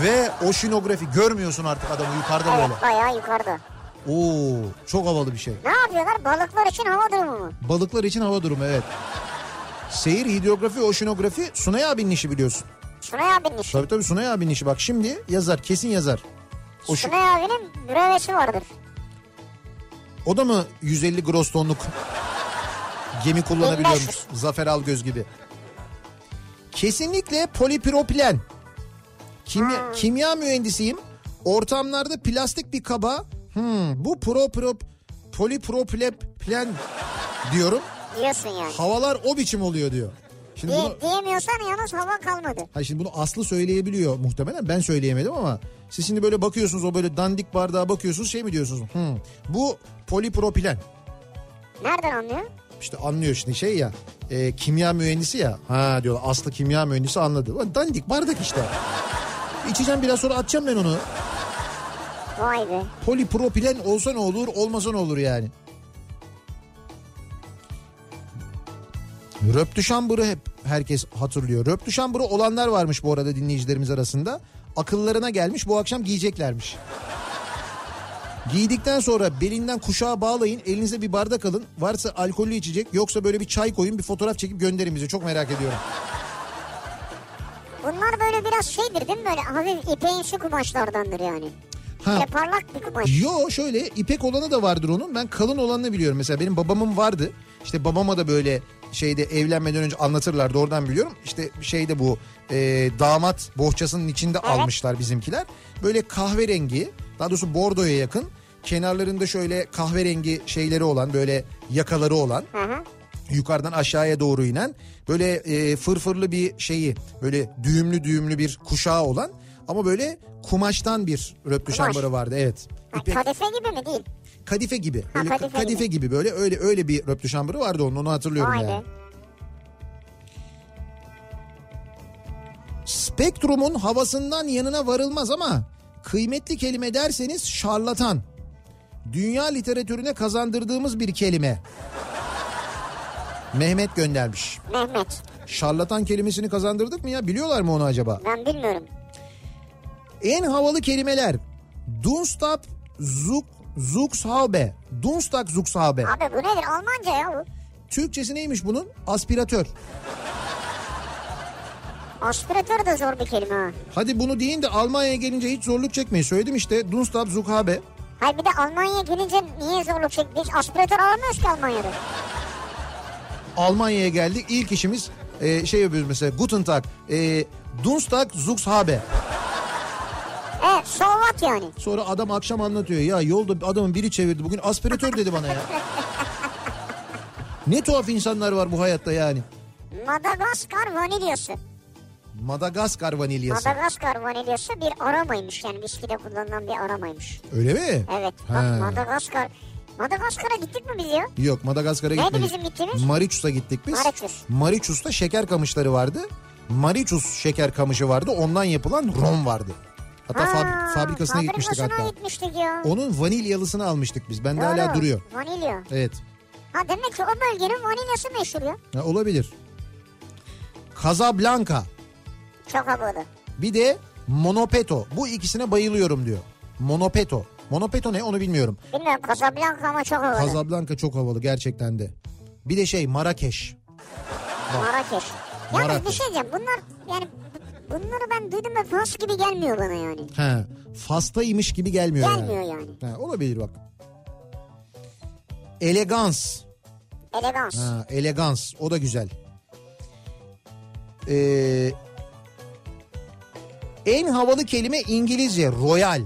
Ve oşinografi görmüyorsun artık adamı yukarıda Evet böyle. bayağı yukarıda. Oo çok havalı bir şey. Ne yapıyorlar? Balıklar için hava durumu mu? Balıklar için hava durumu evet. Seyir, hidrografi, oşinografi Sunay abinin işi biliyorsun. Sunay abinin işi. Tabii tabii Sunay abinin işi. Bak şey- şimdi yazar kesin yazar. Oşi- Sunay abinin mürevesi vardır. O da mı 150 gross tonluk gemi kullanabiliyormuş? Bilmez. Zafer Algöz gibi. Kesinlikle polipropilen. Kimya, kimya mühendisiyim. Ortamlarda plastik bir kaba hmm, bu proprop polipropilen diyorum. Diyorsun yani. Havalar o biçim oluyor diyor. Şimdi bunu, Diye, diyemiyorsan yalnız hava kalmadı. Hayır şimdi bunu Aslı söyleyebiliyor muhtemelen. Ben söyleyemedim ama siz şimdi böyle bakıyorsunuz o böyle dandik bardağa bakıyorsunuz şey mi diyorsunuz? Hmm, bu polipropilen. Nereden anlıyor? İşte anlıyor şimdi şey ya e, kimya mühendisi ya. Ha diyorlar Aslı kimya mühendisi anladı. Ulan dandik bardak işte. İçeceğim biraz sonra atacağım ben onu. Vay be. Polipropilen olsa ne olur olmasa ne olur yani. Röptüşambur'u hep herkes hatırlıyor. Röptüşamburu olanlar varmış bu arada dinleyicilerimiz arasında. Akıllarına gelmiş bu akşam giyeceklermiş. Giydikten sonra belinden kuşağa bağlayın elinize bir bardak alın. Varsa alkollü içecek yoksa böyle bir çay koyun bir fotoğraf çekip gönderin bize çok merak ediyorum. Bunlar böyle biraz şeydir değil mi? Böyle hafif ipeğimsi kumaşlardandır yani. Ha. Böyle parlak bir kumaş. Yo şöyle ipek olanı da vardır onun. Ben kalın olanını biliyorum. Mesela benim babamın vardı. İşte babama da böyle şeyde evlenmeden önce anlatırlardı oradan biliyorum. İşte şeyde bu e, damat bohçasının içinde almışlar bizimkiler. Böyle kahverengi daha doğrusu bordoya yakın kenarlarında şöyle kahverengi şeyleri olan böyle yakaları olan yukarıdan aşağıya doğru inen böyle e, fırfırlı bir şeyi böyle düğümlü düğümlü bir kuşağı olan ama böyle kumaştan bir röptüşambara vardı evet. Ha, İpek- Kadife gibi mi değil? kadife gibi. Böyle kadife kadife, gibi. gibi. böyle öyle öyle bir röptüşambara vardı onun onu hatırlıyorum Vay yani. be. Spektrum'un havasından yanına varılmaz ama kıymetli kelime derseniz şarlatan. Dünya literatürüne kazandırdığımız bir kelime. Mehmet göndermiş. Mehmet. Şarlatan kelimesini kazandırdık mı ya? Biliyorlar mı onu acaba? Ben bilmiyorum. En havalı kelimeler. Dunstab, Zug, Zugshaube. Dunstag Zugshaube. Abi bu nedir? Almanca ya bu. Türkçesi neymiş bunun? Aspiratör. Aspiratör de zor bir kelime ha. Hadi bunu deyin de Almanya'ya gelince hiç zorluk çekmeyin. Söyledim işte Dunstab Zughabe. Hayır bir de Almanya'ya gelince niye zorluk çekti? Hiç aspiratör alamıyoruz ki Almanya'da. Almanya'ya geldik. İlk işimiz e, şey yapıyoruz mesela Guten Tag. E, Dunstab Zughabe. Evet E, so what yani. Sonra adam akşam anlatıyor. Ya yolda adamın biri çevirdi. Bugün aspiratör dedi bana ya. ne tuhaf insanlar var bu hayatta yani. Madagaskar vanilyası. Madagaskar vanilyası. Madagaskar vanilyası bir aromaymış yani viskide kullanılan bir aromaymış. Öyle mi? Evet bak Ha. Madagaskar. Madagaskar'a gittik mi biz ya? Yok Madagaskar'a Nerede gitmedik. bizim gittiğimiz? Mariçus'a gittik biz. Mauritius. Mariçus'ta şeker kamışları vardı. Mariçus şeker kamışı vardı. Ondan yapılan rom vardı. Hatta fabri- fabrikasına gitmiştik fabrikasına hatta. gitmiştik ya. Onun vanilyalısını almıştık biz. Bende hala Doğru. duruyor. Vanilya. Evet. Ha demek ki o bölgenin vanilyası meşhur ya. Ya olabilir. Casablanca. Çok havalı. Bir de Monopeto. Bu ikisine bayılıyorum diyor. Monopeto. Monopeto ne onu bilmiyorum. Bilmiyorum Casablanca ama çok havalı. Casablanca çok havalı gerçekten de. Bir de şey Marrakeş. Marrakeş. Yalnız Marrakeş. bir şey diyeceğim. Bunlar yani bu- bunları ben duydum ve Fas gibi gelmiyor bana yani. He. Fastaymış gibi gelmiyor. yani. Gelmiyor yani. Ha, olabilir bak. Elegans. Elegans. Ha, elegans. O da güzel. Ee, en havalı kelime İngilizce royal.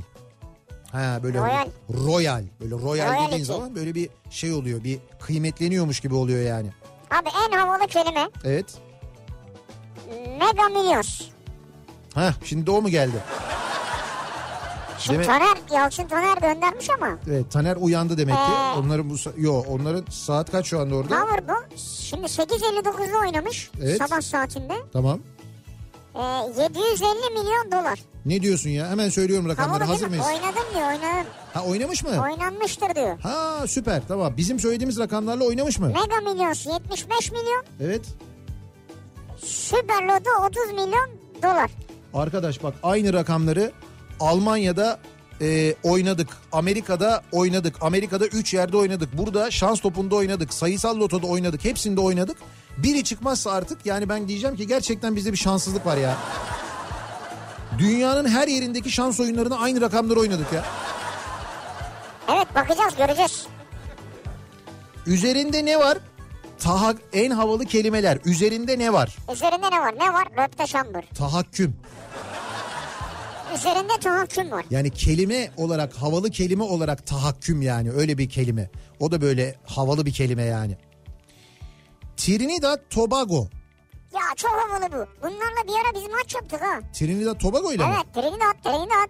Ha böyle royal. Royal. Böyle royal Royality. dediğin zaman böyle bir şey oluyor. Bir kıymetleniyormuş gibi oluyor yani. Abi en havalı kelime Evet. Mega Millions. Ha şimdi o mu geldi? Şimdi Demek- Taner, Yalçın Taner göndermiş ama. Evet E, Taner uyandı demek ki. Ee. Onların bu sa- yo onların saat kaç şu anda Ne orada? olur bu? Şimdi 8.59'da oynamış Evet. sabah saatinde. Tamam. Ee, 750 milyon dolar. Ne diyorsun ya? Hemen söylüyorum rakamları. Havalı Hazır değil mi? mıyız? Oynadım diyor oynadım. Ha oynamış mı? Oynanmıştır diyor. Ha süper tamam. Bizim söylediğimiz rakamlarla oynamış mı? Mega Millions 75 milyon. Evet. Süper Loto 30 milyon dolar. Arkadaş bak aynı rakamları Almanya'da e, oynadık. Amerika'da oynadık. Amerika'da 3 yerde oynadık. Burada şans topunda oynadık. Sayısal lotoda oynadık. Hepsinde oynadık. Biri çıkmazsa artık yani ben diyeceğim ki gerçekten bizde bir şanssızlık var ya. Dünyanın her yerindeki şans oyunlarına aynı rakamları oynadık ya. Evet bakacağız göreceğiz. Üzerinde ne var? Taha en havalı kelimeler. Üzerinde ne var? Üzerinde ne var? Ne var? Röpte şambur. Tahakküm. Üzerinde tahakküm var. Yani kelime olarak havalı kelime olarak tahakküm yani öyle bir kelime. O da böyle havalı bir kelime yani. Trinidad Tobago. Ya çok havalı bu. Bunlarla bir ara biz maç yaptık ha. Trinidad Tobago ile mi? Evet Trinidad Trinidad.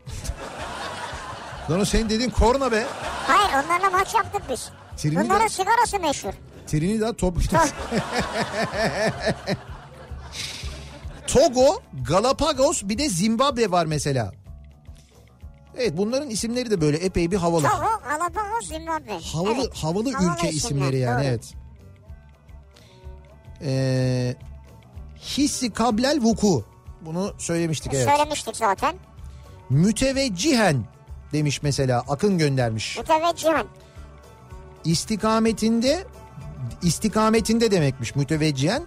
Lan o senin dediğin korna be. Hayır onlarla maç yaptık biz. Trinidad- Bunların sigarası meşhur. Trinidad Tobago. Togo, Galapagos bir de Zimbabwe var mesela. Evet bunların isimleri de böyle epey bir havalı. Togo, Galapagos, Zimbabwe. Havalı Evet, havalı ülke isimler, isimleri yani doğru. evet. Ee, hissi kablel vuku. Bunu söylemiştik evet. Söylemiştik zaten. Müteveccihen demiş mesela Akın göndermiş. Müteveccihen. İstikametinde istikametinde demekmiş müteveccihen.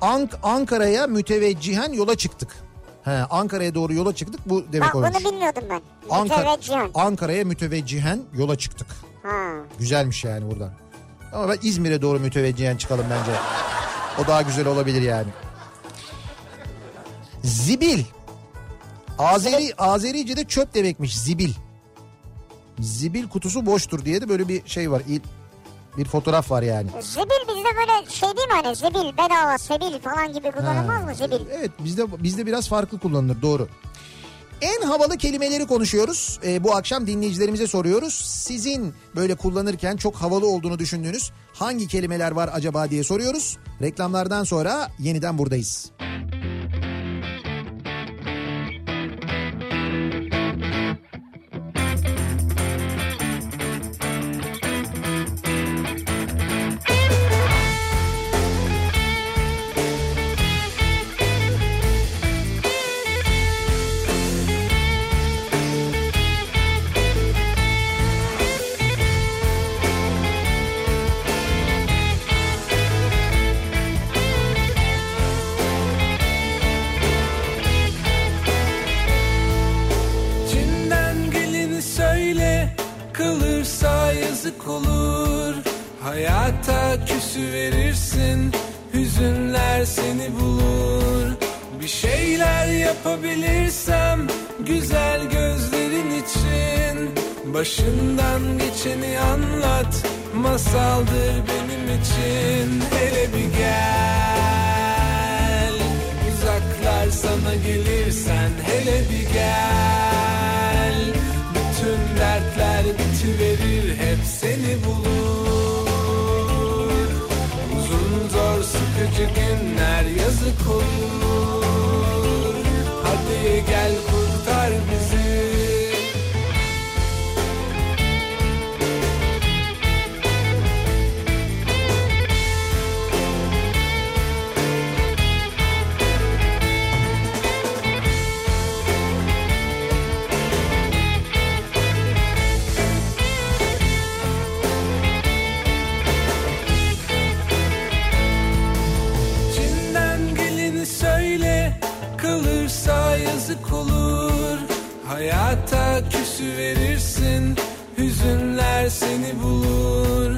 Ank Ankara'ya müteveccihen yola çıktık. He, Ankara'ya doğru yola çıktık bu demek Bak olmuş. bunu bilmiyordum ben. Ankara- Müteveccihen. Ankara'ya müteveccihen yola çıktık. Ha. Güzelmiş yani buradan. Ama ben İzmir'e doğru müteveccihen çıkalım bence. O daha güzel olabilir yani. Zibil. Azeri, Azerice'de çöp demekmiş zibil. Zibil kutusu boştur diye de böyle bir şey var. İl- Bir fotoğraf var yani. Zibil bizde böyle şey değil mi hani zibil bedava sebil falan gibi kullanılmaz mı zibil? Evet bizde bizde biraz farklı kullanılır doğru. En havalı kelimeleri konuşuyoruz. Ee, bu akşam dinleyicilerimize soruyoruz. Sizin böyle kullanırken çok havalı olduğunu düşündüğünüz hangi kelimeler var acaba diye soruyoruz. Reklamlardan sonra yeniden buradayız. İçinden geleni söyle Kalırsa yazık olur Hayata küsü verirsin Hüzünler seni bulur Bir şeyler yapabilirsem Güzel gözlerin için Başından geçeni anlat Masaldır benim için Hele bir gel Uzaklar sana gelirsen Hele bir gel Bütün dertler bitiverir Hep seni bulur Uzun zor sıkıcı günler yazık olur Hadi gel kurtar bizi İçinden geleni söyle Kalırsa yazık olur Hayata küsü verirsin Hüzünler seni bulur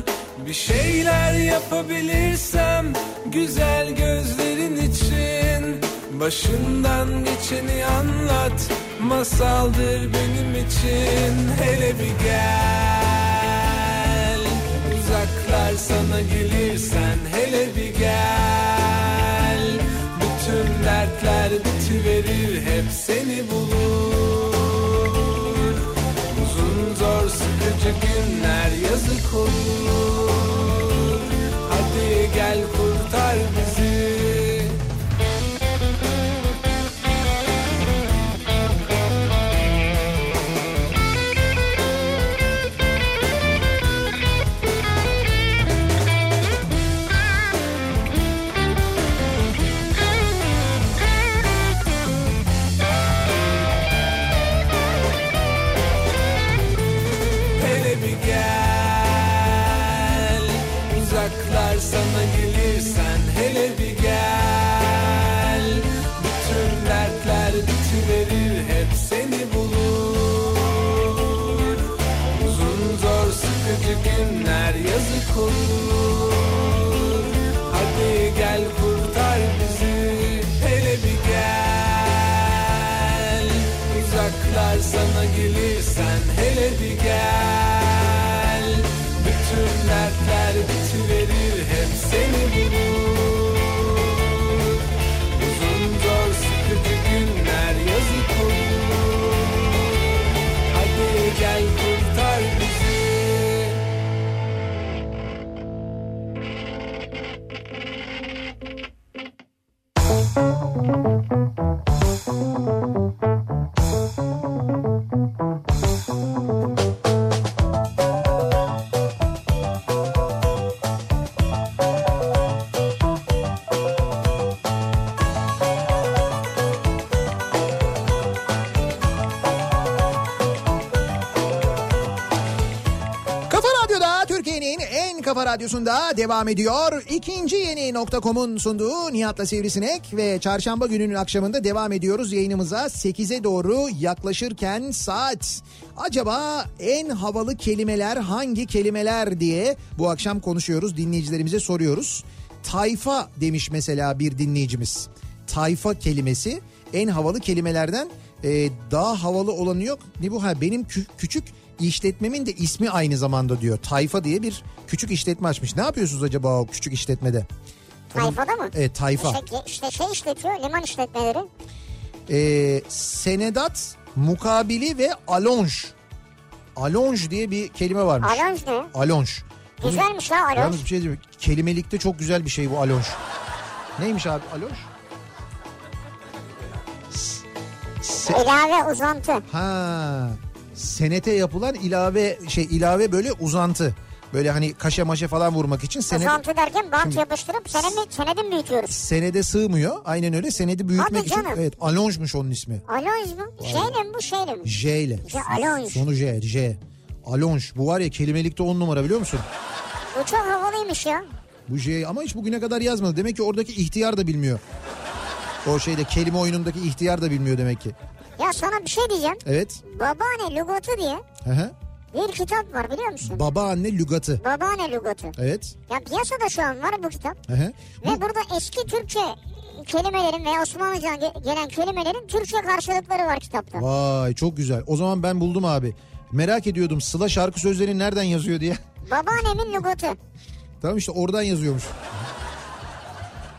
Bir şeyler yapabilirsem Güzel gözlerin için Başından geçeni anlat Masaldır benim için Hele bir gel Uzaklar sana gelirsen Hele bir gel Bütün dertler bitiverir Hep seni bulur Uzun zor sıkıcı günler yazık olur Hadi gel kurtar bizi Müzik Eğer sana gelirsen hele bir gel Bütün dertler bitiverir hep seni bulur Uzun zor sıkıcı günler yazık olur Hadi gel kurtar bizi Kafa Radyo'da Türkiye'nin en kafa radyosunda devam ediyor. İkinci yeni nokta.com'un sunduğu Nihat'la Sivrisinek ve çarşamba gününün akşamında devam ediyoruz yayınımıza. 8'e doğru yaklaşırken saat. Acaba en havalı kelimeler hangi kelimeler diye bu akşam konuşuyoruz dinleyicilerimize soruyoruz. Tayfa demiş mesela bir dinleyicimiz. Tayfa kelimesi en havalı kelimelerden e, daha havalı olanı yok. Ne bu ha benim kü- küçük İşletmemin de ismi aynı zamanda diyor. Tayfa diye bir küçük işletme açmış. Ne yapıyorsunuz acaba o küçük işletmede? Tayfa'da mı? Evet tayfa. İşte, ge- işte şey işletiyor liman işletmeleri. Ee, senedat, mukabili ve alonj. Alonj diye bir kelime varmış. Alonj ne? Alonj. Bunu- Güzelmiş ha alonj. Yalnız bir şey diyeyim. mi? Kelimelikte çok güzel bir şey bu alonj. Neymiş abi alonj? S- se- İlave uzantı. Ha. Senete yapılan ilave şey ilave böyle uzantı. Böyle hani kaşe maşe falan vurmak için senet Uzantı derken bant Şimdi- yapıştırıp senedi, senedin büyütüyoruz. senede sığmıyor. Aynen öyle. Senedi büyütmek için. canım. Evet, alonjmuş onun ismi. Alonj mu? Şeyle mi Şey bu şeyle mi? J ile. Ya, alonj. Sonu J, J. Alonj. Bu var ya kelimelikte on numara biliyor musun? Bu çok havalıymış ya. Bu J ama hiç bugüne kadar yazmadı. Demek ki oradaki ihtiyar da bilmiyor. O şeyde kelime oyunundaki ihtiyar da bilmiyor demek ki. Ya sana bir şey diyeceğim. Evet. Babaanne lugatı diye Hı hı. bir kitap var biliyor musun? Babaanne lügatı. Babaanne lugatı. Evet. Ya piyasada şu an var bu kitap. Hı hı. Ve burada eski Türkçe kelimelerin veya Osmanlıca'dan ge- gelen kelimelerin Türkçe karşılıkları var kitapta. Vay çok güzel. O zaman ben buldum abi. Merak ediyordum Sıla şarkı sözlerini nereden yazıyor diye. Babaannemin lugatı. tamam işte oradan yazıyormuş.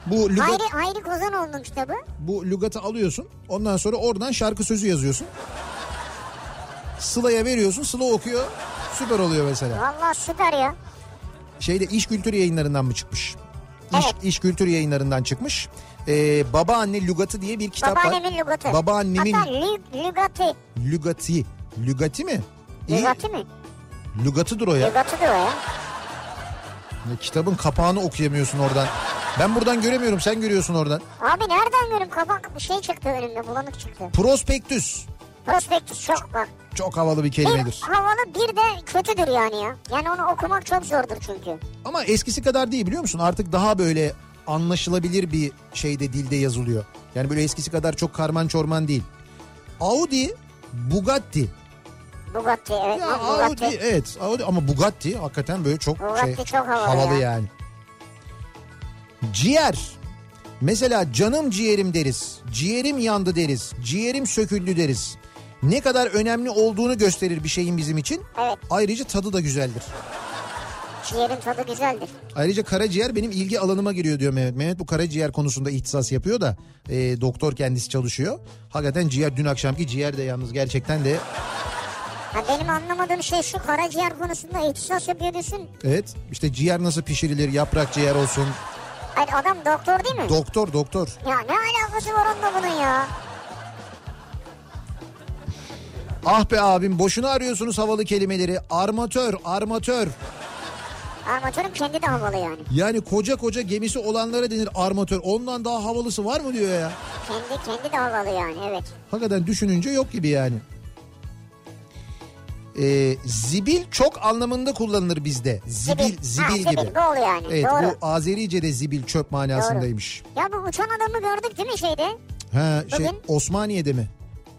Bu lügat... Hayri, Hayri Kozanoğlu'nun kitabı. Bu lügatı alıyorsun. Ondan sonra oradan şarkı sözü yazıyorsun. Sıla'ya veriyorsun. Sıla okuyor. Süper oluyor mesela. Vallahi süper ya. Şeyde iş kültür yayınlarından mı çıkmış? İş, Evet. İş kültür yayınlarından çıkmış. Ee, babaanne lügatı diye bir kitap var. Babaannemin lugatı. Babaannemin Hatta lü- lügatı. lügatı. Lügati mi? İyi. Lügatı mı? Lügatıdır o ya. Lügatıdır o ya. Ya Kitabın kapağını okuyamıyorsun oradan. Ben buradan göremiyorum. Sen görüyorsun oradan. Abi nereden görüyorum kabak bir şey çıktı önümde bulanık çıktı. Prospektüs. Prospektüs çok bak. Çok havalı bir Bir kelimedir. havalı bir de kötüdür yani ya. Yani onu okumak çok zordur çünkü. Ama eskisi kadar değil biliyor musun? Artık daha böyle anlaşılabilir bir şeyde dilde yazılıyor. Yani böyle eskisi kadar çok karman çorman değil. Audi, Bugatti. Bugatti evet. Ya bak Audi, Bugatti. evet Audi ama Bugatti hakikaten böyle çok Bugatti şey çok havalı ya. yani. Ciğer. Mesela canım ciğerim deriz. Ciğerim yandı deriz. Ciğerim söküldü deriz. Ne kadar önemli olduğunu gösterir bir şeyin bizim için. Evet. Ayrıca tadı da güzeldir. Ciğerin tadı güzeldir. Ayrıca karaciğer benim ilgi alanıma giriyor diyor Mehmet. Mehmet bu karaciğer konusunda ihtisas yapıyor da e, doktor kendisi çalışıyor. Hakikaten ciğer dün akşamki ciğer de yalnız gerçekten de Ha benim anlamadığım şey şu karaciğer konusunda ihtisas yapıyor diyorsun. evet işte ciğer nasıl pişirilir yaprak ciğer olsun. Hayır adam doktor değil mi? Doktor doktor ya ne alakası var onunla bunun ya? ah be abim boşuna arıyorsunuz havalı kelimeleri armatör armatör Armatörün kendi de havalı yani. yani koca koca gemisi olanlara denir armatör ondan daha havalısı var mı diyor ya. Kendi kendi de havalı yani evet. Hakikaten düşününce yok gibi yani. Ee, zibil çok anlamında kullanılır bizde. Zibil, Ha, zibil zibil, gibi. doğru yani, Evet, doğru. bu Azerice'de zibil çöp manasındaymış. Ya bu uçan adamı gördük değil mi şeyde? Ha, şey Bugün- Osmaniye'de mi?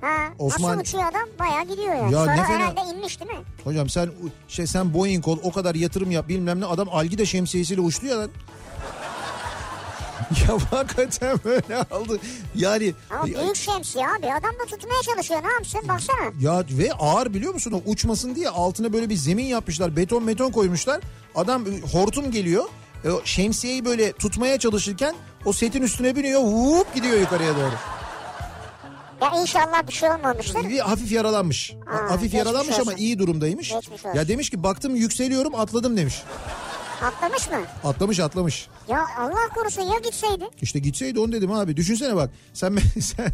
Ha, Osman- Nasıl uçuyor adam? Bayağı gidiyor yani. Ya ne Sonra fena- herhalde inmiş değil mi? Hocam sen u- şey sen Boeing ol o kadar yatırım yap bilmem ne adam algida şemsiyesiyle uçtu ya lan. ya hakikaten böyle aldı. Yani Ama büyük şemsiye abi adam da tutmaya çalışıyor ne yapsın baksana. ya ve ağır biliyor musun o uçmasın diye altına böyle bir zemin yapmışlar. Beton beton koymuşlar. Adam e, hortum geliyor. E, o şemsiyeyi böyle tutmaya çalışırken o setin üstüne biniyor. Vup gidiyor yukarıya doğru. Ya inşallah bir şey olmamıştır. Bir hafif yaralanmış. Aa, hafif yaralanmış geçmiş ama olsun. iyi durumdaymış. Geçmiş olsun. Ya demiş ki baktım yükseliyorum atladım demiş. Atlamış mı? Atlamış atlamış. Ya Allah korusun ya gitseydi. İşte gitseydi onu dedim abi. Düşünsene bak. Sen sen,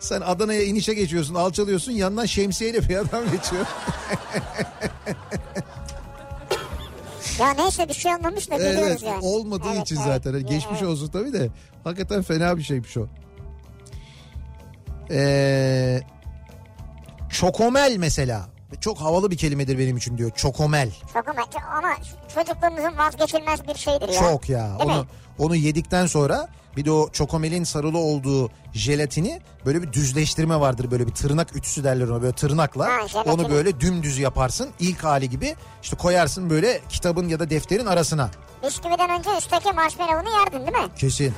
sen Adana'ya inişe geçiyorsun, alçalıyorsun. Yandan şemsiyeyle bir adam geçiyor. Ya neyse bir şey olmamış da Evet, biliyoruz yani. olmadığı Evet, için evet. zaten. hani Ya, Geçmiş evet. olsun tabii de. Hakikaten fena bir şeymiş o. Ee, çokomel mesela. Çok havalı bir kelimedir benim için diyor. Çokomel. Çok ama, ama çocukluğumuzun vazgeçilmez bir şeydir ya. Çok ya. Değil mi? Onu, onu yedikten sonra bir de o çokomelin sarılı olduğu jelatini böyle bir düzleştirme vardır. Böyle bir tırnak ütüsü derler ona böyle tırnakla. Ha, jelatini. onu böyle dümdüz yaparsın ilk hali gibi. işte koyarsın böyle kitabın ya da defterin arasına. Bisküviden önce üstteki marshmallow'unu yerdin değil mi? Kesin.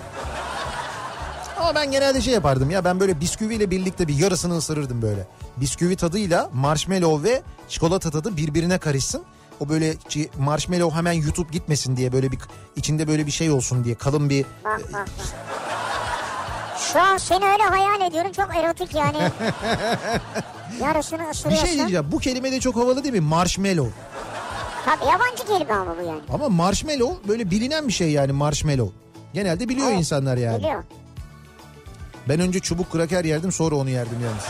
Ama ben genelde şey yapardım ya ben böyle bisküviyle birlikte bir yarısını ısırırdım böyle. Bisküvi tadıyla marshmallow ve çikolata tadı birbirine karışsın. O böyle çi- marshmallow hemen yutup gitmesin diye böyle bir içinde böyle bir şey olsun diye kalın bir Bak bak bak. Ah, Şu an seni öyle hayal ediyorum çok erotik yani. Yarısını bir ısırıyorsun. şey diyeceğim. Bu kelime de çok havalı değil mi? Marshmallow. Tabii yabancı kelime ama bu yani. Ama marshmallow böyle bilinen bir şey yani marshmallow. Genelde biliyor insanlar yani. Biliyor. Ben önce çubuk kraker yerdim sonra onu yerdim yalnız.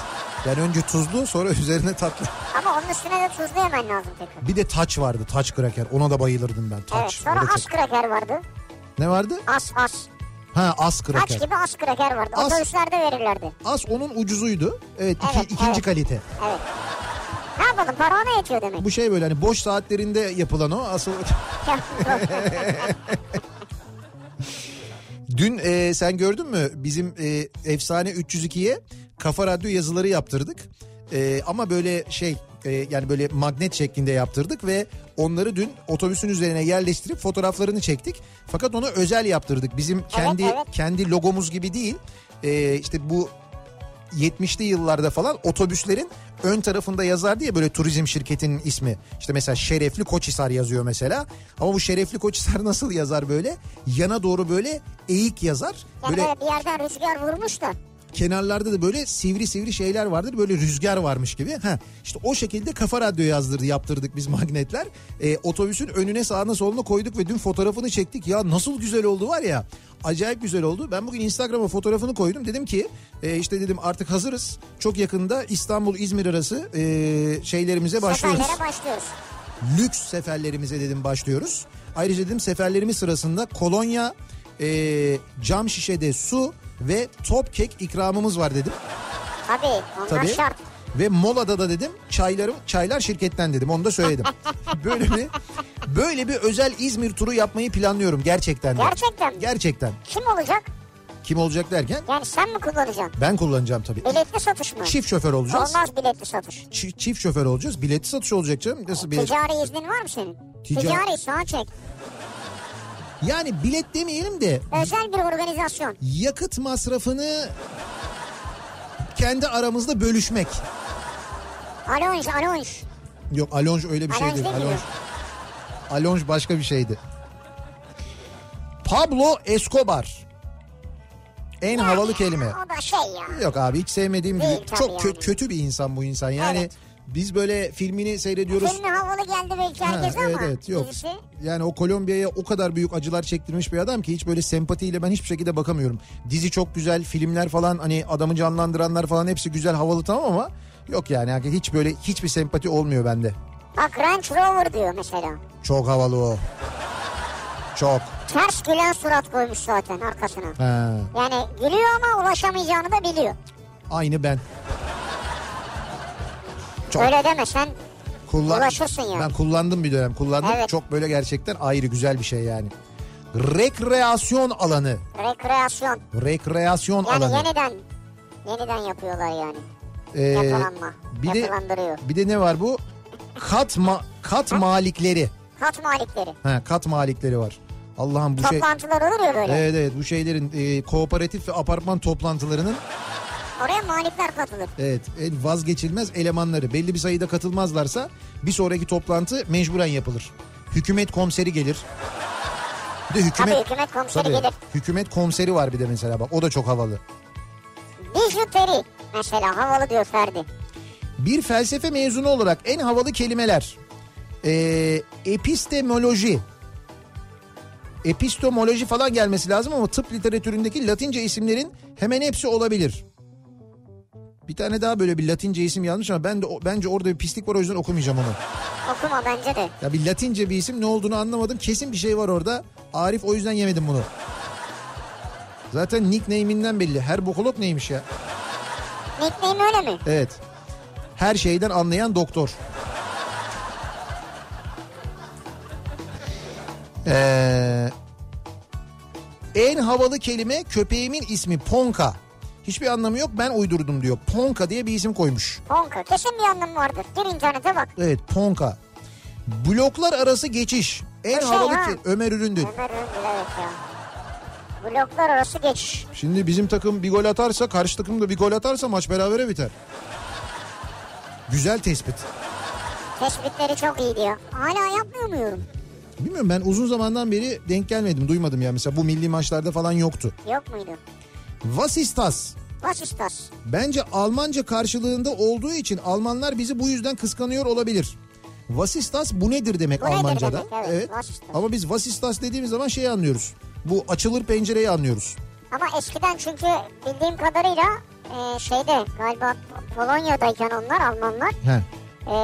Yani önce tuzlu sonra üzerine tatlı. Ama onun üstüne de tuzlu yemen lazım tekrar. Bir de taç vardı taç kraker. Ona da bayılırdım ben. Taç. Evet sonra O da çok- as kraker vardı. Ne vardı? As as. Ha as Aç kraker. gibi as kraker vardı. As- Otobüslerde verirlerdi. As onun ucuzuydu. Evet, iki- Evet, ikinci evet. kalite. Evet. Ne yapalım para ona yetiyor demek. Bu şey böyle hani boş saatlerinde yapılan o asıl. Dün e, sen gördün mü bizim e, efsane 302'ye kafa radyo yazıları yaptırdık. E, ama böyle şey e, yani böyle magnet şeklinde yaptırdık ve onları dün otobüsün üzerine yerleştirip fotoğraflarını çektik. Fakat onu özel yaptırdık. Bizim kendi evet. kendi logomuz gibi değil. E, işte bu 70'li yıllarda falan otobüslerin ön tarafında yazar diye böyle turizm şirketinin ismi. İşte mesela Şerefli Koçhisar yazıyor mesela. Ama bu Şerefli Koçhisar nasıl yazar böyle? Yana doğru böyle eğik yazar. Yani Böyle böyle bir yerden rüzgar vurmuş da. kenarlarda da böyle sivri sivri şeyler vardır. Böyle rüzgar varmış gibi. Ha işte o şekilde kafa radyo yazdırdı yaptırdık biz magnetler. Ee, otobüsün önüne sağına soluna koyduk ve dün fotoğrafını çektik. Ya nasıl güzel oldu var ya. Acayip güzel oldu. Ben bugün Instagram'a fotoğrafını koydum. Dedim ki e, işte dedim artık hazırız. Çok yakında İstanbul İzmir arası e, şeylerimize başlıyoruz Seferlere başlıyoruz. lüks seferlerimize dedim başlıyoruz. Ayrıca dedim seferlerimiz sırasında kolonya, e, cam şişede su ve top kek ikramımız var dedim. Tabii onlar Tabii. şart. Ve molada da dedim çaylarım çaylar şirketten dedim onu da söyledim. böyle bir böyle bir özel İzmir turu yapmayı planlıyorum gerçekten de. Gerçekten mi? Gerçekten. Kim olacak? Kim olacak derken Yani sen mi kullanacaksın? ben kullanacağım tabii. Biletli satış mı? Çift şoför olacağız. E, Olmaz biletli satış. Çi- çift şoför olacağız. Bileti satış olacak canım. Nasıl bilet? Ticari iznin var mı senin? Tica- Ticari sağa çek. Yani bilet demeyelim de Özel bir organizasyon. yakıt masrafını kendi aramızda bölüşmek. Alonj, alonj. Yok Alonj öyle bir şey Alonj değil. değil mi? Alonj, Alonj başka bir şeydi. Pablo Escobar. En havalı kelime. O da şey ya. Yok abi hiç sevmediğim Değil gibi. tabii Çok kö- yani. kötü bir insan bu insan. Yani Evet. biz böyle filmini seyrediyoruz. Filmi havalı geldi belki Ha, herkese evet ama. evet yok. dizisi- Yani o Kolombiya'ya o kadar büyük acılar çektirmiş bir adam ki hiç böyle sempatiyle ben hiçbir şekilde bakamıyorum. Dizi çok güzel, filmler falan hani adamı canlandıranlar falan hepsi güzel havalı tamam ama yok yani hakikaten hiç böyle hiçbir sempati olmuyor bende. Bak Range Rover diyor mesela. Çok havalı o. Çok. Ters gülen surat koymuş zaten arkasına. Ha, Yani gülüyor ama ulaşamayacağını da biliyor. aynı ben. Çok. Öyle deme sen Kullan- Ulaşırsın yani. Ben kullandım bir dönem kullandım. Evet. Çok böyle gerçekten ayrı güzel bir şey yani. Rekreasyon alanı. rekreasyon. Rekreasyon Yani alanı. yeniden yeniden yapıyorlar yani. Ee, Yapılanma. bir de Yapılandırıyor. bir de ne var bu? Kat ma, kat malikleri. Kat malikleri. Ha, kat malikleri var. Allah'ım bu şey... Toplantılar olur ya böyle. Evet evet bu şeylerin e, kooperatif ve apartman toplantılarının Oraya mağluplar katılır. evet en vazgeçilmez elemanları. Belli bir sayıda katılmazlarsa bir sonraki toplantı mecburen yapılır. Hükümet komiseri gelir. Bir de hükümet, Tabii hükümet komiseri Tabii, gelir. Hükümet komiseri var bir de mesela bak o da çok havalı. Bijuteri mesela havalı diyor Ferdi. Bir felsefe mezunu olarak en havalı kelimeler. Ee, epistemoloji. Epistemoloji falan gelmesi lazım ama tıp literatüründeki Latince isimlerin hemen hepsi olabilir. Bir tane daha böyle bir Latince isim yazmış ama ben de o- bence orada bir pislik var o yüzden okumayacağım onu. Okuma bence de. Ya bir Latince bir isim ne olduğunu anlamadım. Kesin bir şey var orada. Arif o yüzden yemedim bunu. Zaten nickname'inden belli. Her bokolog neymiş ya? Nickname öyle mi? Evet. Her şeyden anlayan doktor. Ee, en havalı kelime köpeğimin ismi Ponka. Hiçbir anlamı yok ben uydurdum diyor. Ponka diye bir isim koymuş. Ponka. Kesin bir anlamı vardır. Gir internete bak. Evet Ponka. Bloklar arası geçiş. En Bu şey havalı ha. ke- Ömer Üründül. Ömer Öndül evet ya. Bloklar arası geçiş. Şimdi bizim takım bir gol atarsa karşı takım da bir gol atarsa maç berabere biter. Güzel tespit. Tespitleri çok iyi diyor. Hala yapmıyor muyum? Bilmiyorum ben uzun zamandan beri denk gelmedim duymadım ya mesela bu milli maçlarda falan yoktu. Yok muydu? Was ist das? Was ist das? Bence Almanca karşılığında olduğu için Almanlar bizi bu yüzden kıskanıyor olabilir. Was ist das bu nedir demek Bu nedir Almanca'da. demek, evet, was ist das? Ama biz was ist das dediğimiz zaman şeyi anlıyoruz. Bu açılır pencereyi anlıyoruz. Ama eskiden çünkü bildiğim kadarıyla e, şeyde galiba Polonya'dayken onlar Almanlar He. e,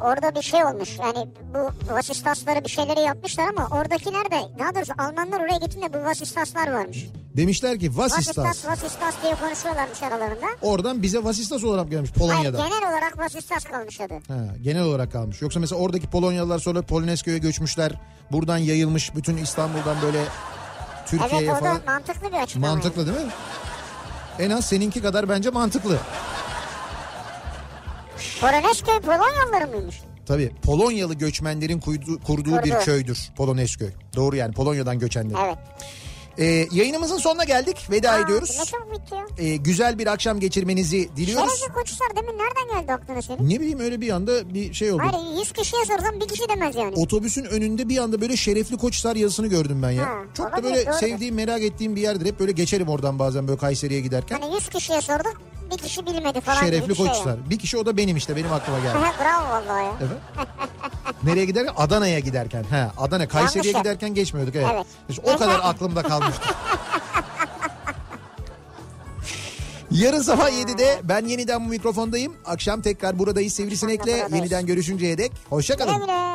orada bir şey olmuş. Yani bu vasistasları bir şeyleri yapmışlar ama oradakiler de daha doğrusu Almanlar oraya gittiğinde bu vasistaslar varmış. Demişler ki was ist Vasistas das. vasistas diye konuşuyorlarmış aralarında. Oradan bize was ist das olarak gelmiş Hayır Polonya'da. genel olarak vasistas kalmış adı. Ha, genel olarak kalmış. Yoksa mesela oradaki Polonyalılar sonra Polonezköy'e göçmüşler. Buradan yayılmış bütün İstanbul'dan böyle Türkiye'ye Evet o falan. da mantıklı bir açıklama. Mantıklı değil mi? En az seninki kadar bence mantıklı. Polonezköy Polonyalıları mıymış? Tabii Polonyalı göçmenlerin kuydu- kurduğu bir Kurdu. köydür Polonezköy. Doğru yani Polonya'dan göçenler. Evet. Ee, yayınımızın sonuna geldik. Veda Aa, Ne ediyoruz. çabuk bitti ya. Ee, güzel bir akşam geçirmenizi diliyoruz. Şerefli koçlar demin nereden geldi aklına senin? Ne bileyim öyle bir anda bir şey oldu. Hayır 100 kişiye sorsam bir kişi demez yani. Otobüsün önünde bir anda böyle şerefli koçlar yazısını gördüm ben ya. Ha, Çok da olabilir, böyle doğrudur. sevdiğim, merak ettiğim bir yerdir. Hep böyle geçerim oradan bazen böyle Kayseri'ye giderken. Hani 100 kişiye sorduk bir kişi bilmedi falan gibi şerefli bir şey. koçlar. Bir kişi o da benim işte benim aklıma geldi. Yani. Bravo vallahi ya. Evet. Nereye giderken? Adana'ya giderken. He, Adana. Kayseri'ye Yanlış yer. giderken geçmiyorduk. Evet. Evet. İşte o kadar aklımda kalmıştı. Yarın sabah 7'de ben yeniden bu mikrofondayım. Akşam tekrar buradayız Sivrisinek'le. buradayız. Yeniden görüşünceye dek. Hoşçakalın. Güle güle.